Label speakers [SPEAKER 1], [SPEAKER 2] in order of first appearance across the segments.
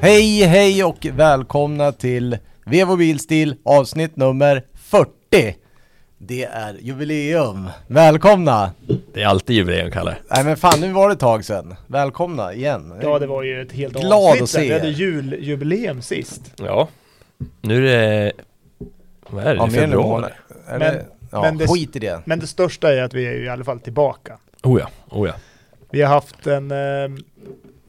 [SPEAKER 1] Hej, hej och välkomna till Vevo Bilstil avsnitt nummer 40. Det är jubileum. Välkomna!
[SPEAKER 2] Det är alltid jubileum, Kalle.
[SPEAKER 1] Nej men fan, nu var det ett tag sedan. Välkomna igen.
[SPEAKER 3] Ja det var ju ett helt
[SPEAKER 1] Glad
[SPEAKER 3] avsnitt
[SPEAKER 1] att
[SPEAKER 3] sen.
[SPEAKER 1] se
[SPEAKER 3] Vi
[SPEAKER 1] er.
[SPEAKER 3] hade juljubileum sist.
[SPEAKER 2] Ja. Nu är det... Vad är det?
[SPEAKER 1] Ja,
[SPEAKER 2] det
[SPEAKER 1] mer
[SPEAKER 2] är
[SPEAKER 1] än en
[SPEAKER 2] februari?
[SPEAKER 1] månad. Är
[SPEAKER 3] Men-
[SPEAKER 1] det- ja,
[SPEAKER 3] men det-
[SPEAKER 1] skit i det.
[SPEAKER 3] Men det största är att vi är ju i alla fall tillbaka.
[SPEAKER 2] Oh ja, oh ja.
[SPEAKER 3] Vi har haft en... Eh,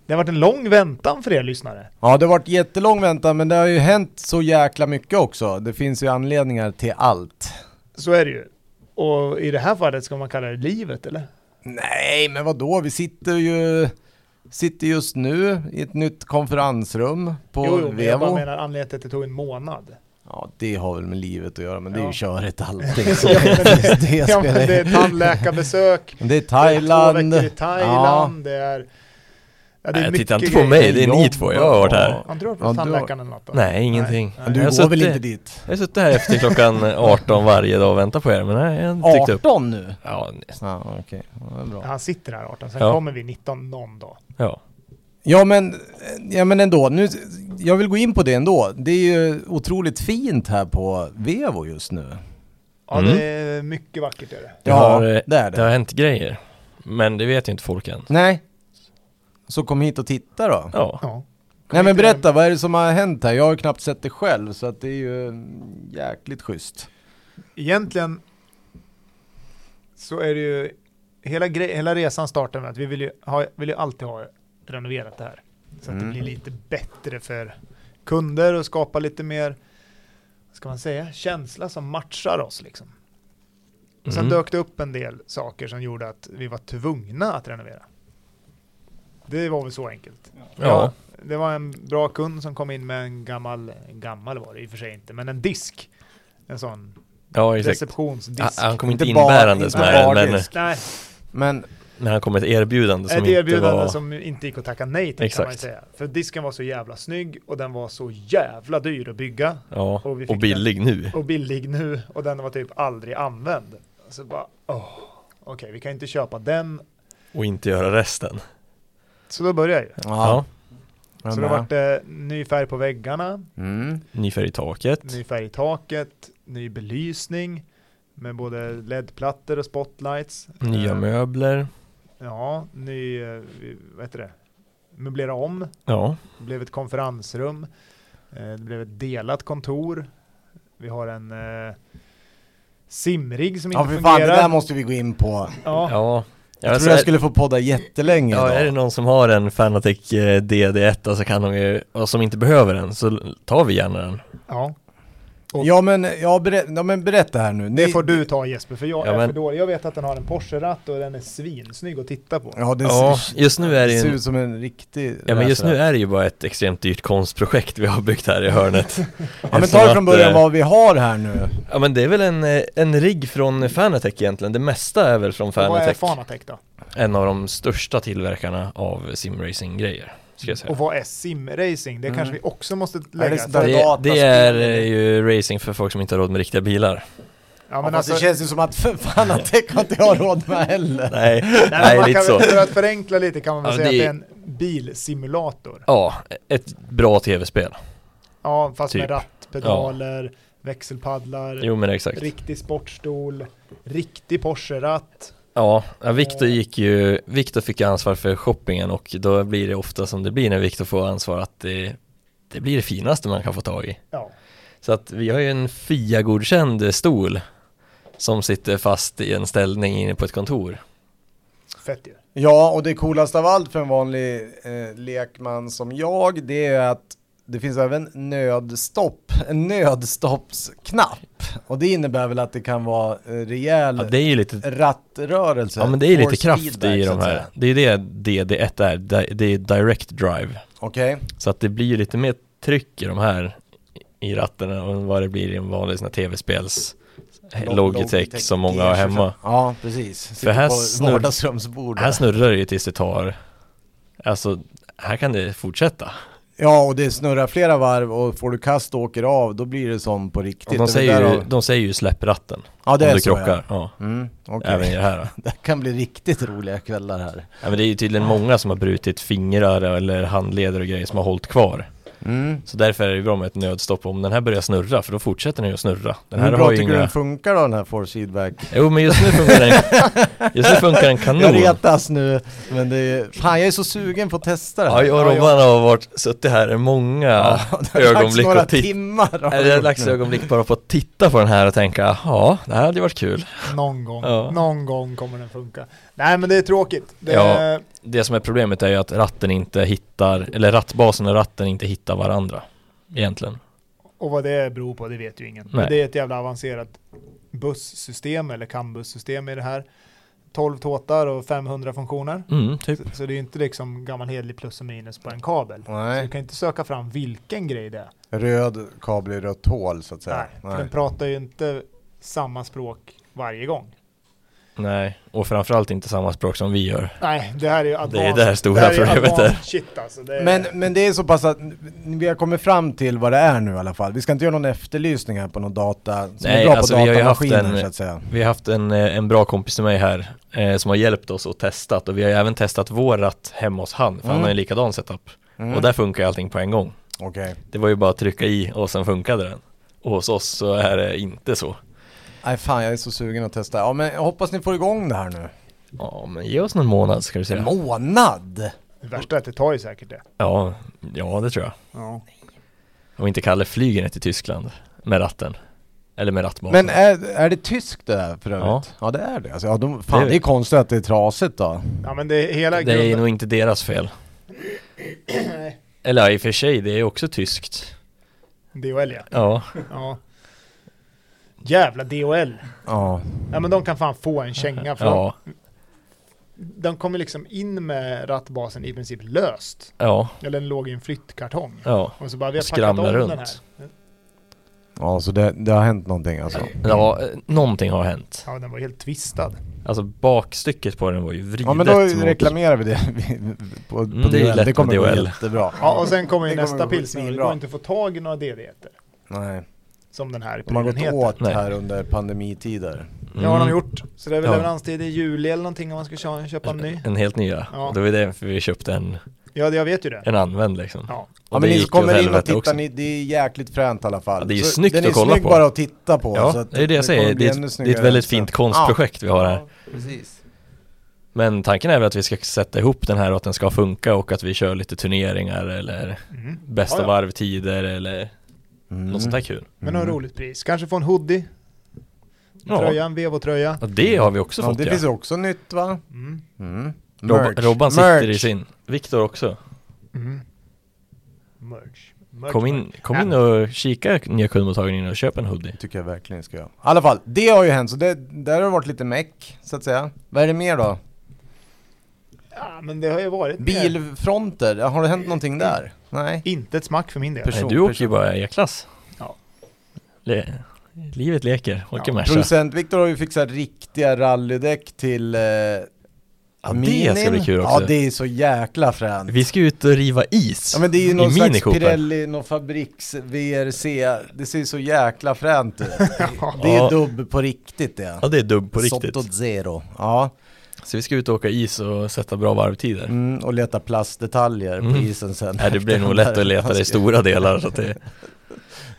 [SPEAKER 3] det har varit en lång väntan för er lyssnare.
[SPEAKER 1] Ja, det har varit jättelång väntan men det har ju hänt så jäkla mycket också. Det finns ju anledningar till allt.
[SPEAKER 3] Så är det ju. Och i det här fallet ska man kalla det livet eller?
[SPEAKER 1] Nej, men vad då? Vi sitter ju sitter just nu i ett nytt konferensrum på
[SPEAKER 3] jo, jo, men jag bara
[SPEAKER 1] Vevo.
[SPEAKER 3] menar anledningen till att det tog en månad.
[SPEAKER 1] Ja, det har väl med livet att göra, men det är ju
[SPEAKER 3] Ja.
[SPEAKER 1] körigt allting. Så
[SPEAKER 3] Ja, men
[SPEAKER 1] det, det,
[SPEAKER 3] Ja, men
[SPEAKER 1] spelar
[SPEAKER 3] det
[SPEAKER 1] ju-
[SPEAKER 3] är tandläkarbesök,
[SPEAKER 1] det är
[SPEAKER 3] två
[SPEAKER 1] Thailand.
[SPEAKER 3] veckor i Thailand, det är... Ja,
[SPEAKER 2] Nej, titta inte
[SPEAKER 3] grejer.
[SPEAKER 2] på mig, det är ni
[SPEAKER 1] Jobb
[SPEAKER 2] två. Jag har varit här.
[SPEAKER 1] och-
[SPEAKER 3] Har inte du varit
[SPEAKER 1] Ja,
[SPEAKER 3] hos
[SPEAKER 1] du har-
[SPEAKER 3] tandläkaren eller något? då?
[SPEAKER 2] Nej, ingenting.
[SPEAKER 3] Nej.
[SPEAKER 1] Men du går
[SPEAKER 2] Jag har suttit-
[SPEAKER 1] väl inte dit?
[SPEAKER 2] Jag har suttit här efter klockan 18 varje dag och väntat på er, men nej, jag har inte dykt upp.
[SPEAKER 1] 18 nu?
[SPEAKER 2] Ja,
[SPEAKER 1] Ja, okej. Ja, det är bra.
[SPEAKER 3] Han sitter här 18, sen
[SPEAKER 2] Ja.
[SPEAKER 3] kommer vi 19 någon dag.
[SPEAKER 2] ja.
[SPEAKER 1] Ja men, ja men ändå, nu, jag vill gå in på det ändå. Det är ju otroligt fint här på Vevo just nu.
[SPEAKER 3] Ja,
[SPEAKER 2] Mm.
[SPEAKER 3] det är mycket vackert är det.
[SPEAKER 2] Det
[SPEAKER 1] Ja,
[SPEAKER 2] har, eh,
[SPEAKER 1] det är
[SPEAKER 2] Det har
[SPEAKER 1] det.
[SPEAKER 2] hänt grejer. Men det vet ju inte folk än.
[SPEAKER 1] Nej. Så kom hit och titta då.
[SPEAKER 2] Ja.
[SPEAKER 3] Ja.
[SPEAKER 1] Nej men
[SPEAKER 3] hit och-
[SPEAKER 1] berätta, vad är det som har hänt här? Jag har ju knappt sett det själv så att det är ju mm, jäkligt schysst.
[SPEAKER 3] Egentligen så är det ju hela, gre- hela resan startar med att vi vill ju, ha, vill ju alltid ha renoverat det här. Så att
[SPEAKER 1] Mm.
[SPEAKER 3] det blir lite bättre för kunder och skapa lite mer, vad ska man säga, känsla som matchar oss liksom. Och sen
[SPEAKER 2] Mm.
[SPEAKER 3] dök det upp en del saker som gjorde att vi var tvungna att renovera. Det var väl så enkelt.
[SPEAKER 2] Ja.
[SPEAKER 3] Det var en bra kund som kom in med en gammal, gammal var det i och för sig inte, men en disk. En sån
[SPEAKER 2] Ja, exakt.
[SPEAKER 3] receptionsdisk.
[SPEAKER 2] Han han kom inte
[SPEAKER 1] Inte bara-
[SPEAKER 2] inbärandes
[SPEAKER 1] inte
[SPEAKER 2] med den,
[SPEAKER 1] bara
[SPEAKER 2] men,
[SPEAKER 1] disk.
[SPEAKER 3] Nej,
[SPEAKER 1] Men,
[SPEAKER 2] men han kom med ett erbjudande som
[SPEAKER 3] ett
[SPEAKER 2] inte
[SPEAKER 3] erbjudande
[SPEAKER 2] var...
[SPEAKER 3] som inte gick att tacka nej till kan man ju
[SPEAKER 2] Exakt.
[SPEAKER 3] säga. För disken var så jävla snygg och den var så jävla dyr att bygga
[SPEAKER 2] Ja,
[SPEAKER 3] Och vi
[SPEAKER 2] och
[SPEAKER 3] fick
[SPEAKER 2] billig nu.
[SPEAKER 3] och billig nu och den var typ aldrig använd. Så bara, åh, okej, vi kan inte köpa den.
[SPEAKER 2] Och inte göra resten.
[SPEAKER 3] Så då började jag ju.
[SPEAKER 1] ja. ja.
[SPEAKER 3] Så då vart det ny färg på väggarna,
[SPEAKER 1] mm.
[SPEAKER 2] Ny färg i taket.
[SPEAKER 3] ny färg i taket, ny belysning med både LED-plattor och spotlights.
[SPEAKER 2] Nya
[SPEAKER 3] Eh,
[SPEAKER 2] möbler.
[SPEAKER 3] Ja, ny, eh, vad heter det, möblera om.
[SPEAKER 2] Ja.
[SPEAKER 3] Det blev ett konferensrum. Eh, Det blev ett delat kontor. Vi har en eh, simrig som inte
[SPEAKER 1] Ja för fan,
[SPEAKER 3] fungerar.
[SPEAKER 1] det där måste vi gå in på.
[SPEAKER 3] ja.
[SPEAKER 2] Ja.
[SPEAKER 1] Jag
[SPEAKER 2] alltså,
[SPEAKER 1] tror jag skulle få podda jättelänge
[SPEAKER 2] ja, är det
[SPEAKER 1] idag.
[SPEAKER 2] någon som har en Fanatec eh, DD1 så kan de ju, och som inte behöver den så tar vi gärna den.
[SPEAKER 3] ja, någon-
[SPEAKER 1] Ja men, ja, berä, ja men berätta här nu.
[SPEAKER 3] det
[SPEAKER 1] Ni-
[SPEAKER 3] får du ta Jesper, för jag
[SPEAKER 2] Ja,
[SPEAKER 3] är
[SPEAKER 2] men-
[SPEAKER 3] för dålig. Jag vet att den har en Porsche-ratt och den är svinsnygg att titta på.
[SPEAKER 1] Ja det
[SPEAKER 2] Ja,
[SPEAKER 1] ser,
[SPEAKER 2] just nu är det
[SPEAKER 1] ser
[SPEAKER 2] ju
[SPEAKER 1] ut som en riktig
[SPEAKER 2] Ja men just nu
[SPEAKER 1] racerratt.
[SPEAKER 2] är det ju bara ett extremt dyrt konstprojekt vi har byggt här i hörnet.
[SPEAKER 1] Ja men ta
[SPEAKER 2] Eftersom
[SPEAKER 1] det från
[SPEAKER 2] att,
[SPEAKER 1] början
[SPEAKER 2] eh,
[SPEAKER 1] vad vi har här nu.
[SPEAKER 2] Ja men det är väl en, eh, en rigg från Fanatec egentligen, det mesta är väl från
[SPEAKER 3] Och Vad är
[SPEAKER 2] Fanatec.
[SPEAKER 3] Fanatec då?
[SPEAKER 2] En av de största tillverkarna av simracing-grejer, ska jag säga.
[SPEAKER 3] Och vad är simracing? Det
[SPEAKER 1] Mm.
[SPEAKER 3] kanske vi också måste lägga.
[SPEAKER 1] sånt där-
[SPEAKER 3] för,
[SPEAKER 2] Det,
[SPEAKER 1] dataspel?
[SPEAKER 2] det är eh, ju racing för folk som inte har råd med riktiga bilar.
[SPEAKER 3] ja,
[SPEAKER 1] Ja, men
[SPEAKER 3] men alltså,
[SPEAKER 1] det känns ju som att för fan att det kan inte jag råd med heller.
[SPEAKER 2] Nej,
[SPEAKER 3] nej, men
[SPEAKER 2] nej
[SPEAKER 3] man
[SPEAKER 2] lite
[SPEAKER 3] kan
[SPEAKER 2] så.
[SPEAKER 3] väl, för att förenkla lite kan man väl
[SPEAKER 2] Ja,
[SPEAKER 3] säga
[SPEAKER 2] det-
[SPEAKER 3] att det är en bilsimulator.
[SPEAKER 2] Ja, ett bra tv-spel.
[SPEAKER 3] Ja, fast
[SPEAKER 2] Typ.
[SPEAKER 3] med ratt, pedaler, växelpaddlar,
[SPEAKER 2] Jo men exakt.
[SPEAKER 3] riktig sportstol, riktig Porsche-ratt.
[SPEAKER 2] Ja, ja, Viktor gick ju, Viktor fick ju ansvar för shoppingen och då blir det ofta som det blir när Viktor får ansvar att det, det blir det finaste man kan få tag i.
[SPEAKER 3] Ja,
[SPEAKER 2] Så att vi har ju en FIA-godkänd stol som sitter fast i en ställning inne på ett kontor.
[SPEAKER 3] fett ju.
[SPEAKER 1] Ja, och det coolaste av allt för en vanlig eh, lekman som jag, det är att det finns även nödstopp, en nödstoppsknapp. Och det innebär väl att det kan vara eh, rejäl
[SPEAKER 2] Ja, det är ju lite,
[SPEAKER 1] rattrörelse.
[SPEAKER 2] ja men det är
[SPEAKER 1] For
[SPEAKER 2] lite kraft
[SPEAKER 1] speedback,
[SPEAKER 2] i
[SPEAKER 1] så att
[SPEAKER 2] de här.
[SPEAKER 1] säga.
[SPEAKER 2] Det är det DD1 är, di- det är direct drive.
[SPEAKER 1] Okej,
[SPEAKER 2] Så att det blir ju lite mer tryck i de här i ratten än vad det blir i en vanlig sån här tv-spels eh,
[SPEAKER 1] Log-
[SPEAKER 2] Logitech som många har
[SPEAKER 1] G25.
[SPEAKER 2] hemma.
[SPEAKER 1] ja precis. Sitter
[SPEAKER 2] här
[SPEAKER 1] på
[SPEAKER 2] snurr-
[SPEAKER 1] vardagsrumsbordet.
[SPEAKER 2] Här snurrar det ju tills det tar Alltså, här kan det fortsätta
[SPEAKER 1] Ja, och det snurrar flera varv och får du kast och åker av, då blir det som på riktigt.
[SPEAKER 2] och de,
[SPEAKER 1] Det är
[SPEAKER 2] säger ju,
[SPEAKER 1] därav-
[SPEAKER 2] de säger ju släpp ratten
[SPEAKER 1] ja, det
[SPEAKER 2] om
[SPEAKER 1] är
[SPEAKER 2] du
[SPEAKER 1] så, ja.
[SPEAKER 2] krockar ja.
[SPEAKER 1] Mm, okej.
[SPEAKER 2] Även i det här då.
[SPEAKER 1] Det kan bli riktigt roliga kvällar här.
[SPEAKER 2] ja, men Det är ju tydligen många som har brutit fingrar eller handleder och grejer som har hållit kvar
[SPEAKER 1] Mm.
[SPEAKER 2] Så därför är det bra med ett nödstopp om den här börjar snurra för då fortsätter den ju att snurra. Den här
[SPEAKER 1] Hur bra
[SPEAKER 2] har ju
[SPEAKER 1] tycker du
[SPEAKER 2] inga...
[SPEAKER 1] den funkar då den här force feedback?
[SPEAKER 2] Jo men just nu funkar den, just nu funkar den
[SPEAKER 1] Jag
[SPEAKER 2] kanon.
[SPEAKER 1] retas nu, men det är... Fan jag är så sugen på att testa det
[SPEAKER 2] Ja,
[SPEAKER 1] här.
[SPEAKER 2] jag och Robban har varit, suttit här i många
[SPEAKER 1] det har lagts
[SPEAKER 2] ögonblick
[SPEAKER 1] några
[SPEAKER 2] och tittat.
[SPEAKER 1] timmar har
[SPEAKER 2] Eller
[SPEAKER 1] det
[SPEAKER 2] jag har
[SPEAKER 1] gjort
[SPEAKER 2] lagt
[SPEAKER 1] nu.
[SPEAKER 2] ögonblick bara på att titta på den här och tänka, ja, det här hade ju varit kul.
[SPEAKER 3] Någon gång,
[SPEAKER 2] Ja.
[SPEAKER 3] någon gång kommer den funka. Nej men det är tråkigt. Det,
[SPEAKER 2] Ja. Det som är problemet är ju att ratten inte hittar, eller rattbasen och ratten inte hittar varandra. Egentligen.
[SPEAKER 3] Och vad det beror på det vet ju ingen.
[SPEAKER 2] Nej.
[SPEAKER 3] Men det är ett jävla avancerat bussystem eller kambussystem i det här. 12 tåtar och 500 funktioner.
[SPEAKER 2] Mm, typ.
[SPEAKER 3] Så, så det är ju inte liksom gammal hederlig plus och minus på en kabel. Så du
[SPEAKER 1] Nej,
[SPEAKER 3] kan inte söka fram vilken grej det är.
[SPEAKER 1] röd kabel i rött hål så att säga.
[SPEAKER 3] Nej, för den pratar ju inte samma språk varje gång.
[SPEAKER 2] Nej, och framförallt inte samma språk som vi gör.
[SPEAKER 3] Nej, det här är ju advanced.
[SPEAKER 2] där stora
[SPEAKER 3] här är ju
[SPEAKER 2] problemet
[SPEAKER 3] advanced Shit alltså. Det är,
[SPEAKER 1] Men, men det är så pass att vi har kommit fram till vad det är nu i alla fall. Vi ska inte göra någon efterlysning här på någon data som
[SPEAKER 2] Nej,
[SPEAKER 1] är bra
[SPEAKER 2] alltså,
[SPEAKER 1] på
[SPEAKER 2] vi har ju haft
[SPEAKER 1] datamaskiner
[SPEAKER 2] en-
[SPEAKER 1] så att säga.
[SPEAKER 2] Vi har haft en, eh, en bra kompis till mig här eh, som har hjälpt oss och testat och vi har ju även testat vår ratt hemma hos han, för han
[SPEAKER 1] Mm.
[SPEAKER 2] har ju likadan setup.
[SPEAKER 1] Mm.
[SPEAKER 2] Och där funkar ju allting på en gång.
[SPEAKER 1] Okej.
[SPEAKER 2] Det var ju bara att trycka i och sen funkade den. Och hos oss så är det inte så.
[SPEAKER 1] Nej fan jag är så sugen att testa. Ja men jag hoppas ni får igång det här nu.
[SPEAKER 2] Ja, men ge oss någon månad ska du
[SPEAKER 1] En
[SPEAKER 2] säga.
[SPEAKER 1] månad!
[SPEAKER 3] Det värsta är att det tar ju säkert det.
[SPEAKER 2] Ja, ja det tror jag.
[SPEAKER 3] Ja.
[SPEAKER 2] Om inte Kalle flyger ner till Tyskland med ratten. Eller med rattbasen.
[SPEAKER 1] Men är, är det tyskt det där för övrigt?
[SPEAKER 2] Ja.
[SPEAKER 1] Ja. det är det. Alltså, ja, de, fan
[SPEAKER 2] Det
[SPEAKER 1] det
[SPEAKER 2] är-
[SPEAKER 1] är, konstigt att det är trasigt då.
[SPEAKER 3] Ja men det är hela
[SPEAKER 2] det är
[SPEAKER 3] grunden.
[SPEAKER 2] nog inte deras fel. Eller ja, i och för sig, det är ju också tyskt.
[SPEAKER 3] DHL ja.
[SPEAKER 2] Ja,
[SPEAKER 3] ja. Jävla DHL.
[SPEAKER 1] Ja.
[SPEAKER 3] Ja men de kan fan få en känga för
[SPEAKER 2] ja,
[SPEAKER 3] de, de kommer liksom in med rattbasen i princip löst.
[SPEAKER 2] ja,
[SPEAKER 3] Eller den låg i en flyttkartong.
[SPEAKER 2] ja.
[SPEAKER 3] Och så bara vi har packat
[SPEAKER 2] Skramlar
[SPEAKER 3] om
[SPEAKER 2] runt.
[SPEAKER 3] den här.
[SPEAKER 1] Ja så det, det har hänt någonting alltså.
[SPEAKER 2] Ja, eh, någonting har hänt.
[SPEAKER 3] Ja den var helt tvistad.
[SPEAKER 2] Alltså bakstycket på den var ju vridet
[SPEAKER 1] Ja men då
[SPEAKER 2] mot-
[SPEAKER 1] reklamerar vi det på, på
[SPEAKER 2] Mm, det är ju
[SPEAKER 1] DHL.
[SPEAKER 2] lätt
[SPEAKER 1] Det kommer
[SPEAKER 2] med
[SPEAKER 1] bli
[SPEAKER 2] DHL.
[SPEAKER 1] jättebra.
[SPEAKER 3] Ja och sen kommer ju
[SPEAKER 1] Det kommer
[SPEAKER 3] nästa
[SPEAKER 1] gå
[SPEAKER 3] pilsner. Det
[SPEAKER 1] svinbra.
[SPEAKER 3] går inte att få tag i några DD-heter.
[SPEAKER 1] Nej.
[SPEAKER 3] Som den här i
[SPEAKER 1] De har
[SPEAKER 3] prylen
[SPEAKER 1] gått
[SPEAKER 3] heter.
[SPEAKER 1] åt
[SPEAKER 2] Nej.
[SPEAKER 1] här under pandemitider.
[SPEAKER 2] Mm.
[SPEAKER 3] Det har de gjort. Så det är
[SPEAKER 2] Ja.
[SPEAKER 3] väl
[SPEAKER 2] Alltså,
[SPEAKER 3] leveranstid i juli eller någonting om man ska kö- köpa en ny.
[SPEAKER 2] En helt nya.
[SPEAKER 3] Ja.
[SPEAKER 2] Och det var ju därför vi köpte en,
[SPEAKER 3] Ja det- jag vet ju det.
[SPEAKER 2] en använd liksom.
[SPEAKER 3] Ja.
[SPEAKER 2] Och
[SPEAKER 1] Ja men
[SPEAKER 2] det
[SPEAKER 1] ni
[SPEAKER 2] gick
[SPEAKER 1] som
[SPEAKER 2] ju åt
[SPEAKER 1] kommer in och
[SPEAKER 2] helvete
[SPEAKER 1] tittar,
[SPEAKER 2] också.
[SPEAKER 1] ni, det är jäkligt fränt i alla fall.
[SPEAKER 2] Ja, det är ju
[SPEAKER 1] Så
[SPEAKER 2] snyggt
[SPEAKER 1] den
[SPEAKER 2] att kolla
[SPEAKER 1] är snygg
[SPEAKER 2] på.
[SPEAKER 1] bara att titta på.
[SPEAKER 2] Ja,
[SPEAKER 1] så att
[SPEAKER 2] det är det jag
[SPEAKER 1] kommer
[SPEAKER 2] säger.
[SPEAKER 1] bli
[SPEAKER 2] Det är,
[SPEAKER 1] ännu
[SPEAKER 2] ett, det är ett
[SPEAKER 1] snyggare
[SPEAKER 2] väldigt
[SPEAKER 1] sen.
[SPEAKER 2] fint konstprojekt vi har här.
[SPEAKER 1] precis.
[SPEAKER 2] Men tanken är väl att vi ska sätta ihop den här och att den ska funka och att vi kör lite turneringar eller
[SPEAKER 3] Mm.
[SPEAKER 2] bästa
[SPEAKER 3] Ja, ja.
[SPEAKER 2] varvtider eller
[SPEAKER 1] Mm.
[SPEAKER 2] något sånt där kul.
[SPEAKER 3] Men något
[SPEAKER 1] Mm.
[SPEAKER 3] roligt pris. Kanske få en hoodie,
[SPEAKER 2] Ja.
[SPEAKER 3] tröja, en Vevo-tröja.
[SPEAKER 2] ja, det har vi också
[SPEAKER 1] ja,
[SPEAKER 2] fått
[SPEAKER 1] det
[SPEAKER 2] ja.
[SPEAKER 1] finns ju också nytt va?
[SPEAKER 3] Mm.
[SPEAKER 1] Mm.
[SPEAKER 2] Rob-
[SPEAKER 1] Merch.
[SPEAKER 2] Robban sitter i
[SPEAKER 1] Merch.
[SPEAKER 2] sin. Viktor också.
[SPEAKER 3] Mm. Merch. Merch,
[SPEAKER 2] Kom in, kom in och kika nya kundmottagningen och köp en hoodie.
[SPEAKER 1] tycker jag verkligen ska göra. I alla fall, det har ju hänt så det, där har det varit lite meck så att säga. Vad är det mer då?
[SPEAKER 3] Ja, men det har ju varit mer.
[SPEAKER 1] Bilfronter, har det hänt någonting där? Nej.
[SPEAKER 3] Inte ett smack för min del.
[SPEAKER 1] Pers- Person,
[SPEAKER 2] Nej, du åker ju
[SPEAKER 1] person.
[SPEAKER 2] bara E-klass.
[SPEAKER 3] Ja.
[SPEAKER 2] Le- livet leker, åker
[SPEAKER 3] Ja,
[SPEAKER 2] Merca.
[SPEAKER 1] Producent Viktor har ju fixat riktiga rallydäck till eh,
[SPEAKER 2] Ja,
[SPEAKER 1] minin.
[SPEAKER 2] det ska bli kul också.
[SPEAKER 1] Ja, det är så jäkla fränt.
[SPEAKER 2] Vi ska ut och riva is
[SPEAKER 1] Ja men det är
[SPEAKER 2] i
[SPEAKER 1] ju någon
[SPEAKER 2] Mini
[SPEAKER 1] slags
[SPEAKER 2] Cooper.
[SPEAKER 1] Pirelli, någon fabriks VRC, det ser ju så jäkla fränt ut. Det är
[SPEAKER 2] Ja.
[SPEAKER 1] ju dubb på riktigt det.
[SPEAKER 2] Ja det är dubb på riktigt.
[SPEAKER 1] Sotto Zero. Ja,
[SPEAKER 2] Så vi ska ut och åka is och sätta bra varvtider.
[SPEAKER 1] mm, och leta plastdetaljer på
[SPEAKER 2] Mm.
[SPEAKER 1] isen sen.
[SPEAKER 2] Nej det blir nog lätt att leta det i stora delar så att det,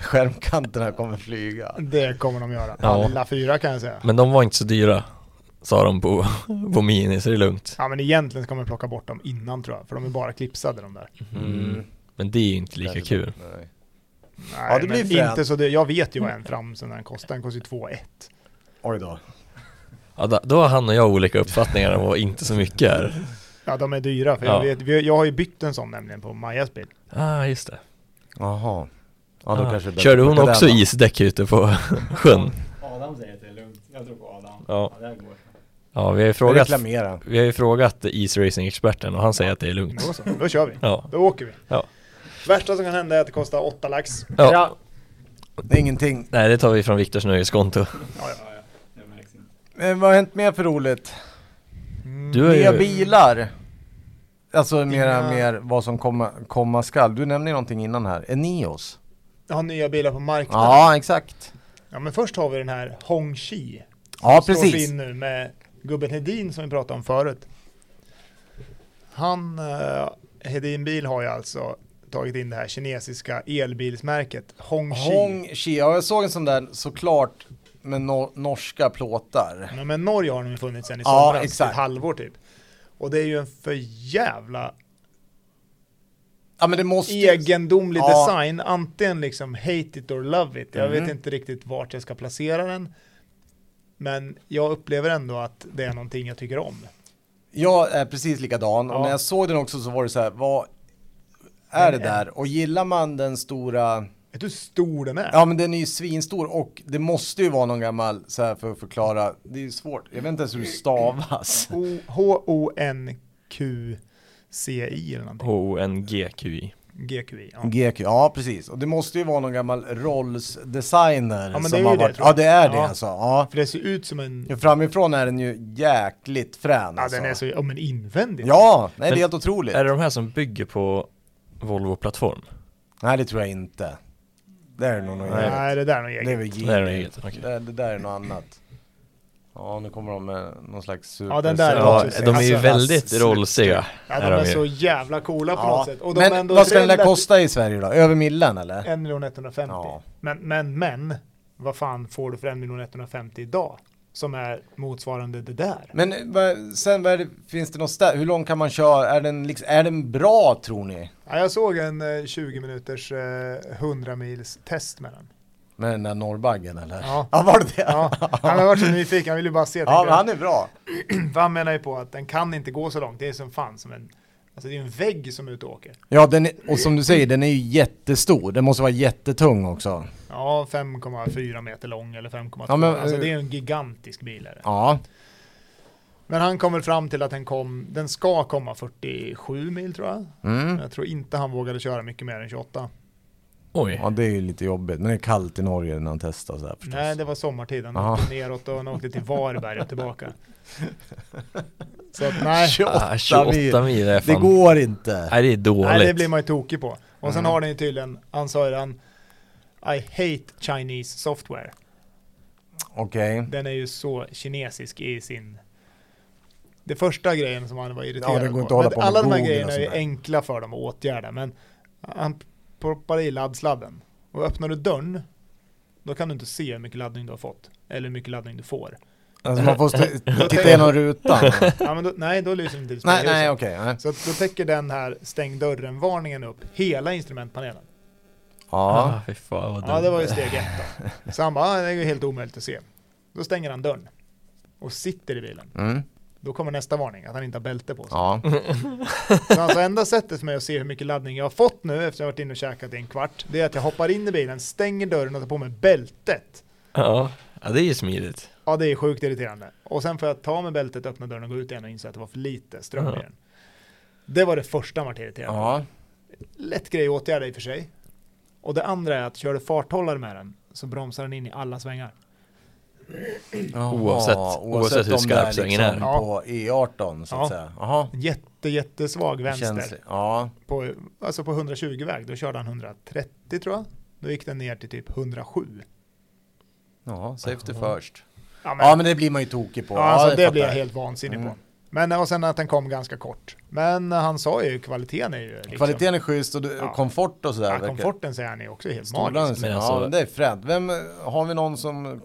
[SPEAKER 1] Skärmkanterna kommer flyga.
[SPEAKER 3] Det kommer de göra.
[SPEAKER 2] Ja.
[SPEAKER 3] Alla fyra kan jag säga.
[SPEAKER 2] Men de var inte så dyra Sa de på, på Mini så det är lugnt
[SPEAKER 3] Ja men egentligen ska man plocka bort dem innan tror jag, för de är bara klipsade de där.
[SPEAKER 2] Mm. Men det är ju inte lika
[SPEAKER 1] Kanske
[SPEAKER 2] kul
[SPEAKER 1] inte, nej.
[SPEAKER 3] Nej,
[SPEAKER 1] Ja, det blir
[SPEAKER 3] men
[SPEAKER 1] fränt.
[SPEAKER 3] inte så det, Jag vet ju vad en framsen den kostar, den kostar ju 2 1
[SPEAKER 1] Oj då.
[SPEAKER 2] ja, då, då har han och jag olika uppfattningar om vad inte så mycket är
[SPEAKER 3] Ja de är dyra, för
[SPEAKER 2] Ja.
[SPEAKER 3] jag, vet, vi- jag har ju bytt en sån nämligen på Majas bil.
[SPEAKER 2] Ah just det
[SPEAKER 1] Jaha. Ja, då
[SPEAKER 2] ah.
[SPEAKER 1] kanske det är
[SPEAKER 2] Körde
[SPEAKER 1] bättre
[SPEAKER 2] hon
[SPEAKER 1] att plocka
[SPEAKER 2] också
[SPEAKER 1] den då.
[SPEAKER 2] isdäck ute på sjön?
[SPEAKER 4] Adam säger att det är lugnt. Jag tror på Adam.
[SPEAKER 2] Ja,
[SPEAKER 4] Ja, det här går.
[SPEAKER 2] ja vi har ju frågat
[SPEAKER 1] Reklamera.
[SPEAKER 2] Vi har ju frågat isracing-experten och han säger att det är lugnt
[SPEAKER 3] Då så, då kör vi.
[SPEAKER 2] Mm. Ja,
[SPEAKER 3] Då åker vi.
[SPEAKER 2] Ja.
[SPEAKER 3] Värsta som kan hända är att det kostar 8 lax.
[SPEAKER 2] ja.
[SPEAKER 1] Det är ingenting.
[SPEAKER 2] Nej det tar vi från Viktors nöjeskonto
[SPEAKER 4] Ja, ja. Det märks inte.
[SPEAKER 1] Men vad har hänt mer för roligt?
[SPEAKER 3] Mm.
[SPEAKER 2] Du har
[SPEAKER 1] Nya
[SPEAKER 2] ju-
[SPEAKER 1] bilar. Alltså mera,
[SPEAKER 3] Inga-
[SPEAKER 1] mer vad som komma, komma skall. Du nämnde ju någonting innan här. Eneos.
[SPEAKER 3] Jag har nya bilar på marknaden. Ja.
[SPEAKER 1] Ja, exakt.
[SPEAKER 3] men först har vi den här Hong Chi.
[SPEAKER 1] Ja,
[SPEAKER 3] Som Står sig
[SPEAKER 1] precis.
[SPEAKER 3] in nu med gubben Hedin som vi pratade om förut. Han, eh, Hedin Bil har ju alltså tagit in det här kinesiska elbilsmärket Hongqi.
[SPEAKER 1] Hong Chi, ja jag såg en sån där såklart med no- norska plåtar.
[SPEAKER 3] Ja, men Norge har den ju funnits sedan i
[SPEAKER 1] Ja,
[SPEAKER 3] somras,
[SPEAKER 1] exakt.
[SPEAKER 3] ett halvår typ. Och det är ju en för jävla
[SPEAKER 1] Ja men det måste ju-
[SPEAKER 3] egendomlig
[SPEAKER 1] Ja.
[SPEAKER 3] design, antingen liksom hate it or love it. Jag
[SPEAKER 1] Mhm.
[SPEAKER 3] vet inte riktigt vart jag ska placera den. Men jag upplever ändå att det är någonting jag tycker om.
[SPEAKER 1] Jag är eh, precis likadan och
[SPEAKER 3] Ja.
[SPEAKER 1] när jag såg den också så var det så här, vad är det
[SPEAKER 3] Den är-
[SPEAKER 1] där? Och gillar man den stora,
[SPEAKER 3] Vet du hur stor den är?
[SPEAKER 1] ja men den är ju svinstor och det måste ju vara någon gammal så här för att förklara, det är ju svårt, jag vet inte ens hur det stavas.
[SPEAKER 3] O- H-O-N-Q-C-I eller någonting.
[SPEAKER 2] H-O-N-G-Q-I.
[SPEAKER 3] GQI. Ja.
[SPEAKER 1] GQ, ja precis. Och det måste ju vara någon gammal Rolls-designer
[SPEAKER 3] men det är
[SPEAKER 1] som
[SPEAKER 3] ju
[SPEAKER 1] har
[SPEAKER 3] det,
[SPEAKER 1] varit,
[SPEAKER 3] tror jag.
[SPEAKER 1] ja det är det
[SPEAKER 3] Ja.
[SPEAKER 1] alltså. Ja.
[SPEAKER 3] För det ser ut som en...
[SPEAKER 1] Ja, Framifrån är den ju jäkligt frän
[SPEAKER 3] Ja,
[SPEAKER 1] alltså.
[SPEAKER 3] den är så... Ja, men invändigt.
[SPEAKER 1] Ja, nej det är
[SPEAKER 2] Men-
[SPEAKER 1] helt otroligt.
[SPEAKER 2] Är det de här som bygger på Volvo-plattform?
[SPEAKER 1] Nej det tror jag inte. Det är nog något
[SPEAKER 2] Nej.
[SPEAKER 1] eget.
[SPEAKER 3] Nej, det där är nog
[SPEAKER 1] Det är
[SPEAKER 3] eget.
[SPEAKER 1] väl
[SPEAKER 2] Det är nog eget, okej.
[SPEAKER 1] Det, det där är något annat. Ja, nu kommer de med någon slags super...
[SPEAKER 3] Ja, den där är
[SPEAKER 2] Ja,
[SPEAKER 3] också-
[SPEAKER 2] de är ju
[SPEAKER 3] alltså,
[SPEAKER 2] väldigt rollsiga.
[SPEAKER 3] Ja,
[SPEAKER 2] är
[SPEAKER 3] de
[SPEAKER 2] de
[SPEAKER 3] är
[SPEAKER 2] ju.
[SPEAKER 3] så jävla coola på något sätt. Och de är
[SPEAKER 1] men
[SPEAKER 3] ändå
[SPEAKER 1] vad ska den där
[SPEAKER 3] relativt-
[SPEAKER 1] kosta i Sverige då? Över millen eller?
[SPEAKER 3] 1 150
[SPEAKER 1] Ja.
[SPEAKER 3] men, men, men, vad fan får du för 1 150 idag? Som är motsvarande det där.
[SPEAKER 1] Men eh, vad- sen vad är det, finns det något ställe, hur långt kan man köra? Är den, liksom, är den bra tror ni?
[SPEAKER 3] Ja, jag såg en eh, 20 minuters eh, 100 mils test med den.
[SPEAKER 1] Med den där norrbaggen eller?
[SPEAKER 3] Ja.
[SPEAKER 1] var det det?
[SPEAKER 3] Ja, han har varit så nyfiken, han vill ju bara se.
[SPEAKER 1] Ja,
[SPEAKER 3] Ja,
[SPEAKER 1] men han är bra.
[SPEAKER 3] han menar ju på att den kan inte gå så långt, det är som fan som en, alltså det är en vägg som är ute och åker.
[SPEAKER 1] Ja, den är, och som du säger, den är ju jättestor. Den måste vara jättetung också.
[SPEAKER 3] Ja, 5,4 meter lång eller 5,2.
[SPEAKER 1] Ja, men,
[SPEAKER 3] alltså
[SPEAKER 1] eh,
[SPEAKER 3] det är en gigantisk bil. Är det.
[SPEAKER 1] Ja.
[SPEAKER 3] Men han kom väl fram till att den kom, den ska komma 47 mil tror jag.
[SPEAKER 1] Mm.
[SPEAKER 3] Jag tror inte han vågade köra mycket mer än 28.
[SPEAKER 2] Oj.
[SPEAKER 1] Ja, det är ju lite jobbigt. Men det är kallt i Norge när han testar så här förstås.
[SPEAKER 3] Nej, det var sommartiden.
[SPEAKER 1] Aha.
[SPEAKER 3] Han åkte neråt och han åkte till Varberg och tillbaka. Så att, nej,
[SPEAKER 1] 28
[SPEAKER 2] Ah, 28
[SPEAKER 1] mil.
[SPEAKER 2] mil är
[SPEAKER 1] Det
[SPEAKER 2] fan...
[SPEAKER 1] går inte.
[SPEAKER 2] Nej, det är dåligt.
[SPEAKER 3] nej, det blir man ju tokig på. Och sen
[SPEAKER 1] Mm.
[SPEAKER 3] har den ju tydligen, han sa ju den, I hate Chinese software.
[SPEAKER 1] Okej.
[SPEAKER 3] Den är ju så kinesisk i sin... Det första grejen som han var irriterad
[SPEAKER 1] Ja, det går inte att
[SPEAKER 3] på.
[SPEAKER 1] hålla
[SPEAKER 3] Men
[SPEAKER 1] på med
[SPEAKER 3] alla de här
[SPEAKER 1] Google
[SPEAKER 3] grejerna
[SPEAKER 1] och
[SPEAKER 3] är ju
[SPEAKER 1] sånt där.
[SPEAKER 3] enkla för dem att åtgärda, men han proppar i laddsladden. Och öppnar du dörren, då kan du inte se hur mycket laddning du har fått. Eller hur mycket laddning du får.
[SPEAKER 1] Alltså man får stå- titta genom rutan.
[SPEAKER 3] Ja, men då, nej, då lyser inte
[SPEAKER 1] nej,
[SPEAKER 3] displayhuset.
[SPEAKER 1] nej, okej. nej.
[SPEAKER 3] Så att då täcker den här stäng dörren-varningen upp hela instrumentpanelen.
[SPEAKER 1] Ja.
[SPEAKER 2] Ja, fy fan vad
[SPEAKER 3] Ja, det
[SPEAKER 2] dumt.
[SPEAKER 3] var ju steg ett då. Så han bara, "Ah, det är ju helt omöjligt att se. Då stänger han dörren och sitter i bilen.
[SPEAKER 1] Mm.
[SPEAKER 3] Då kommer nästa varning, att han inte har bälte på sig.
[SPEAKER 1] Ja.
[SPEAKER 3] Så alltså enda sättet för mig att se hur mycket laddning jag har fått nu efter att jag varit inne och käkat i en kvart, det är att jag hoppar in i bilen, stänger dörren och tar på mig bältet.
[SPEAKER 2] Ja. ja, det är ju smidigt.
[SPEAKER 3] Ja, det är sjukt irriterande. Och sen får jag ta med bältet, öppna dörren och gå ut igen och inse att det var för lite ström i
[SPEAKER 2] Ja.
[SPEAKER 3] den. Det var det första han vart irriterad på.
[SPEAKER 1] ja.
[SPEAKER 3] lätt grej att åtgärda i och för sig. Och det andra är att kör du farthållare med den så bromsar den in i alla svängar.
[SPEAKER 2] Oavsett- oavsett hur
[SPEAKER 1] om det
[SPEAKER 2] skarp
[SPEAKER 1] är
[SPEAKER 2] svängen är.
[SPEAKER 1] liksom På E18 så att
[SPEAKER 3] Ja.
[SPEAKER 1] säga. Jaha.
[SPEAKER 3] En Jätte, jättesvag vänster.
[SPEAKER 1] Känslig. Ja.
[SPEAKER 3] På, alltså på 120-väg, då körde han 130 tror jag. Då gick den ner till typ 107.
[SPEAKER 1] Ja, safety first.
[SPEAKER 3] Ja, men,
[SPEAKER 1] Ja, men det blir man ju tokig på.
[SPEAKER 3] ja, alltså, det
[SPEAKER 1] fattar
[SPEAKER 3] blir jag
[SPEAKER 1] jag.
[SPEAKER 3] helt vansinnig
[SPEAKER 1] Mm.
[SPEAKER 3] på. Men och sen att den kom ganska kort. Men eh, han sa ju kvaliteten är ju liksom,
[SPEAKER 1] Kvaliteten är schysst och du,
[SPEAKER 3] Ja.
[SPEAKER 1] komfort och sådär.
[SPEAKER 3] ja,
[SPEAKER 1] verkar-
[SPEAKER 3] komforten säger han är också helt
[SPEAKER 1] Stolarna
[SPEAKER 3] magisk.
[SPEAKER 1] är så-
[SPEAKER 2] Men
[SPEAKER 1] Ja,
[SPEAKER 2] alltså-
[SPEAKER 1] men det är fränt. Vem, har vi någon som...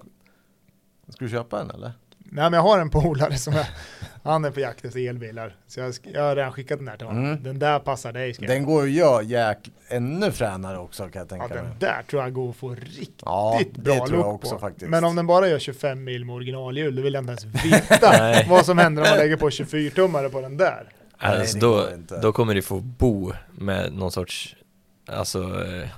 [SPEAKER 1] Ska du köpa en eller?
[SPEAKER 3] Nej men jag har en polare som är, han är på jakt efter elbilar. Så jag, sk- jag har redan skickat den där till honom.
[SPEAKER 1] Mm.
[SPEAKER 3] Den där passar dig skrev jag.
[SPEAKER 1] Den går ju att göra jäk... ännu fränare också kan jag
[SPEAKER 3] Ja,
[SPEAKER 1] tänka mig.
[SPEAKER 3] den där tror jag går att få riktigt
[SPEAKER 1] Ja,
[SPEAKER 3] bra
[SPEAKER 1] det tror
[SPEAKER 3] look
[SPEAKER 1] jag också
[SPEAKER 3] på.
[SPEAKER 1] faktiskt.
[SPEAKER 3] Men om den bara gör 25 mil med originalhjul, då vill jag inte ens veta
[SPEAKER 2] Nej.
[SPEAKER 3] vad som händer om man lägger på 24-tummare på den där.
[SPEAKER 1] Nej,
[SPEAKER 2] Alltså,
[SPEAKER 1] det
[SPEAKER 2] då,
[SPEAKER 1] går inte.
[SPEAKER 2] då kommer du få bo med någon sorts alltså, eh,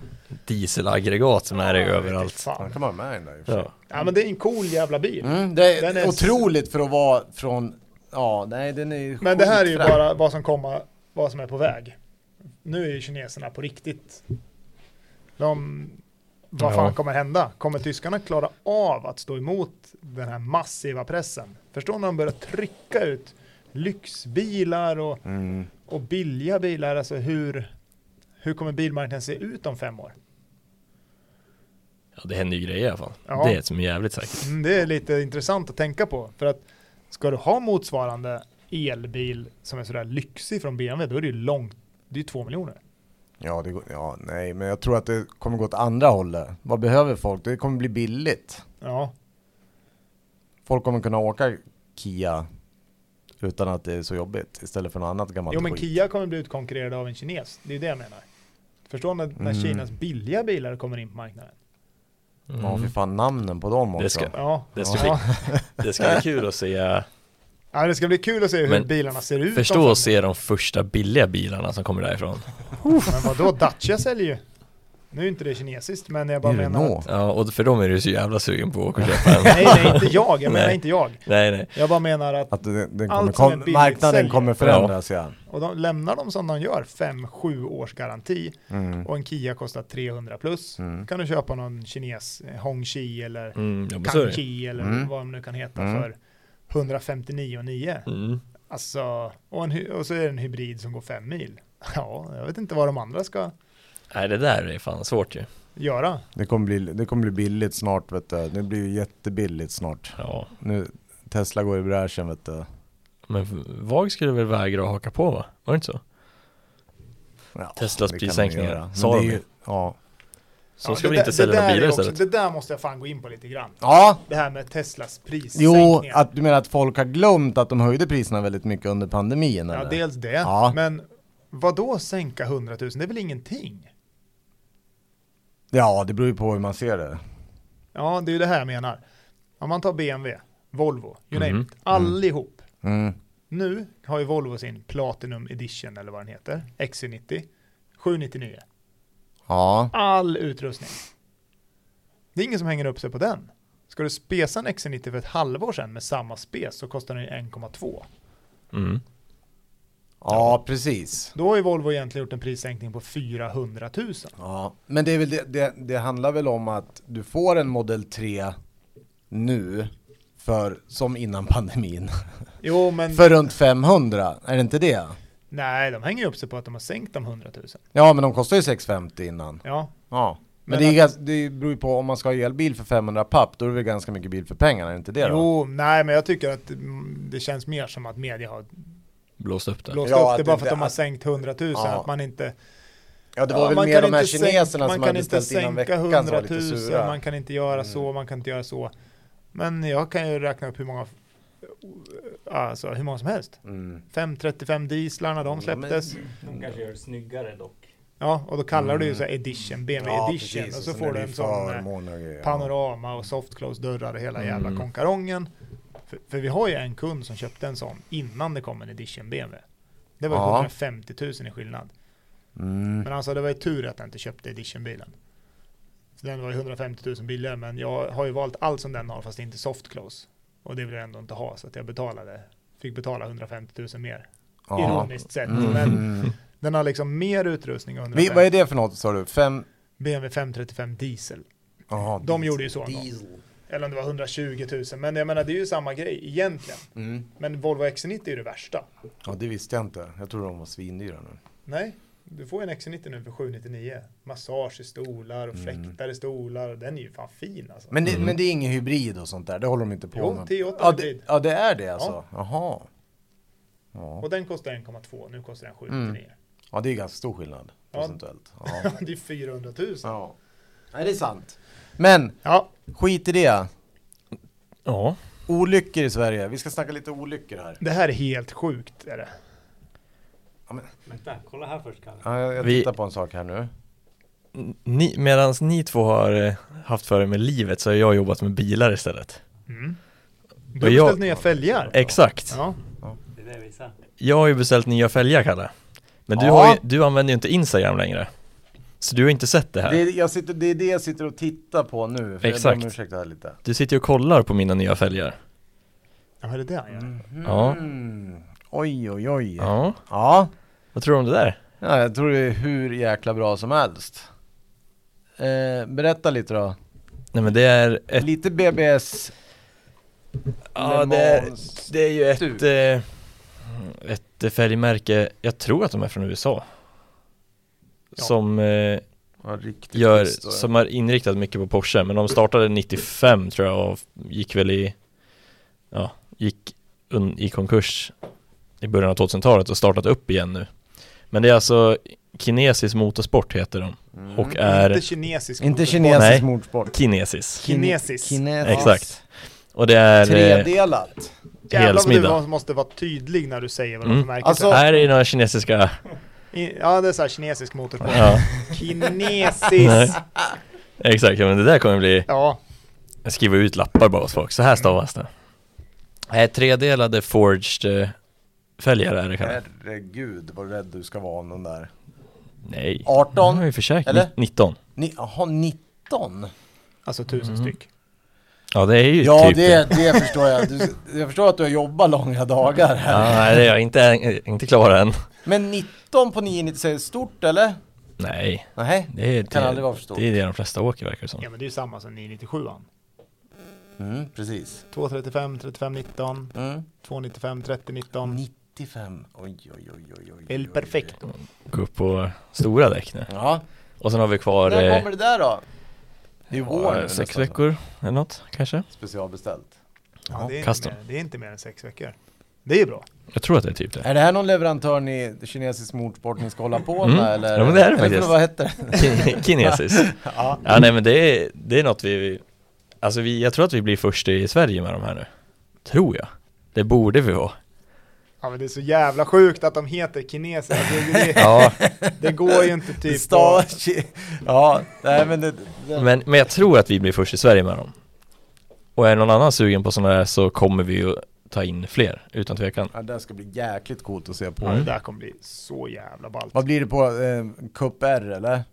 [SPEAKER 2] dieselaggregat som är
[SPEAKER 3] Ja, jag vet inte
[SPEAKER 2] överallt.
[SPEAKER 1] Den
[SPEAKER 3] Fan.
[SPEAKER 1] kan man ha med i den där i och för sig.
[SPEAKER 2] Ja.
[SPEAKER 3] Ja, men det är en cool jävla bil.
[SPEAKER 1] Mm, det är,
[SPEAKER 3] Den är-
[SPEAKER 1] otroligt för att vara från, ja nej den är ju
[SPEAKER 3] Men det här är ju
[SPEAKER 1] skitfrän.
[SPEAKER 3] bara vad som kommer, vad som är på väg. Nu är ju kineserna på riktigt. De, vad
[SPEAKER 2] Ja.
[SPEAKER 3] fan kommer hända? Kommer tyskarna klara av att stå emot den här massiva pressen? Förstår ni när de börjar trycka ut lyxbilar och
[SPEAKER 1] Mm.
[SPEAKER 3] och billiga bilar, alltså hur, hur kommer bilmarknaden se ut om fem år?
[SPEAKER 2] Ja, det händer ju grejer i alla fall.
[SPEAKER 3] Ja.
[SPEAKER 2] Det är som är jävligt säkert.
[SPEAKER 3] Mm, det är lite intressant att tänka på, för att ska du ha motsvarande elbil som är sådär lyxig från BMW, då är det ju långt, det är ju två miljoner.
[SPEAKER 1] Ja, det går, ja, nej, men jag tror att det kommer gå åt andra hållet. Vad behöver folk? Det kommer bli billigt.
[SPEAKER 3] Ja,
[SPEAKER 1] Folk kommer kunna åka Kia utan att det är så jobbigt istället för något annat gammalt
[SPEAKER 3] jo men
[SPEAKER 1] skit.
[SPEAKER 3] Kia kommer bli utkonkurrerad av en kines. Det är ju det jag menar. Förstår när, när
[SPEAKER 1] Mm.
[SPEAKER 3] Kinas billiga bilar kommer in på marknaden?
[SPEAKER 2] Mm.
[SPEAKER 1] Ja, fy fan namnen på dem också.
[SPEAKER 2] Det ska-
[SPEAKER 3] Ja,
[SPEAKER 2] Det ska
[SPEAKER 3] ja.
[SPEAKER 2] Mm. Det ska bli kul att se,
[SPEAKER 3] ja det ska bli kul att se hur
[SPEAKER 2] Men
[SPEAKER 3] bilarna ser ut. om
[SPEAKER 2] förstå
[SPEAKER 3] fem-
[SPEAKER 2] att se de första billiga bilarna som kommer därifrån.
[SPEAKER 3] Men vadå, Dacia säljer ju. Nu är inte det kinesiskt, men jag
[SPEAKER 1] Det
[SPEAKER 3] bara
[SPEAKER 1] är
[SPEAKER 3] menar att,
[SPEAKER 1] Renault.
[SPEAKER 2] Ja, och för dem är du så jävla sugen på att åka och köpa en.
[SPEAKER 3] Nej, nej, inte jag. Jag menar
[SPEAKER 2] Nej.
[SPEAKER 3] inte jag.
[SPEAKER 2] Nej, nej.
[SPEAKER 3] Jag bara menar att,
[SPEAKER 1] Att den, den kommer,
[SPEAKER 3] Allt som är
[SPEAKER 1] kom,
[SPEAKER 3] billigt
[SPEAKER 1] marknaden
[SPEAKER 3] säljer.
[SPEAKER 1] kommer förändras ja.
[SPEAKER 3] och de lämnar dem som de gör, 5-7 års garanti,
[SPEAKER 1] Mm.
[SPEAKER 3] och en Kia kostar 300 plus.
[SPEAKER 1] Mm.
[SPEAKER 3] kan du köpa någon kines, eh, Hongqi eller
[SPEAKER 2] Mm, ja, men så är det.
[SPEAKER 3] Kanqi eller
[SPEAKER 1] Mm.
[SPEAKER 3] vad de nu kan heta
[SPEAKER 1] Mm.
[SPEAKER 3] för 159,9.
[SPEAKER 2] Mm.
[SPEAKER 3] Alltså, och, en, hy- och så är det en hybrid som går 5 mil. Ja, jag vet inte vad de andra ska
[SPEAKER 2] Nej, det där är fan svårt ju.
[SPEAKER 3] göra.
[SPEAKER 1] Det, kommer bli, det kommer bli billigt snart vet du. Det blir ju jättebilligt snart.
[SPEAKER 2] Ja.
[SPEAKER 1] Nu, Tesla går i bräschen vet du.
[SPEAKER 2] Men VAG skulle väl vägra att haka på va? Var det inte så?
[SPEAKER 1] Ja,
[SPEAKER 2] Teslas
[SPEAKER 1] det kan de
[SPEAKER 2] prissänkningar,
[SPEAKER 1] göra. Men
[SPEAKER 2] sa
[SPEAKER 1] det är
[SPEAKER 2] de ju.
[SPEAKER 1] ju- Ja.
[SPEAKER 2] Så ska
[SPEAKER 3] det
[SPEAKER 2] vi
[SPEAKER 3] där-
[SPEAKER 2] inte sälja
[SPEAKER 3] det
[SPEAKER 2] några
[SPEAKER 3] där
[SPEAKER 2] bilar
[SPEAKER 3] är också-
[SPEAKER 2] istället.
[SPEAKER 3] Det där måste jag fan gå in på lite grann.
[SPEAKER 1] ja,
[SPEAKER 3] Det här med Teslas
[SPEAKER 1] jo,
[SPEAKER 3] prissänkningar.
[SPEAKER 1] att du menar att folk har glömt att de höjde priserna väldigt mycket under pandemin
[SPEAKER 3] ja,
[SPEAKER 1] eller?
[SPEAKER 3] dels det.
[SPEAKER 1] Ja.
[SPEAKER 3] Men vad då sänka 100 000? Det är väl ingenting?
[SPEAKER 1] ja, det beror ju på hur man ser det.
[SPEAKER 3] Ja, det är ju det här jag menar. Om man tar BMW, Volvo, you name
[SPEAKER 2] Mhm.
[SPEAKER 3] it, allihop.
[SPEAKER 1] Mm.
[SPEAKER 3] Nu har ju Volvo sin Platinum Edition eller vad den heter, XC90, 799.
[SPEAKER 1] Ja,
[SPEAKER 3] All utrustning. Det är ingen som hänger upp sig på den. Ska du spesa en XC90 för ett halvår sedan med samma spes så kostar den ju 1,2.
[SPEAKER 2] Mm.
[SPEAKER 1] ja precis.
[SPEAKER 3] Då har ju Volvo egentligen gjort en prissänkning på 400 000.
[SPEAKER 1] Ja, men det, är väl det, det, det handlar väl om att du får en Model 3 nu för, som innan pandemin.
[SPEAKER 3] Jo, men
[SPEAKER 1] För runt 500, är det inte det?
[SPEAKER 3] nej, de hänger ju upp sig på att de har sänkt de 100 000.
[SPEAKER 1] Ja, men de kostar ju 650 innan.
[SPEAKER 3] Ja,
[SPEAKER 1] Ja. Men,
[SPEAKER 3] Men
[SPEAKER 1] det, är, ju gans- det beror ju på om man ska ha elbil för 500 papp, då är det väl ganska mycket bil för pengarna, är det inte det då?
[SPEAKER 3] jo, nej, men jag tycker att mm, det känns mer som att media har
[SPEAKER 2] Blåst upp det.
[SPEAKER 3] blåst
[SPEAKER 1] Ja,
[SPEAKER 3] upp
[SPEAKER 1] att
[SPEAKER 3] det bara
[SPEAKER 1] det-
[SPEAKER 3] för att de har
[SPEAKER 1] att-
[SPEAKER 3] sänkt 100 000.
[SPEAKER 1] Ja.
[SPEAKER 3] Att man inte...
[SPEAKER 1] Ja, det var
[SPEAKER 3] Ja,
[SPEAKER 1] väl
[SPEAKER 3] man
[SPEAKER 1] mer
[SPEAKER 3] kan
[SPEAKER 1] de här
[SPEAKER 3] inte sänka-
[SPEAKER 1] kineserna
[SPEAKER 3] man
[SPEAKER 1] som
[SPEAKER 3] kan
[SPEAKER 1] hade
[SPEAKER 3] inte
[SPEAKER 1] ställt innan
[SPEAKER 3] sänka
[SPEAKER 1] veckan som var lite
[SPEAKER 3] 100 000,
[SPEAKER 1] sura. Mm.
[SPEAKER 3] Man kan inte göra så, man kan inte göra så. Men jag kan ju räkna upp hur många, alltså hur många som helst.
[SPEAKER 1] Mm.
[SPEAKER 3] 535 dieslarna, de
[SPEAKER 1] Ja, men-
[SPEAKER 3] släpptes.
[SPEAKER 4] De kanske gör det snyggare dock.
[SPEAKER 3] Ja, och då kallar du ju så här
[SPEAKER 1] Mm.
[SPEAKER 3] edition, BMW edition. och så, får du en sån eh,
[SPEAKER 1] panorama.
[SPEAKER 3] panorama och softclose dörrar i hela jävla
[SPEAKER 2] Mm.
[SPEAKER 3] konkarongen. För, för vi har ju en kund som köpte en sån innan det kom en edition BMW. Det var ju
[SPEAKER 1] Ja.
[SPEAKER 3] 150 000 i skillnad.
[SPEAKER 1] Mm.
[SPEAKER 3] Men alltså det var ju tur att jag inte köpte editionbilen. Så den var ju 150 000 billigare men jag har ju valt allt som den har fast inte softclose. Och det vill jag ändå inte ha så att jag betalade, fick betala 150 000 mer.
[SPEAKER 1] Ja.
[SPEAKER 3] Ironiskt sett. Men
[SPEAKER 1] Mm.
[SPEAKER 3] den har liksom mer utrustning och
[SPEAKER 1] Vi,
[SPEAKER 3] 150.
[SPEAKER 1] vad är det för något sa du? Fem?
[SPEAKER 3] BMW 535 diesel.
[SPEAKER 1] Jaha.
[SPEAKER 3] De gjorde ju så en gång. Eller om det var 120 000 men jag menar det är ju samma grej egentligen.
[SPEAKER 1] Mm.
[SPEAKER 3] Men Volvo XC90 är ju det värsta.
[SPEAKER 1] Ja det visste jag inte. Jag tror de var svindyra nu.
[SPEAKER 3] Nej, du får ju en XC90 nu för 799. Massage i stolar och fläktar i stolar. Den är ju fan fin alltså.
[SPEAKER 1] Mm. Men det,
[SPEAKER 2] Mm.
[SPEAKER 1] men det är ingen hybrid och sånt där? Det håller de inte på
[SPEAKER 3] Jo,
[SPEAKER 1] med?
[SPEAKER 3] T8
[SPEAKER 1] ja, det,
[SPEAKER 3] hybrid.
[SPEAKER 1] ja det är det alltså? Jaha. Ja.
[SPEAKER 3] Och den kostar 1,2, nu kostar den 799.
[SPEAKER 1] ja det är ganska stor skillnad
[SPEAKER 3] Ja.
[SPEAKER 1] procentuellt. Ja.
[SPEAKER 3] Det är 400 000.
[SPEAKER 1] ja. Nej det är sant. Men
[SPEAKER 3] Ja,
[SPEAKER 1] skit i det.
[SPEAKER 2] Ja.
[SPEAKER 1] Olyckor i Sverige. Vi ska snacka lite olyckor här.
[SPEAKER 3] det här är helt sjukt. Är det.
[SPEAKER 4] Vänta, kolla här först Kalle.
[SPEAKER 1] Ja, jag jag
[SPEAKER 2] Vi-
[SPEAKER 1] tittar på en sak här nu.
[SPEAKER 2] Ni, medans ni två har eh, haft för er med livet så har jag jobbat med bilar istället.
[SPEAKER 3] Mm. Du
[SPEAKER 2] Och
[SPEAKER 3] har
[SPEAKER 2] jag-
[SPEAKER 3] beställt nya fälgar.
[SPEAKER 2] Exakt.
[SPEAKER 3] Ja.
[SPEAKER 4] Det där visar.
[SPEAKER 2] Jag har ju beställt nya fälgar Kalle. Men du,
[SPEAKER 1] Ja.
[SPEAKER 2] har ju, du använder ju inte Instagram längre. Så du har inte sett det här.
[SPEAKER 1] Det är, jag sitter, det är det jag sitter och tittar på nu. För Jag
[SPEAKER 2] Exakt.
[SPEAKER 1] ber om ursäkt här lite.
[SPEAKER 2] Du sitter ju och kollar på mina nya fälgar.
[SPEAKER 3] ja, är det det han gör?
[SPEAKER 2] Ja.
[SPEAKER 1] Mm. Mhm. Oj, oj, oj. Ja.
[SPEAKER 2] Ja.
[SPEAKER 1] ja.
[SPEAKER 2] Vad tror du om det där?
[SPEAKER 1] jag tror det är hur jäkla bra som helst. Eh, berätta lite då.
[SPEAKER 2] Nej men det är ett...
[SPEAKER 1] Lite BBS.
[SPEAKER 2] Ja,
[SPEAKER 1] Le
[SPEAKER 2] det är,
[SPEAKER 1] Mans.
[SPEAKER 2] det är ju ett,
[SPEAKER 1] Stuk.
[SPEAKER 2] eh, ett eh, färgmärke, jag tror att de är från USA.
[SPEAKER 3] Ja.
[SPEAKER 2] Som eh,
[SPEAKER 1] Ja, riktigt
[SPEAKER 2] gör,
[SPEAKER 1] schysst då.
[SPEAKER 2] som är inriktat mycket på Porsche, men de startade 95 tror jag och gick väl i, ja, gick un, i konkurs i början av 2000-talet och startat upp igen nu. Men det är alltså Kinesisk Motorsport heter de
[SPEAKER 1] Mm.
[SPEAKER 2] och är
[SPEAKER 3] Inte kinesisk.
[SPEAKER 1] Inte
[SPEAKER 3] motorsport.
[SPEAKER 1] kinesisk
[SPEAKER 2] Nej.
[SPEAKER 1] mordsport.
[SPEAKER 2] kinesis.
[SPEAKER 3] Kinesisk.
[SPEAKER 1] Kinesisk.
[SPEAKER 2] Exakt. Och det är... eh,
[SPEAKER 1] Tredelat.
[SPEAKER 3] Jävlar vad du
[SPEAKER 2] helsmiddag.
[SPEAKER 3] var- måste vara tydlig när du säger vad det är
[SPEAKER 2] Mm.
[SPEAKER 3] för märke.
[SPEAKER 1] Alltså-
[SPEAKER 2] Här är några kinesiska...
[SPEAKER 3] I- Ja, det är så här kinesisk motorsport.
[SPEAKER 2] Ja, Nej.
[SPEAKER 3] Kinesisk.
[SPEAKER 2] exakt. Ja, men det där kommer bli...
[SPEAKER 3] Ja,
[SPEAKER 2] Jag skriver ut lappar bara åt folk. Så här stavas det. Nej, tredelade forged eh, fälgar är det
[SPEAKER 1] Eh,
[SPEAKER 2] kanske.
[SPEAKER 1] Herregud vad rädd du ska vara om den där.
[SPEAKER 2] Nej.
[SPEAKER 1] 18?
[SPEAKER 2] Nu har vi försäkrat.
[SPEAKER 1] Eller?
[SPEAKER 2] 19.
[SPEAKER 1] Ni- Jaha, 19?
[SPEAKER 3] alltså tusen styck.
[SPEAKER 2] Ja, det är ju
[SPEAKER 1] Ja,
[SPEAKER 2] typ
[SPEAKER 1] det, det förstår jag. Du, jag förstår att du har jobbat långa dagar här.
[SPEAKER 2] Ja, nej, det är jag inte, inte klar än.
[SPEAKER 1] Men 19 på 996 är stort eller?
[SPEAKER 2] Nej,
[SPEAKER 1] Nej.
[SPEAKER 2] det är,
[SPEAKER 1] Kan
[SPEAKER 2] det,
[SPEAKER 1] aldrig vara för stort.
[SPEAKER 2] det är det de flesta åker verkar det som.
[SPEAKER 3] Ja, men det är ju samma som 997an.
[SPEAKER 1] Mm, precis.
[SPEAKER 3] 235, 35, 19,
[SPEAKER 1] Mm.
[SPEAKER 3] 295, 30, 19.
[SPEAKER 1] 95. Oj, oj, oj, oj, oj, oj.
[SPEAKER 3] El
[SPEAKER 1] oj.
[SPEAKER 3] perfecto.
[SPEAKER 2] Gå upp på stora däck nu.
[SPEAKER 1] Ja.
[SPEAKER 2] Och sen har vi kvar
[SPEAKER 1] När
[SPEAKER 2] eh,
[SPEAKER 1] kommer det där då? I
[SPEAKER 2] ja,
[SPEAKER 1] år nu
[SPEAKER 2] sex
[SPEAKER 1] nästan.
[SPEAKER 2] veckor eller något kanske.
[SPEAKER 1] Specialbeställt.
[SPEAKER 3] Ja, det, är inte
[SPEAKER 2] custom.
[SPEAKER 3] mer, det är inte mer än sex veckor. Det är ju bra.
[SPEAKER 2] Jag tror att det är typ det.
[SPEAKER 1] Är det här någon leverantör ni, kinesisk mordsport, ni ska hålla på
[SPEAKER 2] Mm.
[SPEAKER 1] med eller?
[SPEAKER 2] Ja, men det är det
[SPEAKER 1] eller
[SPEAKER 2] faktiskt.
[SPEAKER 1] Vad heter det?
[SPEAKER 2] Ki- Kinesiskt.
[SPEAKER 1] Ja.
[SPEAKER 2] Ja, nej men det är, det är något vi, alltså vi, jag tror att vi blir först i Sverige med de här nu. Tror jag. Det borde vi vara.
[SPEAKER 3] Ja, men det är så jävla sjukt att de heter kineser. Alltså, Det, det,
[SPEAKER 2] Ja,
[SPEAKER 3] det går ju inte typ
[SPEAKER 1] Stav...
[SPEAKER 3] att-
[SPEAKER 1] Ja, nej men det... det...
[SPEAKER 2] men, men jag tror att vi blir först i Sverige med dem. Och är någon annan sugen på sådana här så kommer vi ju ta in fler, utan tvekan.
[SPEAKER 1] Ja, det här ska bli jäkligt coolt att se på.
[SPEAKER 3] Ja,
[SPEAKER 2] Mm.
[SPEAKER 3] det där kommer bli så jävla ballt.
[SPEAKER 1] Vad blir det på eh, Cup R eller?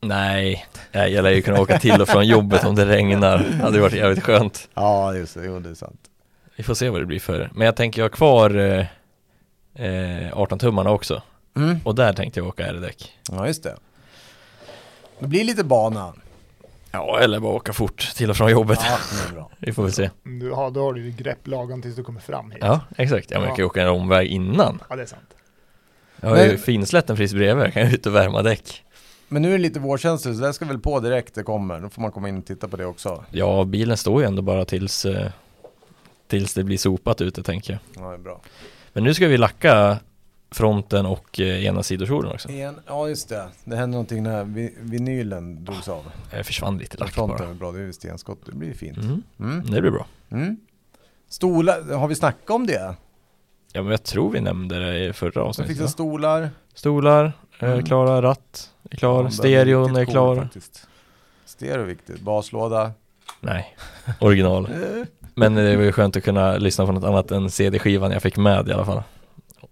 [SPEAKER 2] Nej, nej, jag lär ju kunna åka till och från jobbet om det regnar. Det hade varit jävligt skönt.
[SPEAKER 1] Ja, just det. Jo, det är sant.
[SPEAKER 2] Vi får se vad det blir för. Men jag tänker jag har kvar eh, eh, 18-tummarna också.
[SPEAKER 1] Mm.
[SPEAKER 2] Och där tänkte jag åka R-däck.
[SPEAKER 1] Ja, just det. Det blir lite bana.
[SPEAKER 2] Ja, eller bara åka fort till och från jobbet.
[SPEAKER 1] Ja, det är bra.
[SPEAKER 2] Vi får väl se.
[SPEAKER 3] Mm, Du, ja, då har du ju grepp lagom tills du kommer fram hit.
[SPEAKER 2] Ja, exakt. Ja, men jag kan ju åka en omväg innan.
[SPEAKER 3] Ja, det är sant.
[SPEAKER 2] Jag har ju
[SPEAKER 1] Men-
[SPEAKER 2] finslätten precis bredvid. Jag kan ju ut och värma däck.
[SPEAKER 1] Men nu är det lite vårkänslor, så det här ska väl på direkt det kommer. Då får man komma in och titta på det också.
[SPEAKER 2] Ja, bilen står ju ändå bara tills, eh, tills det blir sopat ute, tänker jag.
[SPEAKER 1] Ja, det är bra.
[SPEAKER 2] Men nu ska vi lacka fronten och eh, ena sidokjolen också.
[SPEAKER 1] En, ja, just det. Det hände någonting när vi, vinylen drogs av.
[SPEAKER 2] Det försvann lite lack
[SPEAKER 1] Fronten
[SPEAKER 2] bara.
[SPEAKER 1] är bra, det är ju stenskott. Det blir fint.
[SPEAKER 2] Mm.
[SPEAKER 1] Mm.
[SPEAKER 2] Det blir bra.
[SPEAKER 1] Mm. Stolar, har vi snackat om det?
[SPEAKER 2] Ja men jag tror vi nämnde det i förra
[SPEAKER 1] Så
[SPEAKER 2] avsnittet.
[SPEAKER 1] fixa
[SPEAKER 2] va?
[SPEAKER 1] stolar.
[SPEAKER 2] Stolar, eh,
[SPEAKER 1] Mm.
[SPEAKER 2] klara, ratt är
[SPEAKER 1] Ja,
[SPEAKER 2] klar,
[SPEAKER 1] den
[SPEAKER 2] stereon
[SPEAKER 1] riktigt
[SPEAKER 2] är
[SPEAKER 1] cool
[SPEAKER 2] klar.
[SPEAKER 1] faktiskt. Stereo är viktigt, baslåda.
[SPEAKER 2] Nej, original.
[SPEAKER 1] Eh.
[SPEAKER 2] men det var ju skönt att kunna lyssna på något annat än CD-skivan jag fick med i alla fall.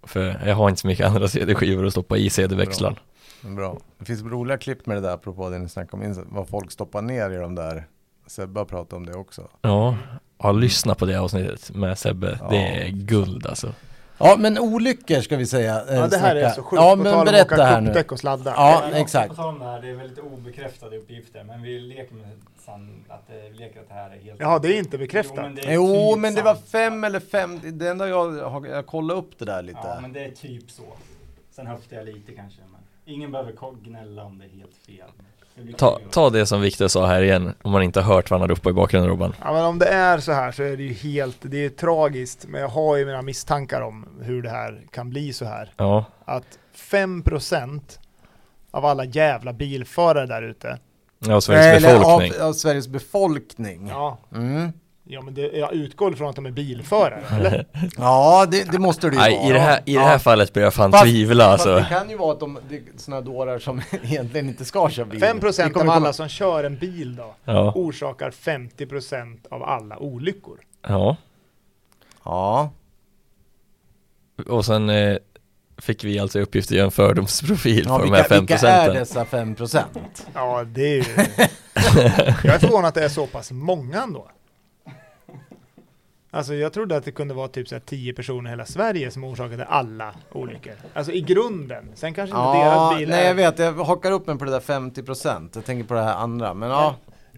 [SPEAKER 2] För jag har inte så mycket andra CD-skivor att stoppa i CD-växlaren.
[SPEAKER 1] Bra. Det finns roliga klipp med det där, apropå det ni snackade om, ins- vad folk stoppar ner i de där. Sebba pratade om det också.
[SPEAKER 2] Ja. ja, lyssna på det avsnittet med Sebbe.
[SPEAKER 1] Ja.
[SPEAKER 2] Det är guld alltså.
[SPEAKER 1] Ja, men olyckor ska vi säga. eh,
[SPEAKER 3] Ja, det här är
[SPEAKER 1] snacka.
[SPEAKER 3] så
[SPEAKER 1] Ja,
[SPEAKER 3] sjukt. På tal om
[SPEAKER 1] men
[SPEAKER 3] att
[SPEAKER 1] berätta
[SPEAKER 3] åka
[SPEAKER 1] här nu.
[SPEAKER 3] kuppdäck och sladdar.
[SPEAKER 1] Ja,
[SPEAKER 4] Men
[SPEAKER 1] exakt.
[SPEAKER 4] På tal om det här, det är väl lite obekräftade uppgifter, men vi leker med san, att, eh, vi leker att det här är helt...
[SPEAKER 3] Jaha, det är inte bekräftat.
[SPEAKER 4] det är
[SPEAKER 1] Jo,
[SPEAKER 4] typ
[SPEAKER 1] men det var
[SPEAKER 4] sant.
[SPEAKER 1] fem eller fem, det enda jag har, jag kollade upp det där lite.
[SPEAKER 4] Ja, men det är typ så. Sen höftar jag lite kanske, men ingen behöver ko- gnälla om det är helt fel. Det blir
[SPEAKER 2] Ta,
[SPEAKER 4] kul.
[SPEAKER 2] ta det som Viktor sa här igen, om man inte har hört vad han ropar i bakgrunden Robban.
[SPEAKER 3] Ja, men om det är så här så är det ju helt, det är ju tragiskt, men jag har ju mina misstankar om hur det här kan bli så här.
[SPEAKER 2] Ja,
[SPEAKER 3] Att 5% av alla jävla bilförare där ute,
[SPEAKER 2] ja Sveriges
[SPEAKER 1] Eller
[SPEAKER 2] befolkning.
[SPEAKER 1] Av, av Sveriges befolkning. Ja,
[SPEAKER 3] ja,
[SPEAKER 1] mm.
[SPEAKER 3] ja men det, jag utgår ifrån att de är bilförare, eller?
[SPEAKER 1] ja det, det måste det ju
[SPEAKER 2] Nej,
[SPEAKER 1] vara.
[SPEAKER 2] i det här, i det här
[SPEAKER 1] Ja.
[SPEAKER 2] fallet börjar jag fan
[SPEAKER 1] Fast-
[SPEAKER 2] tvivla
[SPEAKER 1] Fast
[SPEAKER 2] alltså.
[SPEAKER 1] det kan ju vara att de, det är såna dårar som egentligen inte ska köra bil. Vi
[SPEAKER 3] 5%
[SPEAKER 1] kommer
[SPEAKER 3] av
[SPEAKER 1] komma-
[SPEAKER 3] alla som kör en bil då,
[SPEAKER 2] Ja,
[SPEAKER 3] orsakar 50% av alla olyckor.
[SPEAKER 2] ja.
[SPEAKER 1] Ja.
[SPEAKER 2] Och sen eh, fick vi alltså i uppgift att göra en fördomsprofil
[SPEAKER 1] ja
[SPEAKER 2] för de här
[SPEAKER 1] vilka,
[SPEAKER 2] fem
[SPEAKER 1] vilka är
[SPEAKER 2] procenten.
[SPEAKER 1] dessa 5 procent?
[SPEAKER 3] Ja, det är ju... Jag är förvånad att det är så pass många ändå. Alltså jag trodde att det kunde vara typ så här 10 personer i hela Sverige som orsakade alla olyckor. Alltså i grunden. Sen kanske inte
[SPEAKER 1] Ja,
[SPEAKER 3] deras bil
[SPEAKER 1] nej
[SPEAKER 3] är...
[SPEAKER 1] jag vet, jag hakar upp mig på det där 50 procent. Jag tänker på det här andra, men ja.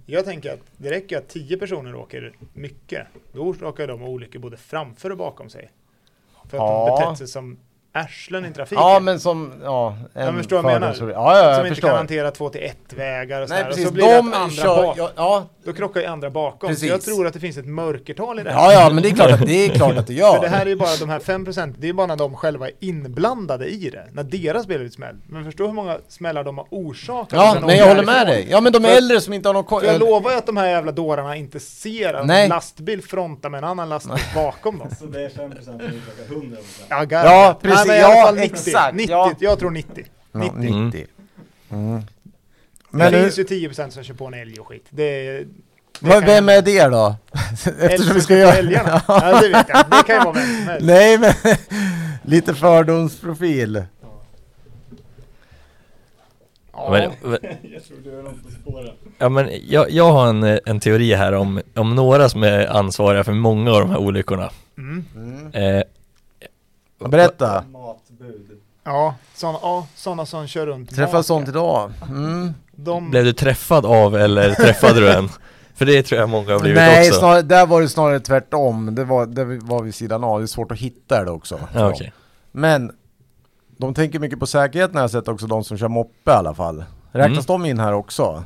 [SPEAKER 3] Jag tänker att det räcker att 10 personer åker mycket. Då orsakar de olyckor både framför och bakom sig. För att
[SPEAKER 1] Ja.
[SPEAKER 3] de betett sig som arslen i trafiken.
[SPEAKER 1] Ja men som, ja.
[SPEAKER 3] Ja, men förstår vad jag menar.
[SPEAKER 1] fördomsfri- Ja, ja,
[SPEAKER 3] som
[SPEAKER 1] jag
[SPEAKER 3] inte kan
[SPEAKER 1] Eh, förstår.
[SPEAKER 3] hantera två till ett vägar och
[SPEAKER 1] Nej
[SPEAKER 3] sådär. Och
[SPEAKER 1] precis,
[SPEAKER 3] så blir det att
[SPEAKER 1] de
[SPEAKER 3] andra
[SPEAKER 1] kör,
[SPEAKER 3] bak,
[SPEAKER 1] ja, ja,
[SPEAKER 3] Då krockar ju andra bakom. Så jag
[SPEAKER 1] Precis.
[SPEAKER 3] tror att det finns ett mörkertal i det här.
[SPEAKER 1] ja, ja men det är klart att det är klart att det
[SPEAKER 3] För
[SPEAKER 1] gör.
[SPEAKER 3] det här är ju bara de här 5%, det är bara när de själva är inblandade i det. När deras bil är smäll. Men förstå hur många smällar de har orsakat.
[SPEAKER 1] Ja,
[SPEAKER 3] sen
[SPEAKER 1] nej
[SPEAKER 3] åker
[SPEAKER 1] jag håller
[SPEAKER 3] därifrån.
[SPEAKER 1] med dig. Ja men de
[SPEAKER 3] liksom- För-
[SPEAKER 1] äldre som inte har någon koll.
[SPEAKER 3] För jag lovar ju att de här jävla dårarna inte ser att
[SPEAKER 1] Nej.
[SPEAKER 3] en lastbil frontar med en annan lastbil bakom dem.
[SPEAKER 4] Så det är 5% som orsakar 100%.
[SPEAKER 3] Ja,
[SPEAKER 1] Ja,
[SPEAKER 3] garanterat.
[SPEAKER 1] precis.
[SPEAKER 3] Nej, men i alla
[SPEAKER 1] Ja,
[SPEAKER 3] fall 90.
[SPEAKER 1] exakt.
[SPEAKER 3] 90.
[SPEAKER 1] Ja.
[SPEAKER 3] Jag tror 90.
[SPEAKER 1] Ja,
[SPEAKER 3] 90.
[SPEAKER 1] 90. Mm.
[SPEAKER 3] Men
[SPEAKER 1] Men
[SPEAKER 3] det
[SPEAKER 1] hur-
[SPEAKER 3] finns ju 10% som kör på en älg och skit. Det är,
[SPEAKER 1] vad-
[SPEAKER 3] kan-
[SPEAKER 1] vem är det då? Eftersom vi ska
[SPEAKER 3] Älg som
[SPEAKER 1] göra...
[SPEAKER 3] skjuter älgarna. Ja, det vet jag. Det kan ju vara vem som helst.
[SPEAKER 1] Nej men, lite fördomsprofil.
[SPEAKER 2] Ja, men,
[SPEAKER 4] Jag tror du är någon på spåren.
[SPEAKER 2] ja, men jag, jag har en, eh, en teori här om, om några som är ansvariga för många av de här olyckorna.
[SPEAKER 3] Mm.
[SPEAKER 2] Eh,
[SPEAKER 1] Berätta.
[SPEAKER 4] Matbud.
[SPEAKER 3] Ja, sådana ja, såna som kör runt.
[SPEAKER 1] Träffade
[SPEAKER 3] maken.
[SPEAKER 1] sånt idag. Mm.
[SPEAKER 3] De,
[SPEAKER 2] Blev du träffad av eller träffade du en? För det tror jag många har blivit
[SPEAKER 1] Nej,
[SPEAKER 2] också.
[SPEAKER 1] snarare, där var det snarare tvärtom. Det var, det var vid sidan av. Det är svårt att hitta det också.
[SPEAKER 2] Ja, okej.
[SPEAKER 1] Men de tänker mycket på säkerheten har jag sett också, de som kör moppe i alla fall.
[SPEAKER 2] Mm.
[SPEAKER 1] Räknas de in här också?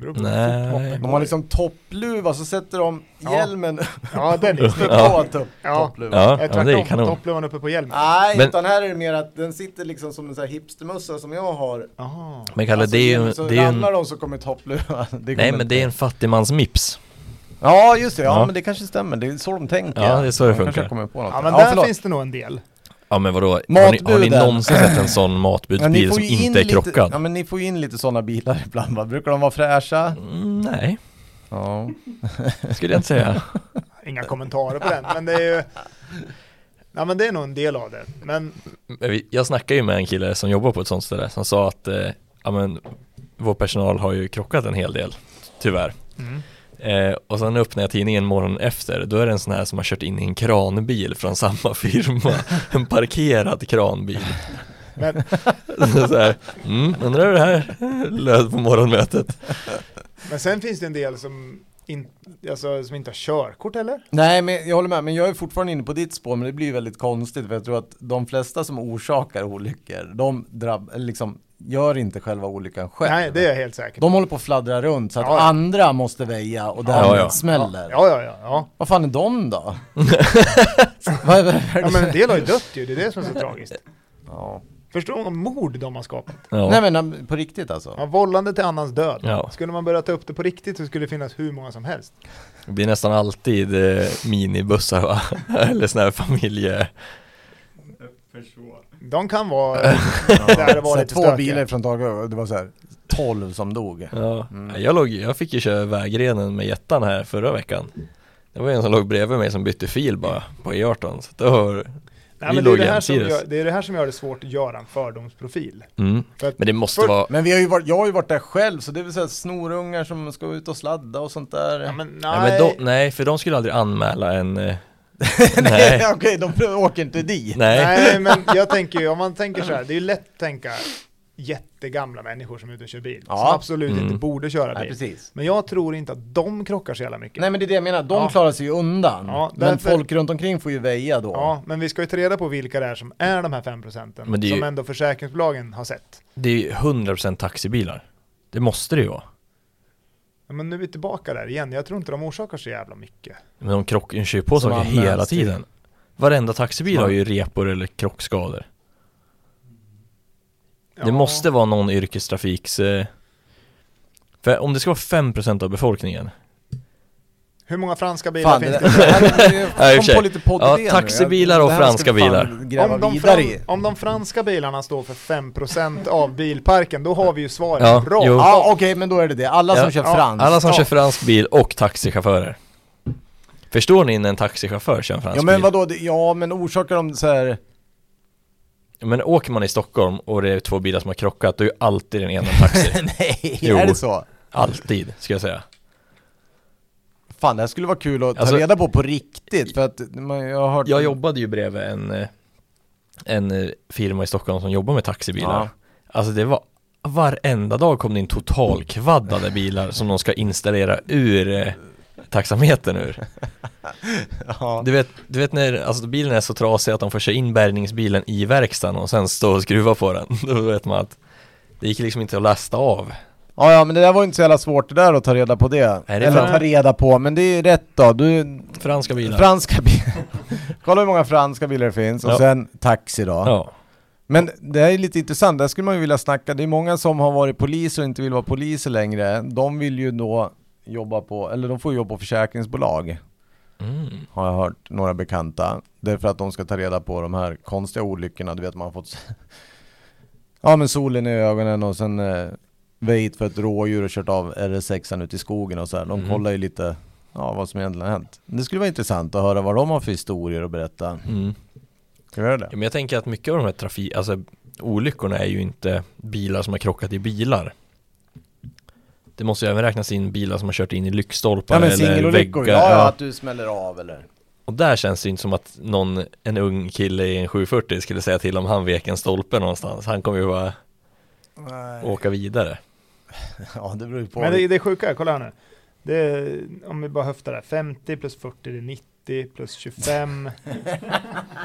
[SPEAKER 3] beror på
[SPEAKER 2] Nej.
[SPEAKER 3] hur fort moppen
[SPEAKER 1] De har
[SPEAKER 3] går.
[SPEAKER 1] liksom toppluva, så sätter de
[SPEAKER 3] Ja.
[SPEAKER 1] hjälmen
[SPEAKER 3] Ja, den är...
[SPEAKER 1] uppe
[SPEAKER 2] Ja.
[SPEAKER 1] på topp,
[SPEAKER 3] Ja.
[SPEAKER 1] toppluvan.
[SPEAKER 2] Ja,
[SPEAKER 3] Ja,
[SPEAKER 2] ja, det är
[SPEAKER 3] tvärtom,
[SPEAKER 2] kanon.
[SPEAKER 3] toppluvan uppe på hjälmen.
[SPEAKER 1] Nej,
[SPEAKER 2] Men-
[SPEAKER 1] utan här är det mer att den sitter liksom som en sån här hipstermössa som jag har.
[SPEAKER 3] Aha.
[SPEAKER 2] Men Kalle,
[SPEAKER 1] Alltså,
[SPEAKER 2] det är ju
[SPEAKER 1] så
[SPEAKER 2] det är ju en...
[SPEAKER 1] ramlar de så kommer toppluvan. Det
[SPEAKER 2] Nej,
[SPEAKER 1] kommer
[SPEAKER 2] men
[SPEAKER 1] inte-
[SPEAKER 2] det är en fattigmansmips.
[SPEAKER 1] Ja, just det. Ja,
[SPEAKER 2] Ja.
[SPEAKER 1] men det kanske stämmer. Det är så de tänker.
[SPEAKER 2] Ja, det är så det
[SPEAKER 1] De kanske
[SPEAKER 2] funkar.
[SPEAKER 1] har kommit på något.
[SPEAKER 3] Ja, men där
[SPEAKER 1] förlåt.
[SPEAKER 3] finns det nog en del.
[SPEAKER 2] Ja men vadå, har ni, har ni
[SPEAKER 1] Matbuden.
[SPEAKER 2] någonsin sett en sån matbudsbil som
[SPEAKER 1] in
[SPEAKER 2] inte är
[SPEAKER 1] lite,
[SPEAKER 2] krockad?
[SPEAKER 1] Ja men ni får ju in lite sådana bilar ibland va? Brukar de vara fräscha?
[SPEAKER 2] Mm, nej,
[SPEAKER 1] Ja.
[SPEAKER 2] skulle jag inte säga.
[SPEAKER 3] Inga kommentarer på den, men det är ju... Ja, men det är nog en del av det. Men
[SPEAKER 2] Men vi- Jag snackade ju med en kille som jobbar på ett sånt ställe som sa att eh, ja, men, vår personal har ju krockat en hel del, tyvärr.
[SPEAKER 3] mm.
[SPEAKER 2] Eh, och sen öppnade jag tidningen morgonen efter, då är det en sån här som har kört in i en kranbil från samma firma. En parkerad kranbil.
[SPEAKER 3] Men-
[SPEAKER 2] så här, mm, undrar hur det här löd på morgonmötet.
[SPEAKER 3] Men sen finns det en del som, in, alltså, som inte har körkort eller?
[SPEAKER 1] Nej men jag håller med, men jag är fortfarande inne på ditt spår men det blir ju väldigt konstigt för jag tror att de flesta som orsakar olyckor, de drabb, eller liksom gör inte själva olyckan själv.
[SPEAKER 3] Nej, det är jag helt säker på.
[SPEAKER 1] De håller på att fladdra runt så att
[SPEAKER 3] Ja, ja.
[SPEAKER 1] andra måste väja och därmed
[SPEAKER 2] Ja, ja.
[SPEAKER 1] smäller.
[SPEAKER 3] Ja, ja, ja. ja.
[SPEAKER 1] Vad fan är de då? Vad är det?
[SPEAKER 3] ja men en del har ju dött ju, det är det som är så tragiskt.
[SPEAKER 1] Ja.
[SPEAKER 3] Förstå hur många mord de har skapat.
[SPEAKER 2] Ja.
[SPEAKER 1] Nej men på riktigt alltså.
[SPEAKER 3] Ja, vållande till annans död.
[SPEAKER 2] Ja.
[SPEAKER 3] Skulle man börja ta upp det på riktigt så skulle det finnas hur många som helst.
[SPEAKER 2] Det blir nästan alltid eh, minibussar va? Eller sån här familje...
[SPEAKER 4] Uppförsvår.
[SPEAKER 3] De kan vara där det
[SPEAKER 1] Så
[SPEAKER 3] var
[SPEAKER 1] här,
[SPEAKER 3] lite
[SPEAKER 1] två
[SPEAKER 3] stökiga.
[SPEAKER 1] bilar från taget och det var så här 12 som dog.
[SPEAKER 2] Ja. Mm. Jag, låg, jag fick ju köra vägrenen med jättan här förra veckan. Det var ju en som låg bredvid mig som bytte fil bara på E18. Så det var...
[SPEAKER 3] Nej,
[SPEAKER 2] Vi
[SPEAKER 3] men det, är
[SPEAKER 2] låg
[SPEAKER 3] det, här som
[SPEAKER 2] jämsides.
[SPEAKER 3] gör, det är det här som gör det svårt att göra en fördomsprofil.
[SPEAKER 2] Mm.
[SPEAKER 3] För att
[SPEAKER 2] Men det måste
[SPEAKER 3] För-
[SPEAKER 2] vara...
[SPEAKER 1] Men vi har ju varit, jag har ju varit där själv så det är väl såhär snorungar som ska ut och sladda och sånt där.
[SPEAKER 3] Ja, men nej,
[SPEAKER 2] Nej. Nej, men de, nej, för de skulle aldrig anmäla en... eh,
[SPEAKER 1] nej,
[SPEAKER 2] nej.
[SPEAKER 1] okej, de åker inte dit.
[SPEAKER 2] Nej.
[SPEAKER 3] Nej, men jag tänker ju, om man tänker så här, det är ju lätt att tänka jättegamla människor som är ute och kör bil,
[SPEAKER 1] Ja.
[SPEAKER 3] som absolut
[SPEAKER 2] Mm.
[SPEAKER 3] inte borde köra bil.
[SPEAKER 1] Nej, precis.
[SPEAKER 3] men jag tror inte att de krockar så jävla mycket.
[SPEAKER 1] Nej men det är det jag menar, de
[SPEAKER 3] Ja.
[SPEAKER 1] klarar sig ju undan.
[SPEAKER 3] Ja,
[SPEAKER 1] men
[SPEAKER 3] därför-
[SPEAKER 1] folk runt omkring får ju väja då.
[SPEAKER 3] Ja, men vi ska ju ta reda på vilka det är som är de här 5 procenten,
[SPEAKER 2] Men det är ju-
[SPEAKER 3] som ändå försäkringsbolagen har sett.
[SPEAKER 2] Det är ju 100% taxibilar. Det måste det ju vara.
[SPEAKER 3] Ja, Men nu är vi tillbaka där igen, jag tror inte de orsakar så jävla mycket.
[SPEAKER 2] Men de krockar, de kör ju på
[SPEAKER 1] Som
[SPEAKER 2] saker
[SPEAKER 1] anmäls
[SPEAKER 2] hela
[SPEAKER 1] till-
[SPEAKER 2] tiden. Varenda taxibil
[SPEAKER 1] Som-
[SPEAKER 2] har ju repor eller krockskador.
[SPEAKER 3] Ja.
[SPEAKER 2] Det måste vara någon yrkestrafiks... eh, För om det ska vara 5% av befolkningen
[SPEAKER 3] Hur många franska bilar
[SPEAKER 1] Fan, det,
[SPEAKER 3] finns
[SPEAKER 1] där-
[SPEAKER 3] det?
[SPEAKER 1] det här,
[SPEAKER 2] i
[SPEAKER 1] kom
[SPEAKER 2] och för
[SPEAKER 1] på
[SPEAKER 2] sig.
[SPEAKER 1] lite podd
[SPEAKER 2] Ja, taxibilar och franska bilar.
[SPEAKER 1] Gräva
[SPEAKER 3] om, de
[SPEAKER 1] vidare
[SPEAKER 3] fran-
[SPEAKER 1] i.
[SPEAKER 3] om de franska bilarna står för 5% av bilparken, då har vi ju svaret
[SPEAKER 2] Ja,
[SPEAKER 3] bra.
[SPEAKER 2] jo.
[SPEAKER 1] Ja okej, men då är det det. Alla
[SPEAKER 2] Ja,
[SPEAKER 1] som kör
[SPEAKER 3] ja,
[SPEAKER 1] franskt.
[SPEAKER 2] Alla som
[SPEAKER 3] Ja.
[SPEAKER 2] kör fransk bil och taxichaufförer Förstår ni när en taxichaufför kör en fransk
[SPEAKER 1] Ja men
[SPEAKER 2] bil?
[SPEAKER 1] vadå, det- ja men orsakar de så här...
[SPEAKER 2] Men åker man i Stockholm och det är två bilar som har krockat Då är ju alltid den ena en taxi
[SPEAKER 1] Nej,
[SPEAKER 2] Jo.
[SPEAKER 1] är det så?
[SPEAKER 2] Alltid, ska jag säga
[SPEAKER 1] Fan det här skulle vara kul att ta
[SPEAKER 2] Alltså-
[SPEAKER 1] reda på på riktigt för att man, jag har hört...
[SPEAKER 2] Jag jobbade ju bredvid en eh, En eh, firma i Stockholm som jobbar med taxibilar
[SPEAKER 1] Ja.
[SPEAKER 2] Alltså det var Varenda dag kom det in totalkvaddade bilar som de ska installera ur eh, taxametern ur.
[SPEAKER 1] Ja.
[SPEAKER 2] Du vet, du vet när alltså, bilen är så trasig att de får köra in bärgningsbilen i verkstaden och sen stå och skruva på den. Då vet man att det gick liksom inte att lasta av.
[SPEAKER 1] Ja, ja, men det där var ju inte så jävla svårt det där att ta reda på det.
[SPEAKER 2] Nej, det är
[SPEAKER 1] Eller
[SPEAKER 2] fan-
[SPEAKER 1] ta reda på, men det är ju rätt då. Du,
[SPEAKER 2] Franska bilar.
[SPEAKER 1] franska bilar. Kolla hur många franska bilar det finns och
[SPEAKER 2] Ja.
[SPEAKER 1] sen taxi då.
[SPEAKER 2] ja.
[SPEAKER 1] Men det här är lite intressant, där skulle man ju vilja snacka, det är många som har varit poliser och inte vill vara poliser längre. De vill ju då jobba på, eller de får ju jobba på försäkringsbolag,
[SPEAKER 2] Mm.
[SPEAKER 1] har jag hört några bekanta. Därför att de ska ta reda på de här konstiga olyckorna, du vet man har fått Ja men solen i ögonen och sen eh, väjt för ett rådjur och kört av RS6an ut i skogen och så här. De
[SPEAKER 2] Mm.
[SPEAKER 1] kollar ju lite, ja vad som egentligen har hänt. Det skulle vara intressant att höra vad de har för historier att berätta.
[SPEAKER 2] Mm.
[SPEAKER 1] Ska vi göra
[SPEAKER 2] Ja,
[SPEAKER 1] det?
[SPEAKER 2] men jag tänker att mycket av de här trafik, alltså olyckorna är ju inte bilar som har krockat i bilar. Det måste ju även räknas in bilar som har kört in i lyktstolpar
[SPEAKER 1] Ja men
[SPEAKER 2] eller
[SPEAKER 1] singelolyckor,
[SPEAKER 2] väggar.
[SPEAKER 1] ja, ja
[SPEAKER 2] Ja.
[SPEAKER 1] att du smäller av eller
[SPEAKER 2] Och där känns det ju inte som att någon, en ung kille i en 740 skulle säga till om han vek en stolpe någonstans. Han kommer ju bara åka vidare.
[SPEAKER 1] Ja, det beror ju på.
[SPEAKER 3] Men det, det är sjuka, kolla här nu. Det är, om vi bara höftar där, 50 plus 40 det är 90 plus 25.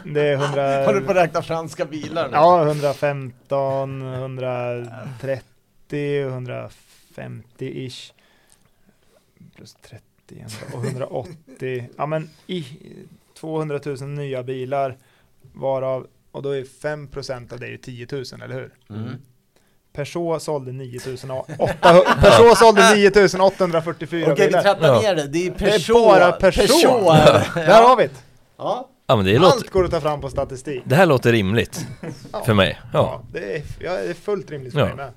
[SPEAKER 3] det är 100...
[SPEAKER 1] Har du på att räkna franska bilar nu?
[SPEAKER 3] Ja, 115, 130, 150-ish. Plus 30 och 180. Ja, men i 200 000 nya bilar varav, och då är 5 procent av det är ju 10 000, eller hur?
[SPEAKER 1] Mm.
[SPEAKER 3] Peugeot sålde 9 800, Peugeot sålde 9 844
[SPEAKER 1] Okej, vi
[SPEAKER 3] bilar.
[SPEAKER 2] Ja.
[SPEAKER 1] trattar ner det. Det är
[SPEAKER 3] Det
[SPEAKER 1] Peugeot.
[SPEAKER 3] är bara Peugeot. Där har vi det.
[SPEAKER 1] Ja.
[SPEAKER 2] Ja men det, låter,
[SPEAKER 3] Allt går att ta fram på statistik.
[SPEAKER 2] det här låter rimligt
[SPEAKER 3] Ja.
[SPEAKER 2] för mig. Ja,
[SPEAKER 3] Ja, det är, ja, det är fullt rimligt för
[SPEAKER 2] Ja.
[SPEAKER 3] mig med.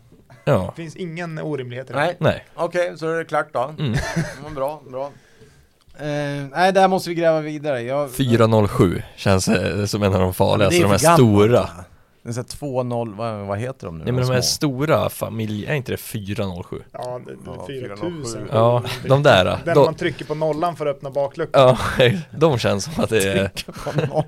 [SPEAKER 2] ja,
[SPEAKER 3] Det finns ingen orimlighet i det.
[SPEAKER 1] Nej,
[SPEAKER 2] nej.
[SPEAKER 1] okej, så är det klart då.
[SPEAKER 2] Mm.
[SPEAKER 1] Mm, bra, bra. Eh, nej, där måste vi gräva vidare. Jag,
[SPEAKER 2] 407 känns eh, som en av de farligaste,
[SPEAKER 1] Det är
[SPEAKER 2] de här
[SPEAKER 1] för gammalt.
[SPEAKER 2] stora.
[SPEAKER 1] Det är så här 2-0, vad, vad heter de nu?
[SPEAKER 2] Nej men de här
[SPEAKER 1] små.
[SPEAKER 2] stora familjer, är inte det 407?
[SPEAKER 3] Ja, det- det är
[SPEAKER 1] Ja,
[SPEAKER 3] 4000.
[SPEAKER 2] Ja, de där.
[SPEAKER 3] Den
[SPEAKER 2] De,
[SPEAKER 3] man trycker på nollan för att öppna bakluckan.
[SPEAKER 2] ja, de känns som att det är...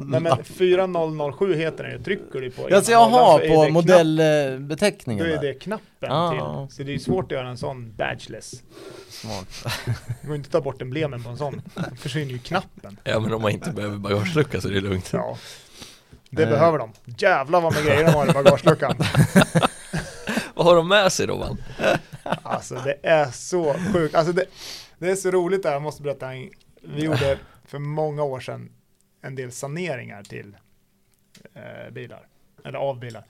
[SPEAKER 3] Nej men 4007 heter den ju, trycker du på ena
[SPEAKER 1] Alltså
[SPEAKER 3] nollan så
[SPEAKER 1] jaha,
[SPEAKER 3] är
[SPEAKER 1] på
[SPEAKER 3] det knapp- Då
[SPEAKER 1] modellbeteckningen
[SPEAKER 3] är det
[SPEAKER 1] där.
[SPEAKER 3] knappen
[SPEAKER 1] Ja.
[SPEAKER 3] till. Så det är svårt att göra en sån badgeless.
[SPEAKER 1] Smart.
[SPEAKER 3] Det går inte att ta bort emblemen på en sån. Då försvinner ju knappen.
[SPEAKER 2] Ja men om man inte behöver bagagelucka så är det lugnt.
[SPEAKER 3] Ja. Det
[SPEAKER 1] Eh.
[SPEAKER 3] behöver de. Jävlar vad med grejer de har i bagageluckan.
[SPEAKER 2] Vad har de med sig då man?
[SPEAKER 3] Alltså det är så sjukt. Alltså det, det är så roligt där, jag måste berätta. en- Vi gjorde för många år sedan en del saneringar till eh, bilar, eller av bilar.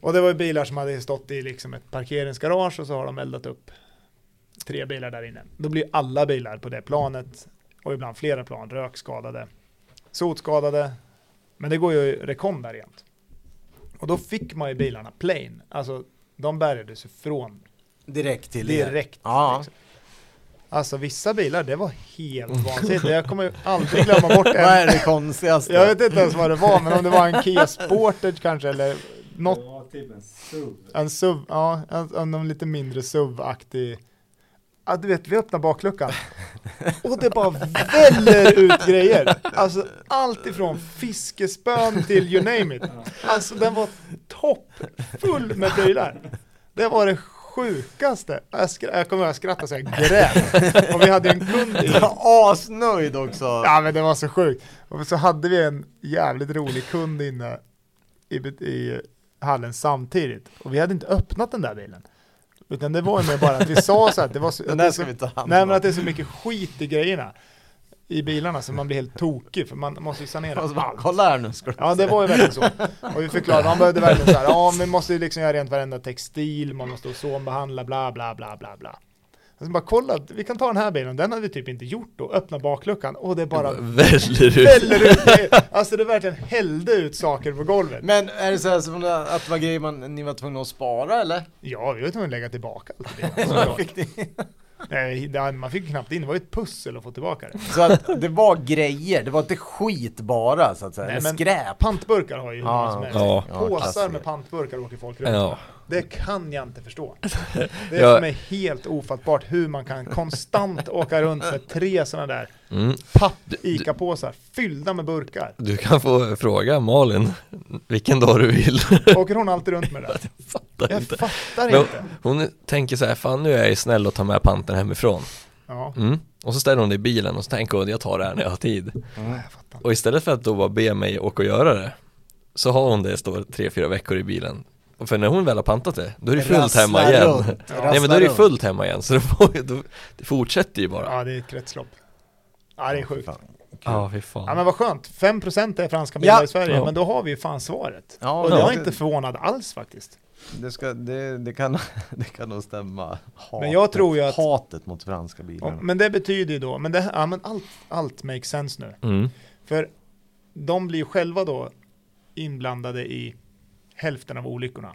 [SPEAKER 3] Och det var ju bilar som hade stått i liksom ett parkeringsgarage och så har de eldat upp tre bilar där inne. Då blir alla bilar på det planet och ibland flera plan rökskadade, sotskadade. Men det går ju rekom där jämt. Och då fick man ju bilarna plain, alltså de bärgades ju från
[SPEAKER 1] Direkt till er.
[SPEAKER 3] direkt.
[SPEAKER 1] Ja.
[SPEAKER 3] Liksom. Alltså vissa bilar, det var helt vansinnigt. Jag kommer ju aldrig glömma bort
[SPEAKER 1] Mm. Vad är
[SPEAKER 3] en.
[SPEAKER 1] det konstigaste?
[SPEAKER 3] Jag vet inte ens vad det var, men om det var en Kia Sportage kanske eller något,
[SPEAKER 4] Det var typ en SUV.
[SPEAKER 3] en SUV, ja, en, en, en lite mindre SUV-aktig. Ja, du vet, vi öppnar bakluckan och det bara väller ut grejer. Alltså allt ifrån fiskespön till you name it. Alltså den var toppfull med prylar. Det var det sjukaste. Jag, skra- jag kommer att skratta så jag grät. Och vi hade en kund i.
[SPEAKER 1] Jag var asnöjd också.
[SPEAKER 3] Ja men det var så sjukt. Och så hade vi en jävligt rolig kund inne i, bet- i hallen samtidigt. Och vi hade inte öppnat den där bilen. Utan det var ju mer bara att vi sa så att det var så,
[SPEAKER 1] Den
[SPEAKER 3] att det
[SPEAKER 1] där
[SPEAKER 3] är
[SPEAKER 1] ska
[SPEAKER 3] så,
[SPEAKER 1] vi ta hand om.
[SPEAKER 3] Nej men att det är så mycket skit i grejerna. I bilarna så man blir helt tokig för man måste ju sanera
[SPEAKER 1] Och så bara,
[SPEAKER 3] allt.
[SPEAKER 1] kolla här nu ska du
[SPEAKER 3] Ja det var ju verkligen så. Och vi förklarade, man behövde verkligen så här, ja men måste ju liksom göra rent varenda textil, man måste ozonbehandla, bla bla bla bla bla. Och så bara kolla, vi kan ta den här bilen, den hade vi typ inte gjort då, öppna bakluckan och det bara
[SPEAKER 2] Väller ut.
[SPEAKER 3] häller ut grejer. Alltså det verkligen hällde ut saker på golvet.
[SPEAKER 1] Men är det så här som det- att det var grejer man, ni var tvungna att spara eller?
[SPEAKER 3] Ja, vi var tvungna att lägga tillbaka allt det. såklart. Nej, det- man fick knappt in, det var ju ett pussel att få tillbaka det.
[SPEAKER 1] Så att det var grejer, det var inte skit bara så att säga,
[SPEAKER 3] Nej,
[SPEAKER 1] eller
[SPEAKER 3] men-
[SPEAKER 1] skräp.
[SPEAKER 3] Pantburkar har ju hur många
[SPEAKER 1] Ja,
[SPEAKER 3] som helst.
[SPEAKER 2] ja.
[SPEAKER 1] Ja,
[SPEAKER 3] Påsar
[SPEAKER 1] klassiker.
[SPEAKER 3] med pantburkar åker folk runt.
[SPEAKER 2] Ja.
[SPEAKER 3] Det kan jag inte förstå. Det är
[SPEAKER 2] Ja.
[SPEAKER 3] för mig helt ofattbart hur man kan konstant åka runt med tre sådana där
[SPEAKER 2] Mm.
[SPEAKER 3] ICA-påsar fyllda med burkar.
[SPEAKER 2] Du kan få fråga Malin vilken dag du vill.
[SPEAKER 3] Åker hon alltid runt med det?
[SPEAKER 2] Fattar
[SPEAKER 3] Jag
[SPEAKER 2] inte.
[SPEAKER 3] fattar
[SPEAKER 2] Men
[SPEAKER 3] inte.
[SPEAKER 2] hon tänker så här, fan nu är jag ju snäll och tar med panten hemifrån.
[SPEAKER 3] Ja,
[SPEAKER 2] Mm. Och så ställer hon det i bilen och så tänker hon jag tar det här när jag har tid.
[SPEAKER 3] jag fattar.
[SPEAKER 2] Och istället för att då bara be mig åka och göra det så har hon det står tre, fyra veckor i bilen. Och för när hon väl har pantat det, då är det fullt hemma igen. Nej men då är det fullt hemma igen så då, får ju- då, det fortsätter ju bara.
[SPEAKER 3] Ja, det är ett kretslopp. Ja, det är sjukt.
[SPEAKER 2] Ja fy
[SPEAKER 3] Ja,
[SPEAKER 2] fan.
[SPEAKER 3] men vad skönt. 5% är franska bilar
[SPEAKER 1] Ja.
[SPEAKER 3] i Sverige,
[SPEAKER 2] Ja.
[SPEAKER 3] men då har vi ju fan svaret.
[SPEAKER 1] Ja,
[SPEAKER 3] Och jag är
[SPEAKER 1] det-
[SPEAKER 3] inte förvånad alls faktiskt.
[SPEAKER 1] Det, ska, det, det, kan, det kan nog stämma. Hatet,
[SPEAKER 3] Men jag tror ju att-
[SPEAKER 1] Hatet mot franska bilar.
[SPEAKER 3] Ja, men det betyder ju då, men, det, ja, men allt, allt makes sense nu.
[SPEAKER 2] Mm.
[SPEAKER 3] För de blir ju själva då inblandade i hälften av olyckorna.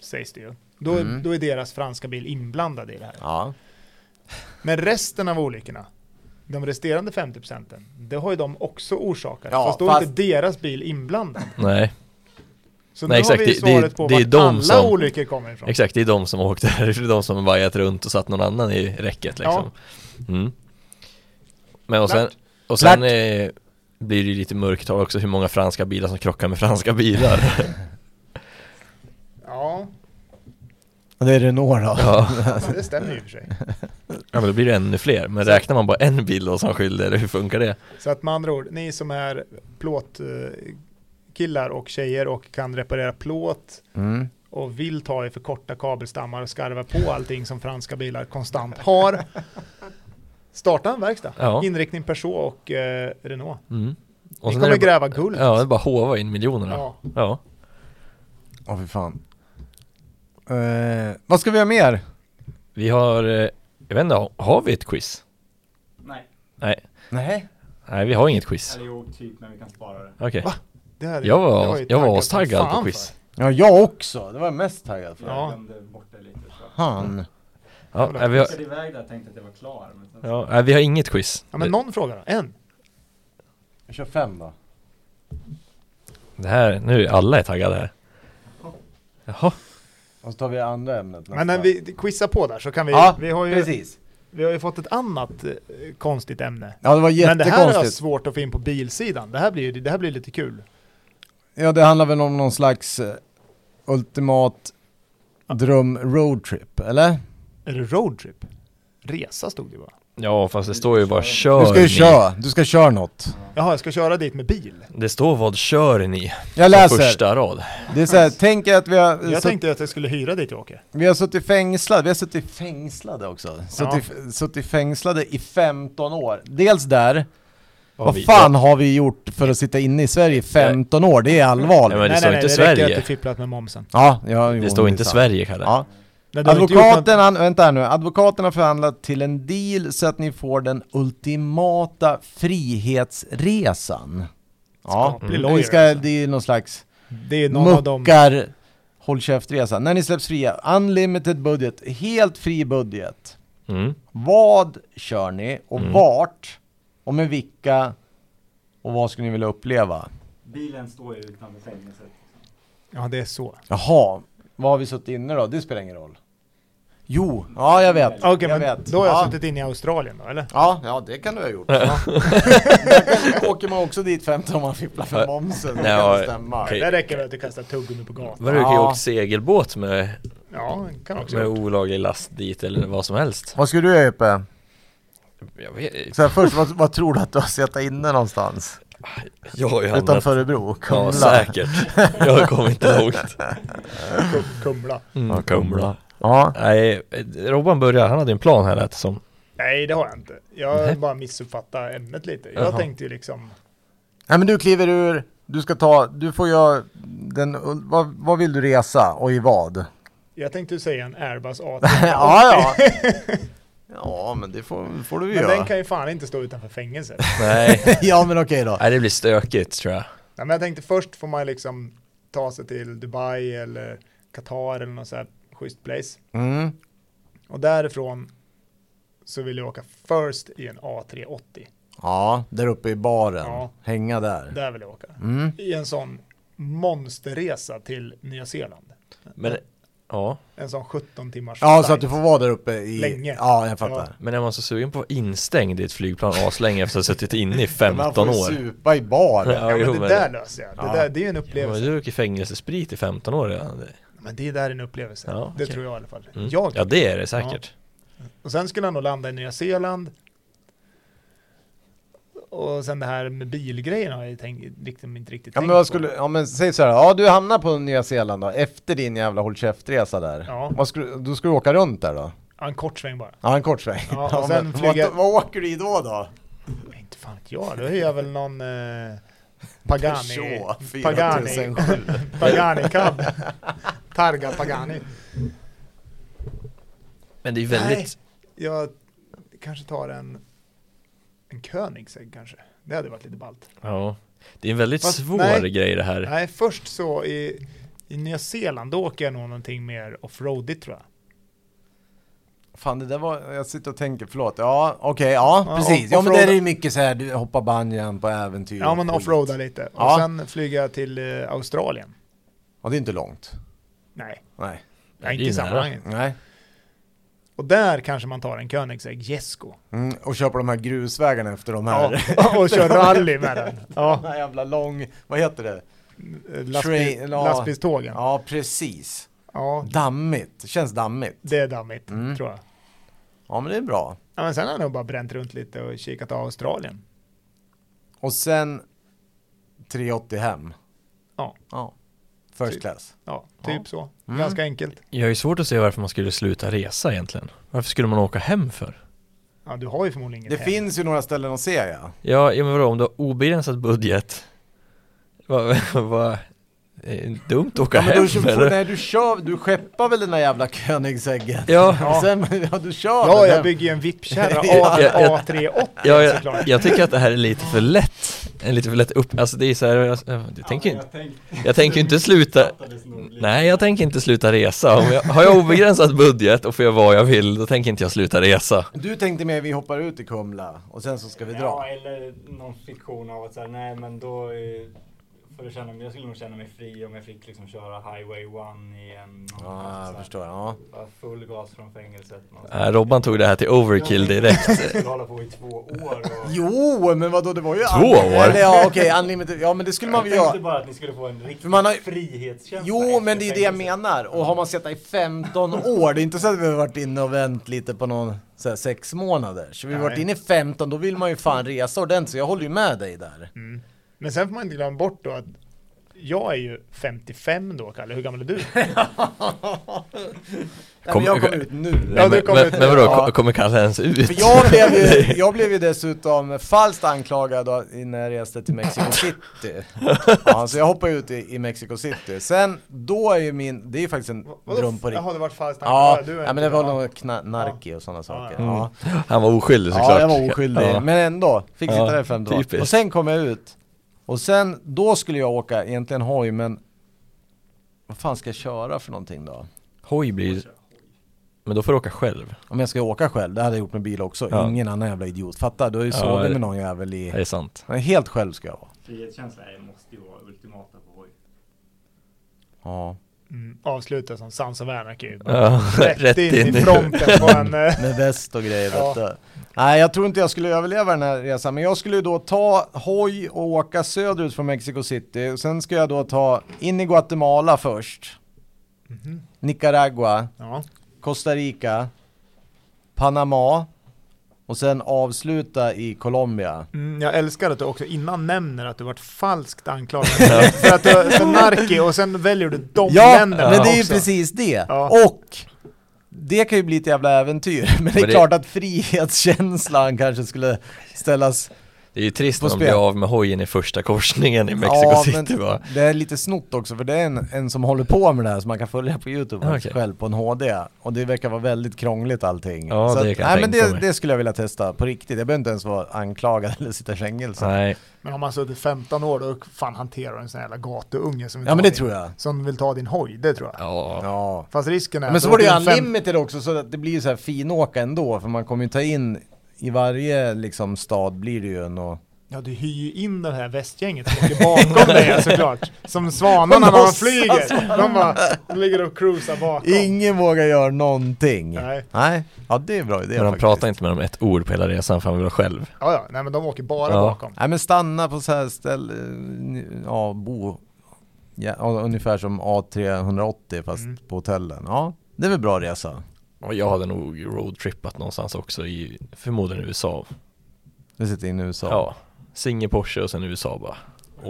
[SPEAKER 3] Sägs det ju. Då,
[SPEAKER 1] Mm.
[SPEAKER 3] då är deras franska bil inblandad i det här.
[SPEAKER 1] Ja.
[SPEAKER 3] Men resten av olyckorna, de resterande 50 procenten, det har ju de också orsakat.
[SPEAKER 1] Ja,
[SPEAKER 3] fast då är
[SPEAKER 1] fast-
[SPEAKER 3] inte deras bil inblandad.
[SPEAKER 2] Nej,
[SPEAKER 3] Så
[SPEAKER 2] Nej,
[SPEAKER 3] nu
[SPEAKER 2] exakt.
[SPEAKER 3] har vi
[SPEAKER 2] Det- det-
[SPEAKER 3] svaret på
[SPEAKER 2] det är
[SPEAKER 3] vart
[SPEAKER 2] de
[SPEAKER 3] alla
[SPEAKER 2] som-
[SPEAKER 3] olyckor kommer ifrån.
[SPEAKER 2] exakt det är de som åkte, det är de som vajat runt och satt någon annan i räcket liksom. Mm. Men och sen,
[SPEAKER 3] Klart.
[SPEAKER 2] och sen
[SPEAKER 1] Klart.
[SPEAKER 2] eh, blir det ju lite mörktal också hur många franska bilar som krockar med franska bilar.
[SPEAKER 3] Ja,
[SPEAKER 1] Det är Renault då.
[SPEAKER 2] ja.
[SPEAKER 3] men det stämmer ju i och för sig.
[SPEAKER 2] Ja men då blir det ännu fler, men räknar man bara en bil då som skyldig, eller hur funkar det?
[SPEAKER 3] Så att med andra ord, ni som är plåtkillar och tjejer och kan reparera plåt
[SPEAKER 1] Mm.
[SPEAKER 3] och vill ta er för korta kabelstammar och skarva på allting som franska bilar konstant har. Starta en verkstad.
[SPEAKER 2] Ja.
[SPEAKER 3] Inriktning Peugeot och eh, Renault.
[SPEAKER 2] Mm.
[SPEAKER 3] Ni
[SPEAKER 2] sen
[SPEAKER 3] kommer
[SPEAKER 2] är det bara,
[SPEAKER 3] gräva guld.
[SPEAKER 2] Ja, det är bara hova in miljonerna. Ja.
[SPEAKER 3] Ja.
[SPEAKER 1] Åh fy fan. Eh, vad ska vi göra mer?
[SPEAKER 2] Vi har, eh, jag vet inte, har vi ett quiz?
[SPEAKER 4] Nej,
[SPEAKER 2] Nej,
[SPEAKER 1] Nej.
[SPEAKER 2] nej vi har inget quiz.
[SPEAKER 4] eller jo, typ, men vi kan spara det.
[SPEAKER 2] Okej.
[SPEAKER 3] Va? Det hade-
[SPEAKER 2] Jag
[SPEAKER 3] det
[SPEAKER 2] var,
[SPEAKER 3] ju
[SPEAKER 2] jag var
[SPEAKER 3] taggat
[SPEAKER 2] astaggad
[SPEAKER 3] som
[SPEAKER 2] på
[SPEAKER 3] fan
[SPEAKER 2] quiz.
[SPEAKER 1] Ja, jag också. Det var jag mest taggad för. Mm.
[SPEAKER 4] Jag
[SPEAKER 3] Ja.
[SPEAKER 4] glömde bort det lite. tror jag.
[SPEAKER 1] Han.
[SPEAKER 2] Ja, nej, vi
[SPEAKER 4] Jag
[SPEAKER 2] har,
[SPEAKER 4] skickade iväg det och tänkte att jag var klar. Men sen så-
[SPEAKER 2] ja, nej, vi har inget quiz.
[SPEAKER 3] för. Ja men
[SPEAKER 2] det,
[SPEAKER 3] någon fråga då, en.
[SPEAKER 1] Jag kör fem då.
[SPEAKER 2] det här, nu är alla är taggade här. Jaha,
[SPEAKER 1] Och så tar vi andra ämnet
[SPEAKER 3] Men när vi quizar på där så kan vi,
[SPEAKER 1] Ja,
[SPEAKER 3] vi, har ju,
[SPEAKER 1] precis.
[SPEAKER 3] vi har ju fått ett annat eh, konstigt ämne.
[SPEAKER 1] Ja, det var
[SPEAKER 3] Men det här är
[SPEAKER 1] jättekonstigt.
[SPEAKER 3] svårt att få in på bilsidan. Det här blir, ju- det här blir lite kul.
[SPEAKER 1] Ja, det handlar väl om någon slags eh, ultimat dröm roadtrip, eller?
[SPEAKER 3] Är det roadtrip? Resa stod det ju bara.
[SPEAKER 2] ja fast det står ju bara kör
[SPEAKER 1] Du ska
[SPEAKER 2] ni.
[SPEAKER 1] ju köra, du ska köra något.
[SPEAKER 3] Jaha, jag ska köra dit med bil.
[SPEAKER 2] Det står vad kör ni?
[SPEAKER 1] Jag
[SPEAKER 2] På
[SPEAKER 1] läser.
[SPEAKER 2] första rad.
[SPEAKER 1] Det är så här, tänk er att vi har,
[SPEAKER 3] Jag
[SPEAKER 1] så,
[SPEAKER 3] tänkte att jag skulle hyra dit jag åker.
[SPEAKER 1] vi har suttit fängslade, vi har suttit fängslade också. Suttit, suttit fängslade i 15 år. Dels där, vad
[SPEAKER 2] vi-
[SPEAKER 1] fan har vi gjort för att sitta inne i Sverige i 15 år? Det är
[SPEAKER 2] Ja, men
[SPEAKER 1] allvarligt.
[SPEAKER 2] det står inte
[SPEAKER 3] Det räcker
[SPEAKER 2] Sverige.
[SPEAKER 3] att du fipplat med momsen.
[SPEAKER 1] Ja, ja jo,
[SPEAKER 2] Det står
[SPEAKER 1] är
[SPEAKER 2] inte
[SPEAKER 1] sant.
[SPEAKER 2] Sverige Kalle.
[SPEAKER 1] Ja.
[SPEAKER 3] Nej, du har inte gjort
[SPEAKER 1] Advokaten, han, vänta här nu, advokaten har förhandlat till en deal så att ni får den ultimata frihetsresan. Ja,
[SPEAKER 3] Skaplig
[SPEAKER 1] Mm.
[SPEAKER 3] lawyer,
[SPEAKER 1] vi ska,
[SPEAKER 3] alltså.
[SPEAKER 1] det är någon slags
[SPEAKER 3] något- Det är någon av dem...
[SPEAKER 1] muckar, håll käftresa. När ni släpps fria, unlimited budget, helt fri budget.
[SPEAKER 2] Mm.
[SPEAKER 1] Vad kör ni och
[SPEAKER 2] Mm.
[SPEAKER 1] vart och med vilka och vad skulle ni vilja uppleva?
[SPEAKER 4] Bilen står ju utanför fängelset.
[SPEAKER 3] Ja, det är så.
[SPEAKER 1] Jaha, vad har vi suttit inne då? Det spelar ingen roll. Jo, ja jag vet. jag
[SPEAKER 3] Okej, men
[SPEAKER 1] vet.
[SPEAKER 3] då har jag
[SPEAKER 1] ja.
[SPEAKER 3] suttit inne i Australien då, eller?
[SPEAKER 1] Ja, ja det kan du ha gjort. Ja. Där åker man också dit 15 om man fipplar för momsen. Det
[SPEAKER 2] Ja,
[SPEAKER 1] kan det stämma.
[SPEAKER 2] okej.
[SPEAKER 3] Det räcker väl att du kastar tuggummi på gatan.
[SPEAKER 2] Vadå, du kan ju
[SPEAKER 1] Ja.
[SPEAKER 2] åka segelbåt med,
[SPEAKER 3] Ja, det kan också
[SPEAKER 2] med
[SPEAKER 3] gjort.
[SPEAKER 2] olaglig last dit eller vad som helst.
[SPEAKER 1] Vad skulle du göra Jeppe?
[SPEAKER 2] Jag, vet,
[SPEAKER 1] Så här, först, vad, vad tror du att du har suttit inne någonstans?
[SPEAKER 2] jag har ju handlat
[SPEAKER 1] Utanför Örebro? Kumla?
[SPEAKER 2] Ja, säkert. Jag kom inte långt.
[SPEAKER 3] Kum- Kumla.
[SPEAKER 2] Mm, Kumla.
[SPEAKER 1] Ja.
[SPEAKER 2] Nej, Robban började, han hade ju en plan här lät som.
[SPEAKER 3] Nej, det har jag inte.
[SPEAKER 2] Nej.
[SPEAKER 3] Jag bara missuppfattade ämnet lite. Jag
[SPEAKER 2] Jaha.
[SPEAKER 3] tänkte ju liksom...
[SPEAKER 1] Nej men du kliver ur, du ska ta, du får göra den, vad, vad vill du resa och i vad?
[SPEAKER 3] Jag tänkte ju säga en Airbus A380.
[SPEAKER 1] ja ja. Ja men det får, får du ju
[SPEAKER 3] Men den
[SPEAKER 1] göra.
[SPEAKER 3] kan ju fan inte stå utanför fängelset.
[SPEAKER 2] Nej,
[SPEAKER 1] Ja men okej då.
[SPEAKER 2] nej det blir stökigt tror jag.
[SPEAKER 3] Nej, men jag tänkte först får man liksom ta sig till Dubai eller Qatar eller något så här schysst place.
[SPEAKER 1] Mm.
[SPEAKER 3] Och därifrån så vill jag åka först i en A380.
[SPEAKER 1] Ja, där uppe i baren.
[SPEAKER 3] Ja.
[SPEAKER 1] Hänga där.
[SPEAKER 3] Där vill jag åka.
[SPEAKER 1] Mm.
[SPEAKER 3] I en sån monsterresa till Nya Zeeland.
[SPEAKER 2] Men, ja.
[SPEAKER 3] En sån 17 timmars
[SPEAKER 1] Ja,
[SPEAKER 3] flight.
[SPEAKER 1] så att du får vara där uppe i...
[SPEAKER 3] Länge.
[SPEAKER 1] Ja, jag fattar.
[SPEAKER 2] Men är man så sugen på att vara instängd i ett flygplan aslänge efter att ha suttit inne i 15
[SPEAKER 1] Man får
[SPEAKER 2] år?
[SPEAKER 1] ju supa i bar.
[SPEAKER 2] Ja.
[SPEAKER 3] Ja,
[SPEAKER 2] jo,
[SPEAKER 3] men det
[SPEAKER 2] men-
[SPEAKER 3] där löser jag. Det,
[SPEAKER 1] Ja.
[SPEAKER 3] där, det är ju en
[SPEAKER 2] Ja, men
[SPEAKER 3] upplevelse.
[SPEAKER 2] du har druckit fängelsesprit i 15 år redan. Det-
[SPEAKER 3] Men det är där en upplevelse.
[SPEAKER 2] Ja,
[SPEAKER 3] Det
[SPEAKER 2] okej.
[SPEAKER 3] tror jag i alla fall.
[SPEAKER 2] Mm.
[SPEAKER 3] Jag,
[SPEAKER 2] Ja, det är det säkert.
[SPEAKER 3] Och sen skulle han nog landa i Nya Zeeland. Och sen det här med bilgrejerna har jag tänkt, liksom inte riktigt
[SPEAKER 1] Ja
[SPEAKER 3] tänkt
[SPEAKER 1] men vad
[SPEAKER 3] på.
[SPEAKER 1] skulle, ja men säg så här, ja du hamnar på Nya Zeeland då, efter din jävla håll käftresa där.
[SPEAKER 3] Ja.
[SPEAKER 1] Vad skulle, då ska du åka runt där då?
[SPEAKER 3] Ja, en kort sväng bara.
[SPEAKER 1] Ja en kort sväng.
[SPEAKER 3] Ja, och sen
[SPEAKER 1] men
[SPEAKER 3] flyga-
[SPEAKER 1] vad, vad åker du i då då?
[SPEAKER 3] Men inte fan vet jag, då är jag väl någon eh, Pagani.
[SPEAKER 1] Peugeot 4007.
[SPEAKER 3] Pagani. Pagani Cab. Targa Pagani.
[SPEAKER 2] Men det är väldigt,
[SPEAKER 3] Jag kanske tar en, en Koenigsegg kanske. Det hade varit lite ballt.
[SPEAKER 2] ja, det är en väldigt
[SPEAKER 3] Fast,
[SPEAKER 2] svår
[SPEAKER 3] nej.
[SPEAKER 2] grej det här.
[SPEAKER 3] Nej, först så i, i Nya Zeeland, då åker jag nog någonting mer offroadigt tror jag.
[SPEAKER 1] Fan det där var, jag sitter och tänker, förlåt. Ja okej, ja,
[SPEAKER 3] Ja,
[SPEAKER 1] precis.
[SPEAKER 3] och-
[SPEAKER 1] Ja men
[SPEAKER 3] offroada-
[SPEAKER 1] där är det mycket så här, du hoppar banjan på äventyr.
[SPEAKER 3] Ja,
[SPEAKER 1] och
[SPEAKER 3] men
[SPEAKER 1] skit.
[SPEAKER 3] offroada lite. Och
[SPEAKER 1] Ja.
[SPEAKER 3] sen flyger jag till eh, Australien.
[SPEAKER 1] Ja det är inte långt.
[SPEAKER 3] Nej,
[SPEAKER 1] Nej.
[SPEAKER 2] Det är
[SPEAKER 3] inte
[SPEAKER 2] ju
[SPEAKER 3] i
[SPEAKER 2] nära.
[SPEAKER 3] sammanhanget.
[SPEAKER 1] Nej.
[SPEAKER 3] Och där kanske man tar en Koenigsegg Jesko.
[SPEAKER 1] Mm, och köpa de här grusvägarna efter de här.
[SPEAKER 3] Ja, och kör rally med den.
[SPEAKER 1] Den här jävla lång, vad heter det?
[SPEAKER 3] Lastbil,
[SPEAKER 1] Train- ja.
[SPEAKER 3] lastbilstågen.
[SPEAKER 1] Ja precis.
[SPEAKER 3] Ja,
[SPEAKER 1] Dammigt, känns dammigt.
[SPEAKER 3] det är dammigt
[SPEAKER 1] Mm.
[SPEAKER 3] tror jag.
[SPEAKER 1] Ja men det är bra.
[SPEAKER 3] Ja, men sen har jag nog bara bränt runt lite och kikat av Australien.
[SPEAKER 1] Och sen 380 hem.
[SPEAKER 3] Ja.
[SPEAKER 1] ja. First
[SPEAKER 3] Typ.
[SPEAKER 1] class.
[SPEAKER 3] Ja,
[SPEAKER 1] Ja.
[SPEAKER 3] typ så.
[SPEAKER 1] Mm.
[SPEAKER 3] Ganska enkelt.
[SPEAKER 2] Jag är svårt att se varför man skulle sluta resa egentligen. Varför skulle man åka hem för?
[SPEAKER 3] Ja, du har ju förmodligen inget
[SPEAKER 1] Det
[SPEAKER 3] hem.
[SPEAKER 1] finns ju några ställen att se ja.
[SPEAKER 2] Ja, ja men vadå, om du har obegränsad budget, vad, vad, är det dumt att åka
[SPEAKER 1] ja men
[SPEAKER 2] hem
[SPEAKER 1] du, får,
[SPEAKER 2] eller?
[SPEAKER 1] nej, du, kör, du skeppar väl den där jävla Koenigseggen?
[SPEAKER 2] Ja,
[SPEAKER 3] Ja.
[SPEAKER 1] Sen, ja du kör
[SPEAKER 3] Ja,
[SPEAKER 1] den
[SPEAKER 3] jag
[SPEAKER 1] hem.
[SPEAKER 3] bygger ju en VIP-kärra
[SPEAKER 2] Ja,
[SPEAKER 3] av en
[SPEAKER 2] jag-
[SPEAKER 3] A380
[SPEAKER 2] ja,
[SPEAKER 3] såklart.
[SPEAKER 2] jag, jag tycker att det här är lite för lätt. En lite för lätt upp, alltså det är så här, jag, jag tänker inte, jag tänker inte sluta, nej jag tänker inte sluta resa. Om jag, har jag obegränsad budget och får jag vad jag vill, då tänker inte jag sluta resa.
[SPEAKER 1] Du tänkte mer vi hoppar ut i Kumla och sen så ska vi
[SPEAKER 4] Ja,
[SPEAKER 1] dra.
[SPEAKER 4] eller någon fiktion av att så här, nej men då eh, får du känna mig, jag skulle nog känna mig fri om jag fick liksom köra Highway 1 i en någon
[SPEAKER 1] Ja, jag
[SPEAKER 4] sorts så
[SPEAKER 1] förstår. Ja.
[SPEAKER 4] här, bara full gas från fängelset.
[SPEAKER 2] Äh, Robban tog det här till overkill direkt.
[SPEAKER 4] Jag skulle hålla på i två år och...
[SPEAKER 1] Jo, men vadå det var ju...
[SPEAKER 2] Två år?
[SPEAKER 1] Eller ja, okej, unlimited. Ja, men det skulle man
[SPEAKER 4] Jag
[SPEAKER 1] väl
[SPEAKER 4] tänkte
[SPEAKER 1] göra.
[SPEAKER 4] bara att ni skulle få en riktig
[SPEAKER 1] För man har ju-
[SPEAKER 4] frihetskänsla.
[SPEAKER 1] Jo,
[SPEAKER 4] efter
[SPEAKER 1] men det är ju det jag
[SPEAKER 4] fängelset.
[SPEAKER 1] menar. Och har man suttit i 15 år, det är inte så att vi har varit inne och vänt lite på någon så här, sex månader. Så vi har
[SPEAKER 3] Nej.
[SPEAKER 1] varit inne i 15, då vill man ju fan resa ordentligt. Så jag håller ju med dig där.
[SPEAKER 3] Men sen får man inte glömma bort då att jag är ju 55 då, Kalle. Hur gammal är du?
[SPEAKER 1] Nej,
[SPEAKER 2] Kom-
[SPEAKER 1] men jag kom ut nu.
[SPEAKER 3] Ja,
[SPEAKER 2] Men,
[SPEAKER 3] det
[SPEAKER 2] men,
[SPEAKER 3] kommer-
[SPEAKER 2] men vadå,
[SPEAKER 1] ja.
[SPEAKER 2] ko- kommer Kalle ens ut?
[SPEAKER 1] För jag blev, ju, jag blev ju dessutom falskt anklagad av- när jag reste till Mexico City. Ja, så jag hoppade ut i, i Mexico City. Sen, då är ju min, det är ju faktiskt en dröm på riktigt.
[SPEAKER 3] Jaha, det vart falskt
[SPEAKER 1] Ja,
[SPEAKER 3] anklagad. Du är
[SPEAKER 1] ja, men det
[SPEAKER 3] inte-
[SPEAKER 1] var nog kna- narki och sådana saker.
[SPEAKER 3] ja.
[SPEAKER 1] Ja.
[SPEAKER 2] Han var oskyldig Mm. såklart.
[SPEAKER 1] Ja, jag var oskyldig.
[SPEAKER 2] Ja.
[SPEAKER 1] Men ändå, fick sitta
[SPEAKER 2] Ja,
[SPEAKER 1] där i fem dagar.
[SPEAKER 2] typiskt.
[SPEAKER 1] Och sen kom jag ut. Och sen, då skulle jag åka, egentligen hoj, men vad fan ska jag köra för någonting då?
[SPEAKER 2] Hoj blir... Men då får du åka själv.
[SPEAKER 1] Om jag ska åka själv, det hade jag gjort med bil också.
[SPEAKER 2] Ja.
[SPEAKER 1] Ingen annan jävla idiot. Fatta, du har ju
[SPEAKER 2] Ja,
[SPEAKER 1] sovit
[SPEAKER 2] det-
[SPEAKER 1] med någon jävel
[SPEAKER 2] Det är
[SPEAKER 1] i...
[SPEAKER 2] sant.
[SPEAKER 1] Nej, Helt själv ska jag vara.
[SPEAKER 4] Frihetskänsla är- måste ju vara ultimata på hoj.
[SPEAKER 1] Ja.
[SPEAKER 3] Mm, avsluta som Sans och Anarchy.
[SPEAKER 2] Ja,
[SPEAKER 3] Rätt, in, i fronten på en... eh,
[SPEAKER 1] Med väst och grejer
[SPEAKER 3] Ja.
[SPEAKER 1] vet du. Nej, jag tror inte jag skulle överleva den här resan. Men jag skulle ju då ta hoj och åka söderut från Mexico City. Och sen ska jag då ta in i Guatemala först.
[SPEAKER 3] Mhm.
[SPEAKER 1] Nicaragua.
[SPEAKER 3] Ja,
[SPEAKER 1] Costa Rica, Panama och sen avsluta i Colombia.
[SPEAKER 3] mm, jag älskar att du också innan nämner att du vart falskt anklagad. För att du är narki och sen väljer du de
[SPEAKER 1] Ja, men
[SPEAKER 3] länderna
[SPEAKER 1] det är ju
[SPEAKER 3] också.
[SPEAKER 1] precis det.
[SPEAKER 3] Ja.
[SPEAKER 1] Och det kan ju bli ett jävla äventyr. Men det är
[SPEAKER 2] Men det-
[SPEAKER 1] klart att frihetskänslan kanske skulle ställas...
[SPEAKER 2] Det är ju trist
[SPEAKER 1] På
[SPEAKER 2] när de
[SPEAKER 1] spel.
[SPEAKER 2] blir av med hojen i första korsningen i Mexico City va?
[SPEAKER 1] det är lite snott också för det är en, en som håller på med det här som man kan följa på YouTube
[SPEAKER 2] Ja,
[SPEAKER 1] faktiskt
[SPEAKER 2] Ah, okej.
[SPEAKER 1] själv på en HD. Och det verkar vara väldigt krångligt allting.
[SPEAKER 2] Ja,
[SPEAKER 1] Så
[SPEAKER 2] det
[SPEAKER 1] att,
[SPEAKER 2] kan jag
[SPEAKER 1] nej, men
[SPEAKER 2] tänka
[SPEAKER 1] det,
[SPEAKER 2] mig.
[SPEAKER 1] det skulle jag vilja testa på riktigt. Jag behöver inte ens vara anklagad eller sitta i fängelse.
[SPEAKER 2] Nej,
[SPEAKER 3] Men om man suttit 15 år då fan hanterar du en sån här jävla gatuunge som vill,
[SPEAKER 1] Ja
[SPEAKER 3] ta
[SPEAKER 1] men det
[SPEAKER 3] din,
[SPEAKER 1] tror jag.
[SPEAKER 3] som vill ta din hoj, det tror jag.
[SPEAKER 2] ja.
[SPEAKER 1] Ja.
[SPEAKER 3] Fast risken är...
[SPEAKER 1] Men
[SPEAKER 3] att
[SPEAKER 1] så var det ju
[SPEAKER 3] blir en fem-
[SPEAKER 1] unlimited också så att det blir ju så här finåka ändå för man kommer ju ta in i varje liksom stad blir det ju en och...
[SPEAKER 3] Ja, du hyr ju in det här västgänget som åker bakom dig såklart. Som svanarna när de
[SPEAKER 1] Låtsas
[SPEAKER 3] flyger. De bara de ligger och cruisar bakom.
[SPEAKER 1] Ingen vågar göra någonting.
[SPEAKER 3] Nej.
[SPEAKER 1] Nej. Ja det är en bra idé
[SPEAKER 2] Men han
[SPEAKER 1] faktiskt.
[SPEAKER 2] pratar inte med dem ett ord på hela resan för han vill vara själv.
[SPEAKER 3] Ja, ja, nej men de åker bara
[SPEAKER 2] Ja.
[SPEAKER 3] bakom.
[SPEAKER 1] Nej men stanna på så här ställe, ja bo, ja, ja, ungefär som A380 fast
[SPEAKER 3] Mm.
[SPEAKER 1] på hotellen. Ja, det är väl bra resa.
[SPEAKER 2] Och jag hade nog roadtrippat någonstans också i förmodligen USA.
[SPEAKER 1] Du sitter inne i USA.
[SPEAKER 2] Ja, singel Porsche och sen USA bara.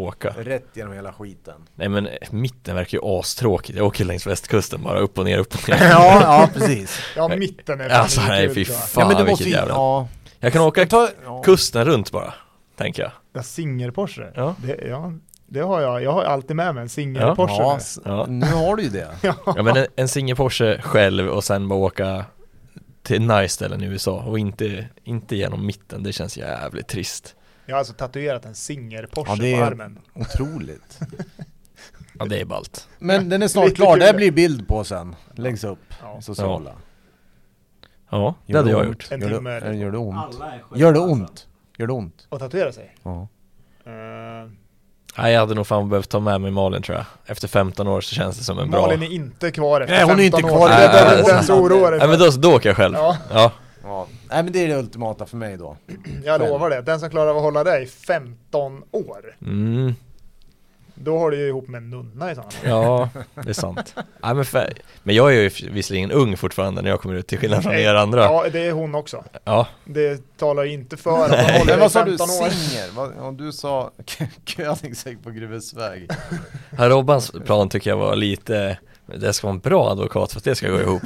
[SPEAKER 2] Åka.
[SPEAKER 1] Rätt genom hela skiten.
[SPEAKER 2] Nej men eh, mitten verkar ju astråkigt. Jag åker längs västkusten bara upp och ner, upp och ner.
[SPEAKER 1] ja, ja precis.
[SPEAKER 3] Ja, mitten är
[SPEAKER 2] Alltså
[SPEAKER 3] fan
[SPEAKER 2] nej
[SPEAKER 3] kul,
[SPEAKER 2] fy
[SPEAKER 3] tror jag.
[SPEAKER 2] fan vilket
[SPEAKER 1] ju-
[SPEAKER 2] jävla...
[SPEAKER 1] ja.
[SPEAKER 2] Jag kan åka
[SPEAKER 1] Ta, ja.
[SPEAKER 2] kusten runt bara, tänker jag.
[SPEAKER 3] Ja, singelporsche.
[SPEAKER 2] Ja.
[SPEAKER 3] Det, ja, det har jag. Jag har alltid med mig en singelporsche.
[SPEAKER 1] Ja,
[SPEAKER 3] Ja.
[SPEAKER 1] s-
[SPEAKER 2] Ja.
[SPEAKER 1] nu har du ju det.
[SPEAKER 2] Ja men en, en singel Porsche själv och sen bara åka till nice ställen i USA och inte, inte genom mitten, det känns jävligt trist.
[SPEAKER 3] Jag har alltså tatuerat en singelporsche
[SPEAKER 1] Ja, det är-
[SPEAKER 3] på armen.
[SPEAKER 1] Otroligt.
[SPEAKER 2] Ja det är ballt.
[SPEAKER 1] Men den är snart
[SPEAKER 3] Lite
[SPEAKER 1] klar,
[SPEAKER 3] kul.
[SPEAKER 1] det här blir bild på sen. Läggs upp.
[SPEAKER 3] Ja.
[SPEAKER 1] Sociala.
[SPEAKER 2] Ja, det
[SPEAKER 1] Gör
[SPEAKER 2] hade jag
[SPEAKER 1] ont?
[SPEAKER 2] gjort.
[SPEAKER 3] En
[SPEAKER 1] Gör
[SPEAKER 3] timme.
[SPEAKER 1] det, gör det ont?
[SPEAKER 4] Alla är skit,
[SPEAKER 1] Gör det
[SPEAKER 4] alltså.
[SPEAKER 1] ont? Gör det ont?
[SPEAKER 3] Och tatuera sig.
[SPEAKER 1] Ja.
[SPEAKER 3] Eh,
[SPEAKER 2] Nej jag hade nog fan behövt ta med mig Malin tror jag. Efter 15 år så känns det som en bra...
[SPEAKER 3] Malin är inte kvar efter
[SPEAKER 1] Nej, hon är inte
[SPEAKER 3] 15 år.
[SPEAKER 1] kvar.
[SPEAKER 3] Det
[SPEAKER 2] Nej,
[SPEAKER 3] är
[SPEAKER 2] nej,
[SPEAKER 3] den- den som oroar dig.
[SPEAKER 2] Nej men då, då åker jag själv. Ja.
[SPEAKER 3] Ja,
[SPEAKER 1] ja. Nej men det är det ultimata för mig då.
[SPEAKER 3] jag lovar det. Den som klarar av att hålla dig i 15 år,
[SPEAKER 2] Mm,
[SPEAKER 3] då har du ju ihop med en nunna i sådana fall.
[SPEAKER 2] ja, det är sant. Nej men, för, men jag är ju visserligen ung fortfarande när jag kommer ut till skillnad från er andra.
[SPEAKER 3] Ja, det är hon också.
[SPEAKER 2] Ja,
[SPEAKER 3] Det talar ju inte för att hon håller
[SPEAKER 1] Men
[SPEAKER 3] dig i
[SPEAKER 1] vad sa du,
[SPEAKER 3] 15 år.
[SPEAKER 1] singer? Vad- ja, Du sa k- Königsegg på Gruvesväg.
[SPEAKER 2] Herr Robbans plan tycker jag var lite, det ska vara en bra advokat för att det ska gå ihop.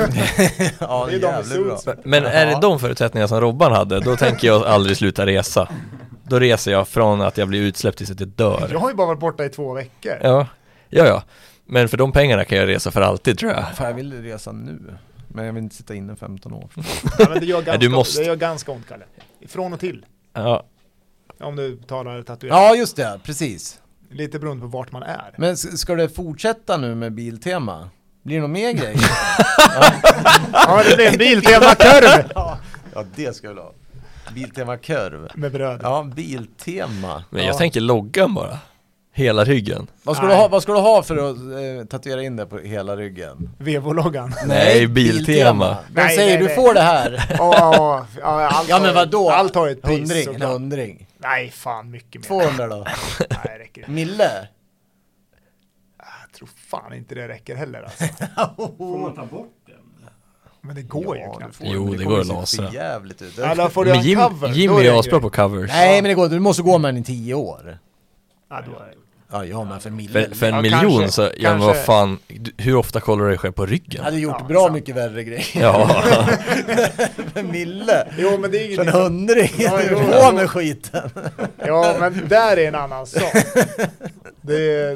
[SPEAKER 1] ja
[SPEAKER 3] Det är de med suits.
[SPEAKER 2] Men är det de förutsättningar som Robban hade, då tänker jag aldrig sluta resa. Då reser jag från att jag blir utsläppt tills att jag
[SPEAKER 3] Jag
[SPEAKER 2] dör.
[SPEAKER 3] har ju bara varit borta i två veckor.
[SPEAKER 2] Ja, ja, ja. Men för de pengarna kan jag resa för alltid tror jag.
[SPEAKER 1] Fan jag vill resa nu. Men jag vill inte sitta inne 15 år.
[SPEAKER 3] Ja, men det, gör ganska,
[SPEAKER 2] du måste.
[SPEAKER 3] det gör ganska ont, Kalle. Från och till.
[SPEAKER 2] Ja,
[SPEAKER 3] Om du talar tatuering.
[SPEAKER 1] Ja just det, precis.
[SPEAKER 3] Lite beroende på vart man är.
[SPEAKER 1] Men s- ska det fortsätta nu med biltema? Blir det någon mer grej?
[SPEAKER 3] Ja, det blir en biltema-kurv!
[SPEAKER 1] ja det ska jag vilja ha. Biltema kurv.
[SPEAKER 3] Med bröd.
[SPEAKER 1] Ja, biltema.
[SPEAKER 2] men
[SPEAKER 3] Ja.
[SPEAKER 2] jag tänker loggan bara. Hela ryggen.
[SPEAKER 1] Vad ska, du
[SPEAKER 3] Nej.
[SPEAKER 1] ha, vad ska du ha för att eh, tatuera in det på hela ryggen?
[SPEAKER 3] Vevo-loggan.
[SPEAKER 2] Nej, Biltema.
[SPEAKER 1] De
[SPEAKER 3] Nej,
[SPEAKER 1] säger
[SPEAKER 3] nej,
[SPEAKER 1] du
[SPEAKER 3] nej.
[SPEAKER 1] får det här.
[SPEAKER 3] Ja, ja, ja, allt
[SPEAKER 1] Ja
[SPEAKER 3] har
[SPEAKER 1] men
[SPEAKER 3] ju-
[SPEAKER 1] vadå?
[SPEAKER 3] Allt har ju ett pris
[SPEAKER 1] Hundring, en
[SPEAKER 3] såklart.
[SPEAKER 1] hundring.
[SPEAKER 3] Nej, fan mycket mer.
[SPEAKER 1] 200 då?
[SPEAKER 3] Nej, det räcker inte.
[SPEAKER 1] Typ. Mille?
[SPEAKER 3] Jag tror fan inte det räcker heller alltså.
[SPEAKER 4] Får man ta bort den?
[SPEAKER 3] Men det går
[SPEAKER 1] Ja,
[SPEAKER 3] ju
[SPEAKER 1] du
[SPEAKER 3] knappt.
[SPEAKER 1] får
[SPEAKER 2] Jo, det
[SPEAKER 1] kommer
[SPEAKER 2] går
[SPEAKER 1] se
[SPEAKER 2] att lasra.
[SPEAKER 1] för jävligt ut.
[SPEAKER 3] Alla får du
[SPEAKER 2] Men
[SPEAKER 3] göra en
[SPEAKER 2] Jim,
[SPEAKER 3] cover.
[SPEAKER 2] Jim
[SPEAKER 3] då
[SPEAKER 2] är
[SPEAKER 3] det en
[SPEAKER 2] ju asbra
[SPEAKER 3] grej.
[SPEAKER 2] på covers.
[SPEAKER 1] Nej men det går du måste gå med den i 10 år.
[SPEAKER 3] Ja, då är det.
[SPEAKER 1] Ja jag med för en mille.
[SPEAKER 2] För, för en
[SPEAKER 3] Ja,
[SPEAKER 2] miljon
[SPEAKER 3] kanske,
[SPEAKER 2] så, ja men
[SPEAKER 3] kanske.
[SPEAKER 2] vad fan, du- hur ofta kollar du dig själv på
[SPEAKER 1] Jag
[SPEAKER 2] ryggen?
[SPEAKER 1] hade gjort
[SPEAKER 3] Ja,
[SPEAKER 1] bra
[SPEAKER 3] sant.
[SPEAKER 1] mycket värre grejer.
[SPEAKER 2] Ja,
[SPEAKER 1] För en mille?
[SPEAKER 3] Jo, men det
[SPEAKER 1] För en
[SPEAKER 3] är ingenting. som-
[SPEAKER 1] hundring?
[SPEAKER 3] Ja, jo,
[SPEAKER 1] På
[SPEAKER 3] jo.
[SPEAKER 1] med skiten.
[SPEAKER 3] Ja, men där är en annan sak. Det,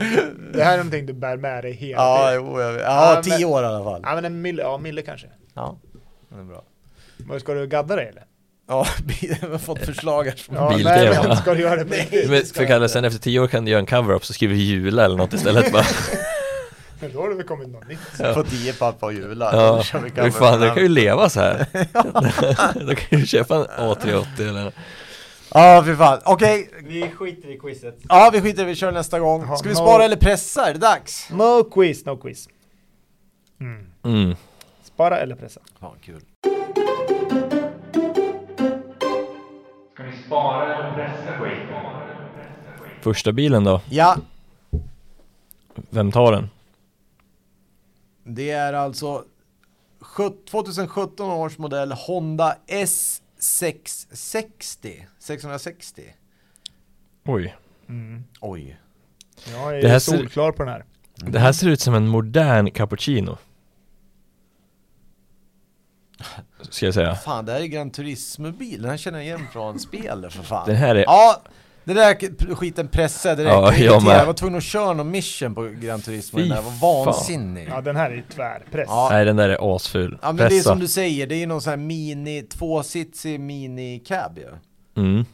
[SPEAKER 3] det här är någonting du bär med dig hela
[SPEAKER 1] Ja,
[SPEAKER 3] tiden.
[SPEAKER 1] jo, jag vet. ja
[SPEAKER 3] Ja, men-
[SPEAKER 1] 10 år i alla fall.
[SPEAKER 3] Ja, men en mille, ja, mille kanske.
[SPEAKER 1] Ja, det är bra.
[SPEAKER 3] Men Ska du gadda dig eller?
[SPEAKER 1] Ja, jag har fått förslag här från
[SPEAKER 3] Ja,
[SPEAKER 2] Biltema.
[SPEAKER 3] Nej, men ska du göra det på riktigt?
[SPEAKER 2] men för Kalle, sen efter tio år kan du göra en cover-up så skriver du Jula eller något istället bara.
[SPEAKER 3] Men Då har det väl kommit något nytt.
[SPEAKER 1] På 10 pappa och jula.
[SPEAKER 2] Ja,
[SPEAKER 1] Då kör vi
[SPEAKER 2] hur fan, du kan ju leva så här. Då kan du köpa en A380 eller
[SPEAKER 1] Ja, för fan. Okej.
[SPEAKER 4] Vi skiter i quizet.
[SPEAKER 1] Ja, vi skiter i det. Vi kör nästa gång.
[SPEAKER 3] Jaha,
[SPEAKER 1] Ska vi
[SPEAKER 3] no.
[SPEAKER 1] spara eller pressa? Är det dags?
[SPEAKER 3] No quiz, no quiz. Mm.
[SPEAKER 2] mm.
[SPEAKER 3] Spara eller pressa?
[SPEAKER 1] Fan, kul.
[SPEAKER 5] Ska ni spara eller pressa skiten?
[SPEAKER 2] Första bilen då,
[SPEAKER 1] Ja,
[SPEAKER 2] vem tar den?
[SPEAKER 1] det är alltså sjut- 2017 års modell Honda S660. 660.
[SPEAKER 2] Oj
[SPEAKER 1] Oj.
[SPEAKER 3] Jag är
[SPEAKER 2] Det här ser-
[SPEAKER 3] solklar på den här.
[SPEAKER 2] Det här ser ut som en modern cappuccino Ska jag säga
[SPEAKER 1] Fan, det här är Gran Turismo-bil. Den här känner jag igen från spel för fan.
[SPEAKER 2] Den här är,
[SPEAKER 1] Ja, det där k- skiten pressade direkt.
[SPEAKER 2] Ja,
[SPEAKER 1] jag,
[SPEAKER 2] jag
[SPEAKER 1] irriterad.
[SPEAKER 2] med.
[SPEAKER 1] jag var tvungen att köra någon mission på Gran Turismo. Den
[SPEAKER 2] Fy
[SPEAKER 1] där var
[SPEAKER 2] fan.
[SPEAKER 1] vansinnig.
[SPEAKER 3] Ja, den här är ju tvärpress.
[SPEAKER 1] Ja.
[SPEAKER 2] nej den där är asful
[SPEAKER 1] Ja men det är
[SPEAKER 2] Pressa
[SPEAKER 1] som du säger, det är ju någon sån här mini, tvåsitsig mini-cab ju.
[SPEAKER 2] mm.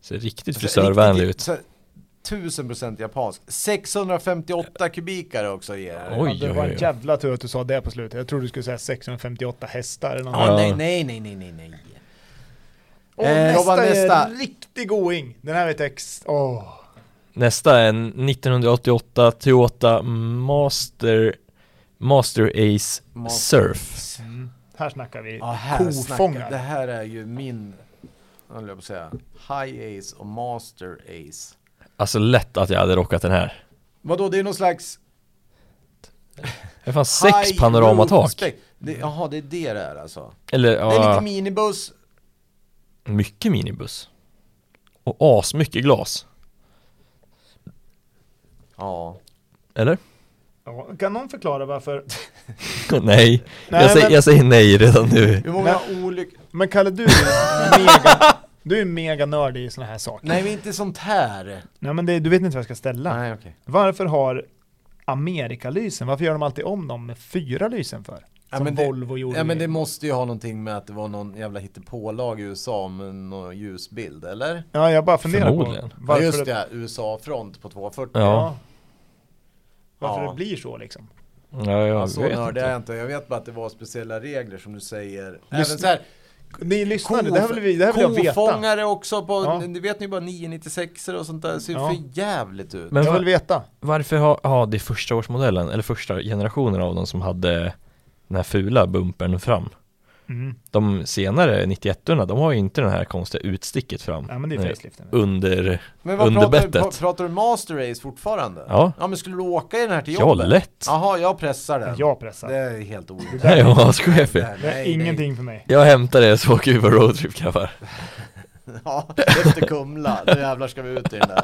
[SPEAKER 2] Ser riktigt frisörvänlig ut
[SPEAKER 1] Alltså, Riktigt- så- 1000% japansk. 658 kubikare också ger det.
[SPEAKER 2] Oj,
[SPEAKER 3] ja, det
[SPEAKER 2] oj,
[SPEAKER 3] var en
[SPEAKER 2] oj.
[SPEAKER 3] jävla tur att du sa det på slutet. Jag trodde du skulle säga 658 hästar eller något.
[SPEAKER 1] Ja,
[SPEAKER 2] Ja.
[SPEAKER 1] nej, nej, nej, nej, nej, nej.
[SPEAKER 3] Och
[SPEAKER 1] Eh,
[SPEAKER 3] nästa,
[SPEAKER 1] Robban, nästa.
[SPEAKER 3] är en riktig going. Den här vet jag ex... Åh.
[SPEAKER 2] Nästa är en 1988 Toyota Master Master Ace
[SPEAKER 1] Master-
[SPEAKER 2] Surf
[SPEAKER 3] Mm. Här snackar vi
[SPEAKER 1] Ja, här snackar.
[SPEAKER 3] kofångare.
[SPEAKER 1] Det här är ju min, vad höll jag på att säga, High Ace och Master Ace.
[SPEAKER 2] Alltså lätt att jag hade rockat den här
[SPEAKER 1] Vadå, det är någon slags
[SPEAKER 2] Det är fan sex
[SPEAKER 1] high
[SPEAKER 2] panoramatak
[SPEAKER 1] roof spec.
[SPEAKER 6] Det, jaha, det är det det är alltså.
[SPEAKER 2] Eller ja,
[SPEAKER 1] Det är lite minibuss.
[SPEAKER 2] mycket minibuss Och asmycket glas
[SPEAKER 6] Ja.
[SPEAKER 2] Eller?
[SPEAKER 3] Ja, kan någon förklara varför?
[SPEAKER 2] nej, jag,
[SPEAKER 3] Nej,
[SPEAKER 2] säger,
[SPEAKER 3] men-
[SPEAKER 2] jag säger nej redan nu
[SPEAKER 1] Hur många olyckor?
[SPEAKER 3] Men Kalle, du är ju mega, du är mega nörd i sådana här saker.
[SPEAKER 6] Nej, men inte sånt här.
[SPEAKER 3] Nej, men det, du vet inte vad jag ska ställa.
[SPEAKER 6] Nej, okej.
[SPEAKER 3] Varför har Amerikalysen, varför gör de alltid om dem med fyra lysen för?
[SPEAKER 6] Ja,
[SPEAKER 3] Som
[SPEAKER 6] men det-
[SPEAKER 3] Volvo gjorde.
[SPEAKER 6] Ja, men det
[SPEAKER 3] i-
[SPEAKER 6] måste ju ha någonting med att det var någon jävla hittepålag i USA med någon ljusbild, eller?
[SPEAKER 3] ja jag bara funderar på
[SPEAKER 2] Förmodligen.
[SPEAKER 6] Ja,
[SPEAKER 3] varför,
[SPEAKER 6] just
[SPEAKER 3] det,
[SPEAKER 6] det, USA-front på 240.
[SPEAKER 2] Ja.
[SPEAKER 3] varför
[SPEAKER 6] Ja.
[SPEAKER 3] det blir så liksom.
[SPEAKER 2] Ja, jag
[SPEAKER 6] så
[SPEAKER 2] vet
[SPEAKER 6] nördig Alltså, är
[SPEAKER 2] inte
[SPEAKER 6] jag inte. Jag vet bara att det var speciella regler som du säger. Även
[SPEAKER 3] Lyssna-
[SPEAKER 6] så här,
[SPEAKER 3] Ni lyssnade, det här vill, vi, det här vill jag veta.
[SPEAKER 6] kofångare också på,
[SPEAKER 3] Ja.
[SPEAKER 6] det vet ni bara 996 och sånt där ser ju
[SPEAKER 3] Ja.
[SPEAKER 6] för jävligt ut.
[SPEAKER 2] Men
[SPEAKER 3] jag
[SPEAKER 2] va-
[SPEAKER 3] vill veta.
[SPEAKER 2] varför har, ja det är första årsmodellen, eller första generationen av dem som hade den här fula bumpern fram
[SPEAKER 3] Mm.
[SPEAKER 2] De senare 91orna, de har ju inte den här konstiga utsticket fram
[SPEAKER 3] Ja, men det
[SPEAKER 2] Nej.
[SPEAKER 3] är faceliften.
[SPEAKER 2] Under,
[SPEAKER 6] Men vad
[SPEAKER 2] Under
[SPEAKER 6] pratar, du- pra,
[SPEAKER 2] bettet.
[SPEAKER 6] pratar du master race fortfarande?
[SPEAKER 2] Ja.
[SPEAKER 6] Ja men skulle du åka i den här till
[SPEAKER 2] ja
[SPEAKER 6] jobbet?
[SPEAKER 2] lätt!
[SPEAKER 6] Jaha, jag pressar den.
[SPEAKER 3] Jag pressar.
[SPEAKER 6] Det
[SPEAKER 3] Det,
[SPEAKER 6] är helt orimligt.
[SPEAKER 2] Nej, jag var asskojeffig
[SPEAKER 3] är ingenting för mig.
[SPEAKER 2] Jag hämtar det så åker vi på roadtrip grabbar
[SPEAKER 6] Ja, efter Kumla, då jävlar ska vi ut i den där.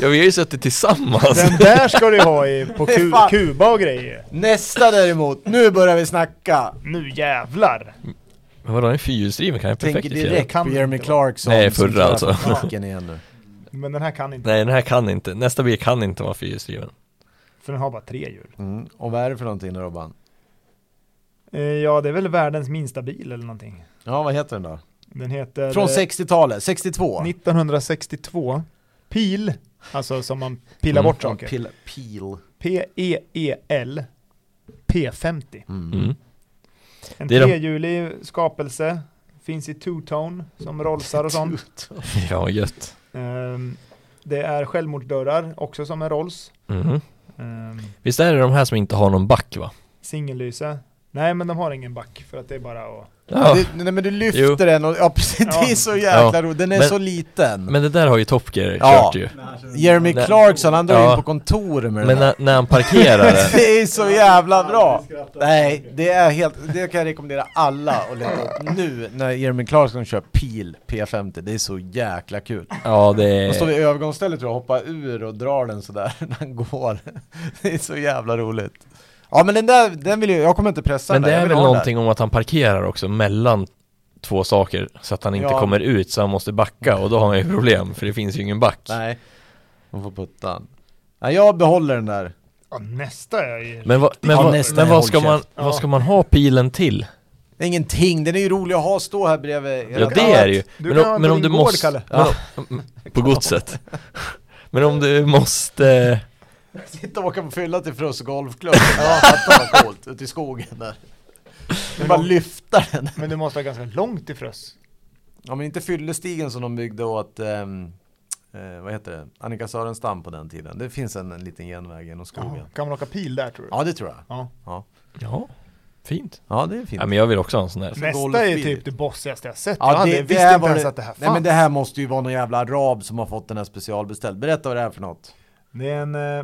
[SPEAKER 2] Ja vi har ju suttit tillsammans
[SPEAKER 3] Den där ska du ha i, på
[SPEAKER 6] Det är
[SPEAKER 3] Ku-
[SPEAKER 6] fan-
[SPEAKER 3] Kuba och grejer.
[SPEAKER 6] Nästa däremot, nu börjar vi snacka!
[SPEAKER 3] Nu jävlar!
[SPEAKER 2] Men vadå en fyrhjulsdriven kan ju perfekt
[SPEAKER 6] Tänker
[SPEAKER 2] i fjärran
[SPEAKER 6] direkt
[SPEAKER 3] Kan
[SPEAKER 6] på
[SPEAKER 3] inte
[SPEAKER 6] Jeremy
[SPEAKER 3] vara.
[SPEAKER 6] Clarkson
[SPEAKER 2] Nej,
[SPEAKER 6] som
[SPEAKER 2] förra
[SPEAKER 6] kör
[SPEAKER 2] alltså.
[SPEAKER 6] facken igen nu.
[SPEAKER 3] Men den här kan inte,
[SPEAKER 2] Nej den här kan inte, nästa bil kan inte vara fyrhjulsdriven
[SPEAKER 3] för den har bara tre hjul.
[SPEAKER 6] Mm. Och vad är det för någonting då Robban?
[SPEAKER 3] Eh, Ja, det är väl världens minsta bil eller någonting.
[SPEAKER 6] Ja vad heter den då?
[SPEAKER 3] Den heter...
[SPEAKER 6] Från
[SPEAKER 3] eh,
[SPEAKER 6] 60-talet, 62?
[SPEAKER 3] 1962. Pil, alltså som man pillar
[SPEAKER 2] Mm.
[SPEAKER 3] bort saker. E
[SPEAKER 6] Pil, pil.
[SPEAKER 3] P-E-E-L P50.
[SPEAKER 2] mm.
[SPEAKER 3] En
[SPEAKER 2] Det är de-
[SPEAKER 3] trehjulig skapelse. Finns i two-tone som rollsar och sånt.
[SPEAKER 2] Ja gött
[SPEAKER 3] Ehm, det är självmordsdörrar också som en Rolls.
[SPEAKER 2] Mhm.
[SPEAKER 3] Ehm,
[SPEAKER 2] Visst är det de här som inte har någon back va?
[SPEAKER 3] singellyse. Nej men de har ingen back för att det är bara att...
[SPEAKER 2] Ja.
[SPEAKER 1] Du, nej men du lyfter
[SPEAKER 2] Jo.
[SPEAKER 1] den och ja precis, det är så jäkla
[SPEAKER 2] Ja.
[SPEAKER 1] roligt. Den är
[SPEAKER 2] Men-
[SPEAKER 1] så liten.
[SPEAKER 2] Men det där har ju Top Gear
[SPEAKER 1] Ja.
[SPEAKER 2] kört ju
[SPEAKER 1] Jeremy
[SPEAKER 2] Nej.
[SPEAKER 1] Clarkson, han drar
[SPEAKER 2] Ja.
[SPEAKER 1] in på kontor med
[SPEAKER 2] Men
[SPEAKER 1] den här.
[SPEAKER 2] när, när han parkerade
[SPEAKER 1] Det är så jävla bra! Nej, det är helt, det kan jag rekommendera alla att leta upp nu när Jeremy Clarkson kör pil P50, det är så jäkla kul.
[SPEAKER 2] Ja det
[SPEAKER 1] Han står
[SPEAKER 2] är
[SPEAKER 1] vid övergångsstället och hoppar ur och drar den sådär när han går. Det är så jävla roligt. Ja men den där, den vill jag, jag kommer inte pressa
[SPEAKER 2] Men
[SPEAKER 1] den
[SPEAKER 2] det
[SPEAKER 1] där, jag
[SPEAKER 2] är
[SPEAKER 1] vill
[SPEAKER 2] väl
[SPEAKER 1] ha den
[SPEAKER 2] någonting om att han parkerar också mellan två saker så att han inte
[SPEAKER 1] Ja.
[SPEAKER 2] kommer ut så han måste backa och då har han ju problem för det finns ju ingen back
[SPEAKER 1] där. Nej, man får putta den. Nej jag behåller den där.
[SPEAKER 3] Ja, nästa är ju...
[SPEAKER 2] Men, vad- men,
[SPEAKER 1] Ja,
[SPEAKER 2] vad-
[SPEAKER 1] nästa
[SPEAKER 2] men
[SPEAKER 1] är
[SPEAKER 2] vad, ska man,
[SPEAKER 1] hållkäft.
[SPEAKER 2] vad ska man ha pilen till?
[SPEAKER 1] Det är Ingenting, den är ju rolig att ha, stå här bredvid.
[SPEAKER 2] Ja det är det ju,
[SPEAKER 3] Du
[SPEAKER 2] men,
[SPEAKER 3] kan ha
[SPEAKER 2] om-
[SPEAKER 3] en
[SPEAKER 2] men
[SPEAKER 3] på
[SPEAKER 2] om
[SPEAKER 3] din
[SPEAKER 2] du
[SPEAKER 3] gård,
[SPEAKER 2] måste...
[SPEAKER 3] Kalle.
[SPEAKER 2] men om- På godset Men om du måste...
[SPEAKER 1] Sitta och åka på fylla till Fruss golfklubb. Ja, fatta vad coolt. Ute i skogen där. Du bara lyfta den.
[SPEAKER 3] Men du måste ha ganska långt i frös.
[SPEAKER 1] Ja men inte fyllestigen som de byggde åt, ehm, eh, vad heter det, Annika Sörenstam på den tiden. Det finns en, en liten genväg genom skogen.
[SPEAKER 3] Kan man åka pil där tror du?
[SPEAKER 1] Ja det tror jag.
[SPEAKER 3] Ja.
[SPEAKER 2] Ja, fint
[SPEAKER 1] Ja det är fint.
[SPEAKER 2] Ja men jag vill också ha en sån där
[SPEAKER 3] Nästa är
[SPEAKER 1] alltså golfbil.
[SPEAKER 3] typ det bossigaste jag sett.
[SPEAKER 1] Ja,
[SPEAKER 3] jag hade,
[SPEAKER 1] det- det
[SPEAKER 3] visste
[SPEAKER 1] här
[SPEAKER 3] inte
[SPEAKER 1] var
[SPEAKER 3] ens
[SPEAKER 1] det-
[SPEAKER 3] att det här fanns.
[SPEAKER 1] Nej men det här måste ju vara någon jävla arab som har fått den här specialbeställd. Berätta vad det är för något.
[SPEAKER 3] Det är en eh,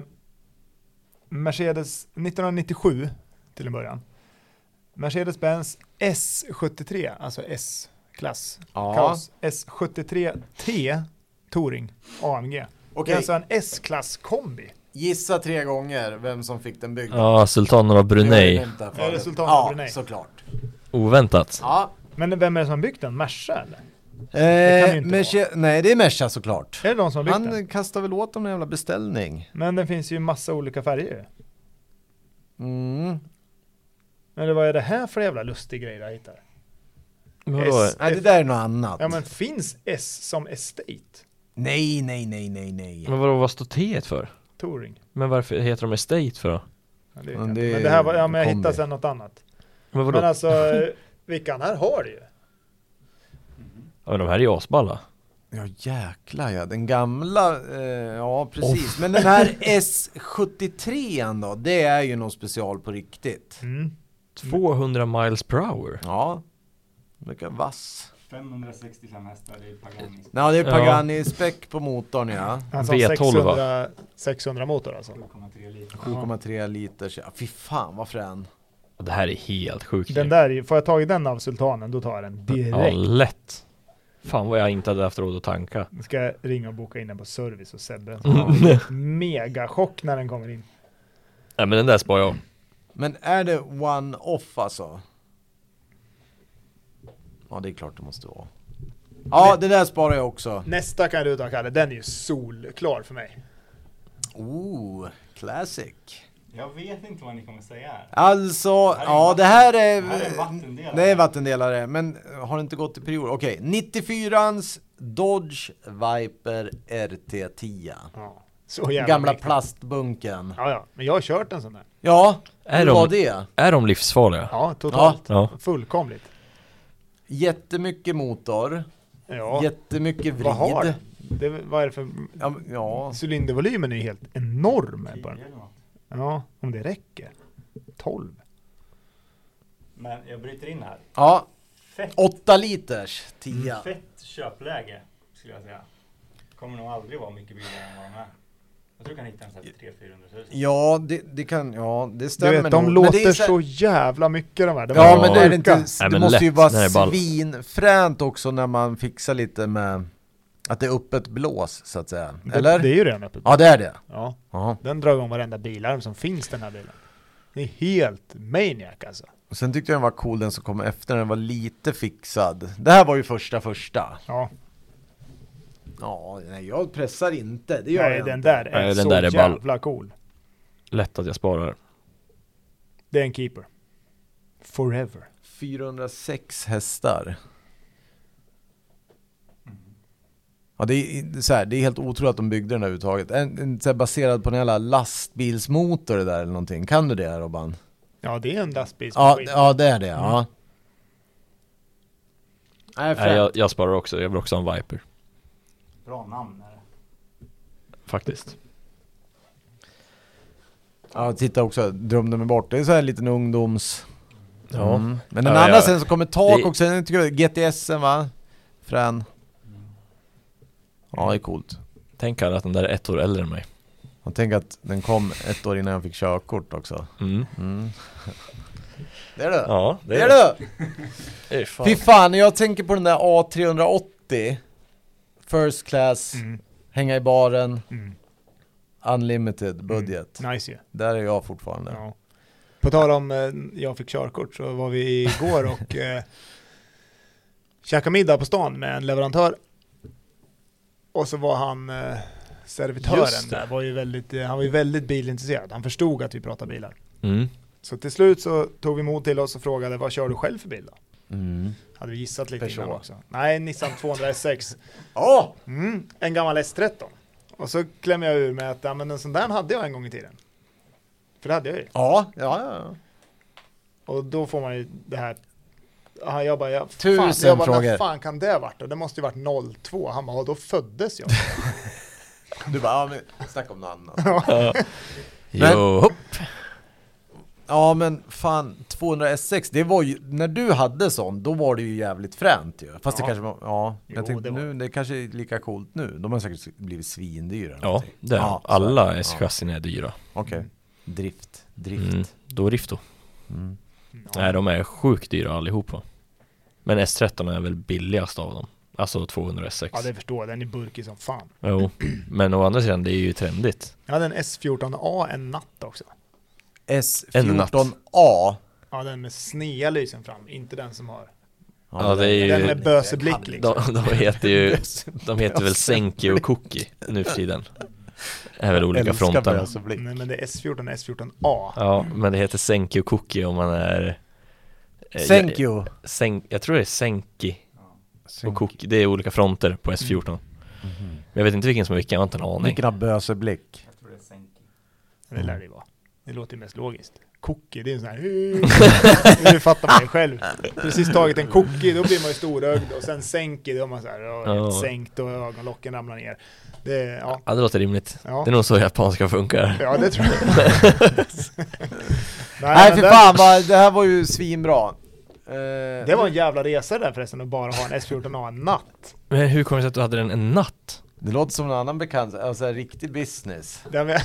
[SPEAKER 3] Mercedes 1997 till en början. Mercedes-Benz S73, alltså S-klass.
[SPEAKER 1] Ja.
[SPEAKER 3] kaos. S73T Touring AMG. Det
[SPEAKER 1] Okej,
[SPEAKER 3] är alltså en S-klass kombi.
[SPEAKER 1] gissa tre gånger vem som fick den byggd.
[SPEAKER 2] Ja, sultanen av
[SPEAKER 1] Det
[SPEAKER 2] Brunei
[SPEAKER 1] har vi nämnt där förut.
[SPEAKER 3] Ja, det är sultanen av
[SPEAKER 1] ja,
[SPEAKER 3] Brunei.
[SPEAKER 1] såklart.
[SPEAKER 2] Oväntat
[SPEAKER 1] Ja.
[SPEAKER 3] Men vem är det som har byggt den? Merca eller? kan det
[SPEAKER 1] Eh,
[SPEAKER 3] inte
[SPEAKER 1] Merche, nej det är Merca såklart.
[SPEAKER 3] Är det de som har byggt den?
[SPEAKER 1] Han kastar väl åt dem en jävla beställning.
[SPEAKER 3] Men den finns ju i massa olika färger.
[SPEAKER 1] Mm.
[SPEAKER 3] Eller vad är det här för jävla lustig grej jag hittar?
[SPEAKER 2] Vadå?
[SPEAKER 3] S-
[SPEAKER 1] Nej det där är något annat.
[SPEAKER 3] Ja men finns S som estate?
[SPEAKER 1] Nej, nej, nej, nej, nej.
[SPEAKER 2] Men vadå, vad står T för?
[SPEAKER 3] Touring?
[SPEAKER 2] Men varför heter de Estate för då?
[SPEAKER 3] Ja, det vet
[SPEAKER 1] Men
[SPEAKER 3] jag inte.
[SPEAKER 1] det är
[SPEAKER 3] men det här var, ja
[SPEAKER 1] en
[SPEAKER 3] men jag
[SPEAKER 1] kombi.
[SPEAKER 3] hittade sen något annat.
[SPEAKER 2] Men vadå?
[SPEAKER 3] Men alltså, eh, Vickan, här har du ju.
[SPEAKER 2] Ja men de här är ju
[SPEAKER 3] Mm.
[SPEAKER 2] asballa
[SPEAKER 1] Ja jäklar ja, den gamla, eh, ja precis. Men den här S73 då, det är ju någon special på riktigt.
[SPEAKER 3] Mm.
[SPEAKER 2] 200 miles per hour
[SPEAKER 1] Ja, den verkar vass.
[SPEAKER 4] 565 hästar i Pagani.
[SPEAKER 1] Nej, det är
[SPEAKER 2] Ja.
[SPEAKER 1] Pagani-späck på motorn ja.
[SPEAKER 3] Alltså
[SPEAKER 2] V12,
[SPEAKER 3] 600, 600 motor alltså.
[SPEAKER 4] 2,3 liter.
[SPEAKER 1] 7,3 liters, ja, fy fan vad frän.
[SPEAKER 2] Och det här är helt sjukt.
[SPEAKER 3] Den
[SPEAKER 2] ju.
[SPEAKER 3] där, får jag tag i den av Sultanen, då tar jag den
[SPEAKER 2] Ja,
[SPEAKER 3] direkt.
[SPEAKER 2] lätt. Fan vad jag inte hade haft råd att tanka.
[SPEAKER 3] Nu ska jag ringa och boka in den på service hos Sebbe.
[SPEAKER 2] Mm. Nej
[SPEAKER 3] Mega chock när den kommer in.
[SPEAKER 2] men den där sparar jag.
[SPEAKER 1] Men är det one-off alltså?
[SPEAKER 7] Ja, det är klart det måste vara.
[SPEAKER 1] Ja, det där sparar jag också.
[SPEAKER 3] Nästa kan du ta Kalle, den är ju solklar för mig.
[SPEAKER 1] Oh, classic.
[SPEAKER 4] Jag vet inte vad ni kommer säga här.
[SPEAKER 1] Alltså,
[SPEAKER 4] Här är
[SPEAKER 1] ja
[SPEAKER 4] vatten-
[SPEAKER 1] det här är...
[SPEAKER 4] här är vattendelare.
[SPEAKER 1] Det är vattendelare, men har det inte gått i period? Okej, 94ans Dodge Viper RT10.
[SPEAKER 3] Ja. Så jävla
[SPEAKER 1] Gamla
[SPEAKER 3] mäktigt.
[SPEAKER 1] plastbunken.
[SPEAKER 3] Ja, ja, men jag har kört en sån där.
[SPEAKER 1] Ja,
[SPEAKER 2] Är
[SPEAKER 1] hur var
[SPEAKER 2] de,
[SPEAKER 1] det?
[SPEAKER 2] är de livsfarliga?
[SPEAKER 3] Ja, totalt.
[SPEAKER 2] Ja.
[SPEAKER 3] Fullkomligt.
[SPEAKER 1] Jättemycket motor,
[SPEAKER 3] Ja,
[SPEAKER 1] jättemycket vrid.
[SPEAKER 3] vad har den? det? Vad är det för...
[SPEAKER 1] Ja, men- ja.
[SPEAKER 3] Cylindervolymen är ju helt enorm. På den.
[SPEAKER 4] Tio eller något.
[SPEAKER 3] Ja, om det räcker. 12.
[SPEAKER 4] Men jag bryter in här.
[SPEAKER 1] ja,
[SPEAKER 4] Fett,
[SPEAKER 1] 8 liters 10.
[SPEAKER 3] Mm.
[SPEAKER 4] fett köpläge skulle jag säga. Kommer nog aldrig vara mycket billigare än vad de är. Jag tror jag kan hitta en sån här för 300-400 tusen.
[SPEAKER 1] Ja, det, det kan, ja det
[SPEAKER 3] Du
[SPEAKER 1] stämmer
[SPEAKER 3] vet,
[SPEAKER 1] nog.
[SPEAKER 3] de
[SPEAKER 1] Men det
[SPEAKER 3] låter
[SPEAKER 1] är
[SPEAKER 3] så, jävla mycket de här. De
[SPEAKER 1] Ja
[SPEAKER 3] är
[SPEAKER 1] men
[SPEAKER 2] Ja.
[SPEAKER 1] är det inte,
[SPEAKER 3] sjuka.
[SPEAKER 1] det
[SPEAKER 2] Nej, men
[SPEAKER 1] måste ju
[SPEAKER 2] lätt
[SPEAKER 1] vara
[SPEAKER 2] när det är ball.
[SPEAKER 1] svinfränt också när man fixar lite med att det är öppet blås så att säga, eller?
[SPEAKER 3] Det, det är ju redan öppet.
[SPEAKER 1] Ja det är det!
[SPEAKER 3] Ja,
[SPEAKER 1] Ja.
[SPEAKER 3] den drar igång varenda bilarm som finns den här bilen. Den är helt maniac alltså.
[SPEAKER 1] Och sen tyckte jag den var cool den som kom efter, den var lite fixad Det här var ju första första
[SPEAKER 3] Ja,
[SPEAKER 1] Ja, nej jag pressar inte, det gör
[SPEAKER 3] nej,
[SPEAKER 1] jag
[SPEAKER 3] den
[SPEAKER 1] inte
[SPEAKER 3] där är
[SPEAKER 2] Nej, den
[SPEAKER 3] så
[SPEAKER 2] där är ball.
[SPEAKER 3] jävla cool.
[SPEAKER 2] Lätt att jag sparar.
[SPEAKER 3] Det är en keeper. Forever.
[SPEAKER 1] 406 hästar Ja det är, det är så här, det är helt otroligt att de byggde den där överhuvudtaget en, en, så här, Baserad på en jävla lastbilsmotor det där eller någonting, kan du det Robban?
[SPEAKER 3] Ja, det är en
[SPEAKER 1] Ja,
[SPEAKER 3] lastbilsmaskin.
[SPEAKER 1] ja det är det, ja. Nej,
[SPEAKER 2] Nej,
[SPEAKER 1] fränt.
[SPEAKER 2] jag, jag sparar också. Jag vill också ha en Viper.
[SPEAKER 4] Bra namn är det.
[SPEAKER 2] Faktiskt.
[SPEAKER 1] ja, titta också, drömde mig bort. Det är så här liten ungdoms...
[SPEAKER 2] Ja.
[SPEAKER 1] Mm. Men den
[SPEAKER 2] Ja,
[SPEAKER 1] andra
[SPEAKER 2] ja.
[SPEAKER 1] sen så kommer tak
[SPEAKER 2] Det-
[SPEAKER 1] också, den tycker jag, GTSen va? Frän. Ja, det är coolt.
[SPEAKER 2] Tänk här att den där är ett år äldre än mig.
[SPEAKER 1] Och tänk att den kom ett år innan jag fick körkort också.
[SPEAKER 2] Mm.
[SPEAKER 1] Det är det!
[SPEAKER 2] Ja,
[SPEAKER 1] Det är det!
[SPEAKER 2] Ej, fan.
[SPEAKER 1] Fy fan, när jag tänker på den där A380 First class,
[SPEAKER 3] Mm,
[SPEAKER 1] hänga i baren,
[SPEAKER 3] mm.
[SPEAKER 1] unlimited budget.
[SPEAKER 2] Mm.
[SPEAKER 3] Nice ju.
[SPEAKER 1] Där är jag fortfarande.
[SPEAKER 3] Ja. På tal om eh, jag fick körkort så var vi igår och eh, käkade middag på stan med en leverantör. Och så var han eh, servitören
[SPEAKER 2] Just det.
[SPEAKER 3] där, var ju väldigt, eh, han var ju väldigt bilintresserad. Han förstod att vi pratade bilar.
[SPEAKER 2] Mm.
[SPEAKER 3] Så till slut så tog vi mod till oss och frågade vad kör du själv för bil då?
[SPEAKER 1] Mm.
[SPEAKER 3] Hade vi gissat lite
[SPEAKER 1] Peugeot.
[SPEAKER 3] innan också. Nej, Nissan 200 S6.
[SPEAKER 1] Åh!
[SPEAKER 3] Mm, en gammal S13. Och så klämmer jag ur med att ja, men en sån där hade jag en gång i tiden. För det hade jag ju.
[SPEAKER 1] Ja, ja, ja.
[SPEAKER 3] Och då får man ju det här. Aha, jag bara, ja, fan,
[SPEAKER 1] Tusen
[SPEAKER 3] jag bara,
[SPEAKER 1] frågor.
[SPEAKER 3] När fan kan det ha varit då? Det måste ju varit 02. Han bara, ja, då föddes jag.
[SPEAKER 1] Du bara, ja men snacka om något annat. Men-
[SPEAKER 2] Jo, hopp.
[SPEAKER 1] Ja men fan, 200 S6, det var ju, när du hade sån, då var det ju jävligt fränt ju. Fast det
[SPEAKER 3] Ja.
[SPEAKER 1] kanske var, ja.
[SPEAKER 3] Jo,
[SPEAKER 1] jag tänkte
[SPEAKER 3] det var-
[SPEAKER 1] nu, det kanske är lika coolt nu. De har säkert blivit svindyra. eller
[SPEAKER 2] Ja,
[SPEAKER 1] någonting.
[SPEAKER 2] det är
[SPEAKER 1] Ja, så är
[SPEAKER 2] Alla
[SPEAKER 1] det.
[SPEAKER 2] S-chassin är dyra.
[SPEAKER 1] Okej. Drift, drift.
[SPEAKER 2] Mm. Då Rifto. Nej, de är sjukt dyra allihopa. Men S13 är väl billigast av dem. Alltså 200 S6.
[SPEAKER 3] ja, det förstår jag. Den är burkig som fan.
[SPEAKER 2] Jo, men å andra sidan, det är ju trendigt.
[SPEAKER 3] Jag hade en S14A en natt också.
[SPEAKER 1] S14A.
[SPEAKER 3] Ja, den med snea lysen fram. Inte den som har.
[SPEAKER 2] Ja, det är
[SPEAKER 3] den
[SPEAKER 2] ju...
[SPEAKER 3] med böseblick liksom.
[SPEAKER 2] De, de heter ju... De heter väl
[SPEAKER 1] Alltså.
[SPEAKER 2] Senki och Cookie nu för tiden. Är väl olika fronter.
[SPEAKER 1] bösblick.
[SPEAKER 3] Nej, men det är S14 S14A.
[SPEAKER 2] Ja, men det heter Senki och Cookie om man är... eh,
[SPEAKER 1] Thank you.
[SPEAKER 2] jag- Sen, jag tror det är Senki och Cookie. Det är olika fronter på S14. Men jag vet inte vilken som är vilken, jag har inte en Mm. aning.
[SPEAKER 1] Mhm. Vilken har böseblick?
[SPEAKER 4] Jag tror det är sänker.
[SPEAKER 3] Det lär det ju vara. Det låter ju mest logiskt. Cookie, det är en sån här... Nu fattar man ju själv. Precis tagit en cookie, då blir man ju storögd och sen sänker, då är man så här, ja, helt
[SPEAKER 2] Ja.
[SPEAKER 3] sänkt och ögonlocken ramlar ner. Det, ja.
[SPEAKER 2] Ja, det låter rimligt.
[SPEAKER 3] Ja.
[SPEAKER 2] Det är nog så japanska funkar.
[SPEAKER 3] ja, det tror jag.
[SPEAKER 1] Nej
[SPEAKER 3] men
[SPEAKER 1] för
[SPEAKER 3] den-
[SPEAKER 1] fan, vad, det här var ju svinbra. Eh,
[SPEAKER 3] Det var en jävla resa där förresten att bara ha en S14A en natt.
[SPEAKER 2] Men hur kommer det sig att du hade den en natt?
[SPEAKER 1] Det låter som någon annan bekant, alltså riktig business.
[SPEAKER 3] Den jag-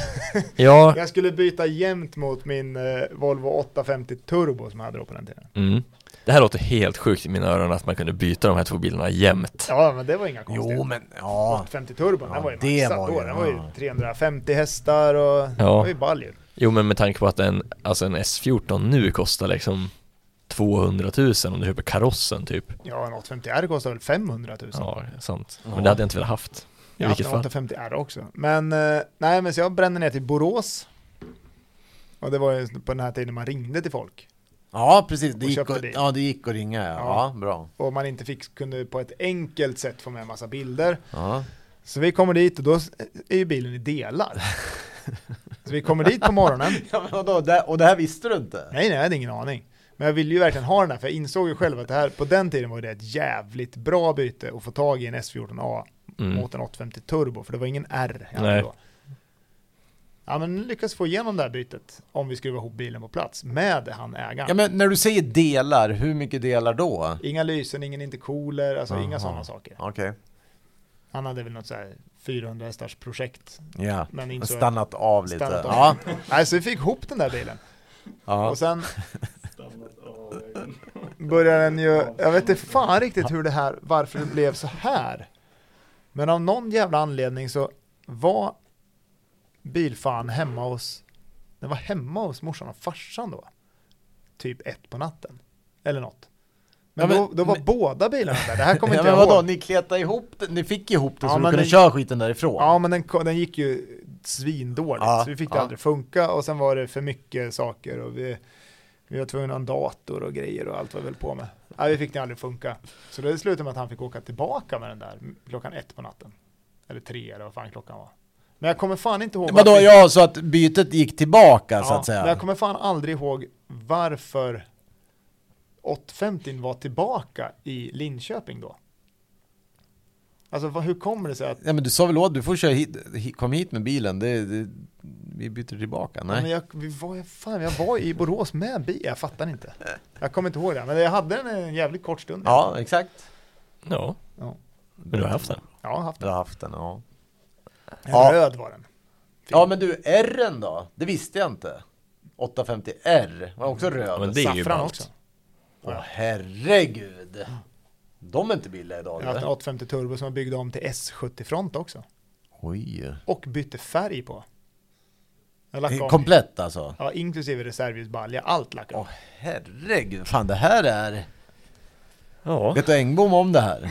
[SPEAKER 8] Ja,
[SPEAKER 3] Jag skulle byta jämt mot min eh, Volvo 850 Turbo som jag hade då på den tiden.
[SPEAKER 8] mm. Det här låter helt sjukt i mina öron att man kunde byta de här två bilarna jämt
[SPEAKER 3] Ja, men det var inga konstigheter.
[SPEAKER 1] Jo men ja,
[SPEAKER 3] 850 Turbo,
[SPEAKER 1] Ja,
[SPEAKER 3] den var ju
[SPEAKER 1] det
[SPEAKER 3] maxad
[SPEAKER 1] var
[SPEAKER 3] då.
[SPEAKER 1] ju-
[SPEAKER 3] Den var ju 350 hästar och det var ju ball ju.
[SPEAKER 8] Jo men med tanke på att en, alltså en S14 nu kostar liksom 200 000 om du köper karossen typ
[SPEAKER 3] Ja, en 850 R kostar väl 500 000.
[SPEAKER 8] Ja, sant Men det hade jag inte velat haft I
[SPEAKER 3] jag har haft
[SPEAKER 8] vilket
[SPEAKER 3] en
[SPEAKER 8] fall
[SPEAKER 3] 850 R också. Men eh, nej, men så jag brände ner till Borås. Och det var ju på den här tiden man ringde till folk.
[SPEAKER 1] ja precis. Det
[SPEAKER 3] Och
[SPEAKER 1] gick
[SPEAKER 3] köpte
[SPEAKER 1] att,
[SPEAKER 3] det.
[SPEAKER 1] ja, det gick att ringa ja.
[SPEAKER 3] Ja.
[SPEAKER 1] ja bra.
[SPEAKER 3] Och man inte fick, kunde på ett enkelt sätt få med massa bilder.
[SPEAKER 1] Ja.
[SPEAKER 3] Så vi kommer dit och då är ju bilen i delar. Så vi kommer dit på morgonen.
[SPEAKER 1] Ja, men vadå, det, och det här visste du inte?
[SPEAKER 3] Nej, nej, jag hade ingen aning. Men jag ville ju verkligen ha den här, för jag insåg ju själv att det här, på den tiden var det ett jävligt bra byte att få tag i en S14A
[SPEAKER 8] mm.
[SPEAKER 3] mot en 850 Turbo, för det var ingen R jag hade
[SPEAKER 8] Nej.
[SPEAKER 3] då. Ja, men lyckas få igenom det här bytet om vi skruvar ihop bilen på plats med han ägaren.
[SPEAKER 1] Ja men när du säger delar, hur mycket delar då?
[SPEAKER 3] Inga lysen, ingen intercooler, alltså inga
[SPEAKER 1] Aha.
[SPEAKER 3] sådana saker.
[SPEAKER 1] Okej.
[SPEAKER 3] Han hade väl något så här 400 hästars projekt.
[SPEAKER 1] Ja.
[SPEAKER 3] Men
[SPEAKER 1] Och
[SPEAKER 3] insåg att-
[SPEAKER 1] Stannat av lite.
[SPEAKER 3] Stannat av.
[SPEAKER 1] Ja.
[SPEAKER 3] Nej, så vi fick ihop den där bilen.
[SPEAKER 1] ja.
[SPEAKER 3] Och sen
[SPEAKER 4] Stannat av vägen.
[SPEAKER 3] börjar den ju, jag vet inte fan riktigt hur det här, varför det blev så här. Men av någon jävla anledning så var bilfan hemma hos, den var hemma hos morsan och farsan då. Typ ett på natten. Eller något. Men,
[SPEAKER 1] Ja, men-
[SPEAKER 3] då, då var
[SPEAKER 1] men-
[SPEAKER 3] båda bilarna där, det här kommer
[SPEAKER 1] ja,
[SPEAKER 3] inte
[SPEAKER 1] men
[SPEAKER 3] jag
[SPEAKER 1] vadå,
[SPEAKER 3] ihåg.
[SPEAKER 1] ni kletade ihop det, ni fick ihop det
[SPEAKER 3] Ja,
[SPEAKER 1] så du
[SPEAKER 3] men
[SPEAKER 1] kunde
[SPEAKER 3] det-
[SPEAKER 1] köra skiten därifrån?
[SPEAKER 3] Ja men den, ko- den gick ju svindåligt
[SPEAKER 1] Ja,
[SPEAKER 3] så vi fick det
[SPEAKER 1] ja.
[SPEAKER 3] aldrig funka och sen var det för mycket saker och vi, vi var tvungna att ha en dator och grejer och allt vad vi höll på med. Nej vi fick det aldrig funka. Så det slutade med att han fick åka tillbaka med den där m- klockan ett på natten. Eller tre eller vad fan klockan var. Men jag kommer fan inte ihåg
[SPEAKER 1] Vadå,
[SPEAKER 3] varför-
[SPEAKER 1] ja så att bytet gick tillbaka så
[SPEAKER 3] Ja,
[SPEAKER 1] att säga?
[SPEAKER 3] Men jag kommer fan aldrig ihåg varför 850 var tillbaka i Linköping då. Alltså vad- hur kommer det sig att
[SPEAKER 1] Ja men du sa väl åt, du får köra hit, hit kom hit med bilen, det, det, vi byter tillbaka,
[SPEAKER 3] Ja, Men
[SPEAKER 1] nej?
[SPEAKER 3] jag, vi var, jag- fan, jag var i Borås med bil, jag fattar inte. Jag kommer inte ihåg det, men jag hade den en jävligt kort stund.
[SPEAKER 1] Ja, exakt.
[SPEAKER 8] Ja,
[SPEAKER 3] Ja.
[SPEAKER 8] men du har haft den
[SPEAKER 3] Ja, jag har haft
[SPEAKER 1] Du har haft den, ja.
[SPEAKER 3] den.
[SPEAKER 1] Ja.
[SPEAKER 3] Röd var den.
[SPEAKER 1] Ja men du, R'n då? Det visste jag inte. 850 R var också
[SPEAKER 8] ja,
[SPEAKER 1] röd.
[SPEAKER 8] men det är ju
[SPEAKER 3] Saffran
[SPEAKER 8] ballt
[SPEAKER 3] också.
[SPEAKER 1] Åh herregud! De är inte billiga idag
[SPEAKER 3] Jag har haft
[SPEAKER 1] eller?
[SPEAKER 3] en 850 Turbo som jag byggde om till S70 Front också.
[SPEAKER 1] Oj.
[SPEAKER 3] Och bytte färg på. Jag lackade om.
[SPEAKER 1] Komplett alltså?
[SPEAKER 3] Ja, inklusive reservljusbalja, allt lackade
[SPEAKER 1] Åh
[SPEAKER 3] om.
[SPEAKER 1] herregud, fan det här är...
[SPEAKER 8] Ja,
[SPEAKER 1] Vet du Engblom om det här?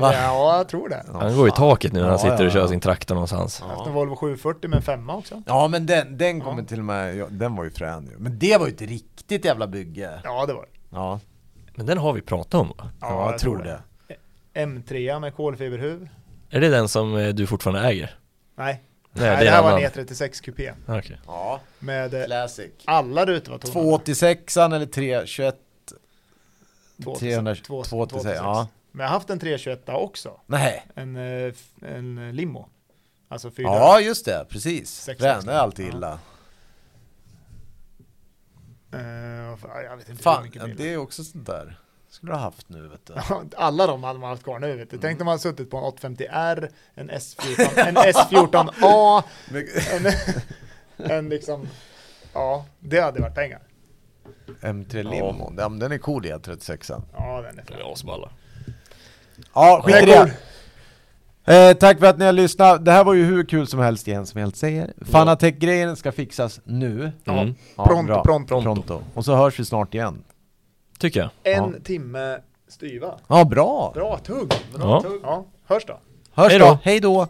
[SPEAKER 1] Va?
[SPEAKER 3] Ja, jag tror det.
[SPEAKER 8] han går i taket nu när han
[SPEAKER 1] Ja,
[SPEAKER 8] sitter och
[SPEAKER 1] ja,
[SPEAKER 8] kör
[SPEAKER 1] ja.
[SPEAKER 8] sin traktor någonstans
[SPEAKER 3] Jag har haft en Volvo 740 med en femma också.
[SPEAKER 1] Ja men den, den kommer till och med, ja, den var ju frän ju. Men det var ju ett riktigt jävla bygge.
[SPEAKER 3] Ja, det var det.
[SPEAKER 1] Ja,
[SPEAKER 8] Men den har vi pratat om va?
[SPEAKER 1] ja, jag, tror det.
[SPEAKER 3] M3 med kolfiberhuv.
[SPEAKER 8] Är det den som eh, du fortfarande äger?
[SPEAKER 3] Nej,
[SPEAKER 8] Nej,
[SPEAKER 3] Nej
[SPEAKER 8] är
[SPEAKER 3] det, här
[SPEAKER 8] en
[SPEAKER 3] var
[SPEAKER 8] annan.
[SPEAKER 3] en E36 kupé.
[SPEAKER 8] Ah, okej.
[SPEAKER 1] Ja,
[SPEAKER 3] Med eh,
[SPEAKER 1] classic.
[SPEAKER 3] alla rutor var tonade.
[SPEAKER 1] 286an eller 321? 300,
[SPEAKER 3] 286.
[SPEAKER 1] 286, ja.
[SPEAKER 3] Men jag har haft en 321 också,
[SPEAKER 1] Nej.
[SPEAKER 3] en, eh, f- en limo. Alltså fyra.
[SPEAKER 1] Ja just det, precis.
[SPEAKER 3] Sex,
[SPEAKER 1] Frän
[SPEAKER 3] sex.
[SPEAKER 1] är alltid
[SPEAKER 3] Ja.
[SPEAKER 1] illa.
[SPEAKER 3] Eh, och fan, jag vet inte hur
[SPEAKER 1] Fan,
[SPEAKER 3] mycket
[SPEAKER 1] ja,
[SPEAKER 3] bilar.
[SPEAKER 1] det är också sånt där. Skulle du ha haft nu vet du.
[SPEAKER 3] Alla de hade man haft kvar nu vet du.
[SPEAKER 1] Mm.
[SPEAKER 3] Tänk om man hade suttit på en 850R, en S14, en S14A, en, en liksom, ja, det hade varit pengar.
[SPEAKER 1] M3 Limo, ja. men den är cool i 36an.
[SPEAKER 3] Ja, den är
[SPEAKER 8] Den
[SPEAKER 3] fin.
[SPEAKER 8] är asballa
[SPEAKER 1] Ja, skit i
[SPEAKER 3] Den är cool.
[SPEAKER 1] det. Eh, tack för att ni har lyssnat. Det här var ju hur kul som helst igen som helt säger. Fanatec-grejen ska fixas nu.
[SPEAKER 8] mm.
[SPEAKER 1] Ja,
[SPEAKER 3] Pronto,
[SPEAKER 1] bra.
[SPEAKER 3] pronto.
[SPEAKER 1] pronto. Och så hörs vi snart igen.
[SPEAKER 8] Tycker jag
[SPEAKER 3] En
[SPEAKER 1] Ja.
[SPEAKER 3] timme styva.
[SPEAKER 1] Ja, bra.
[SPEAKER 3] Bra tugg.
[SPEAKER 8] Ja.
[SPEAKER 3] tugg. Ja, hörs då.
[SPEAKER 1] Hörs
[SPEAKER 8] Hej då.
[SPEAKER 1] då. Hej då.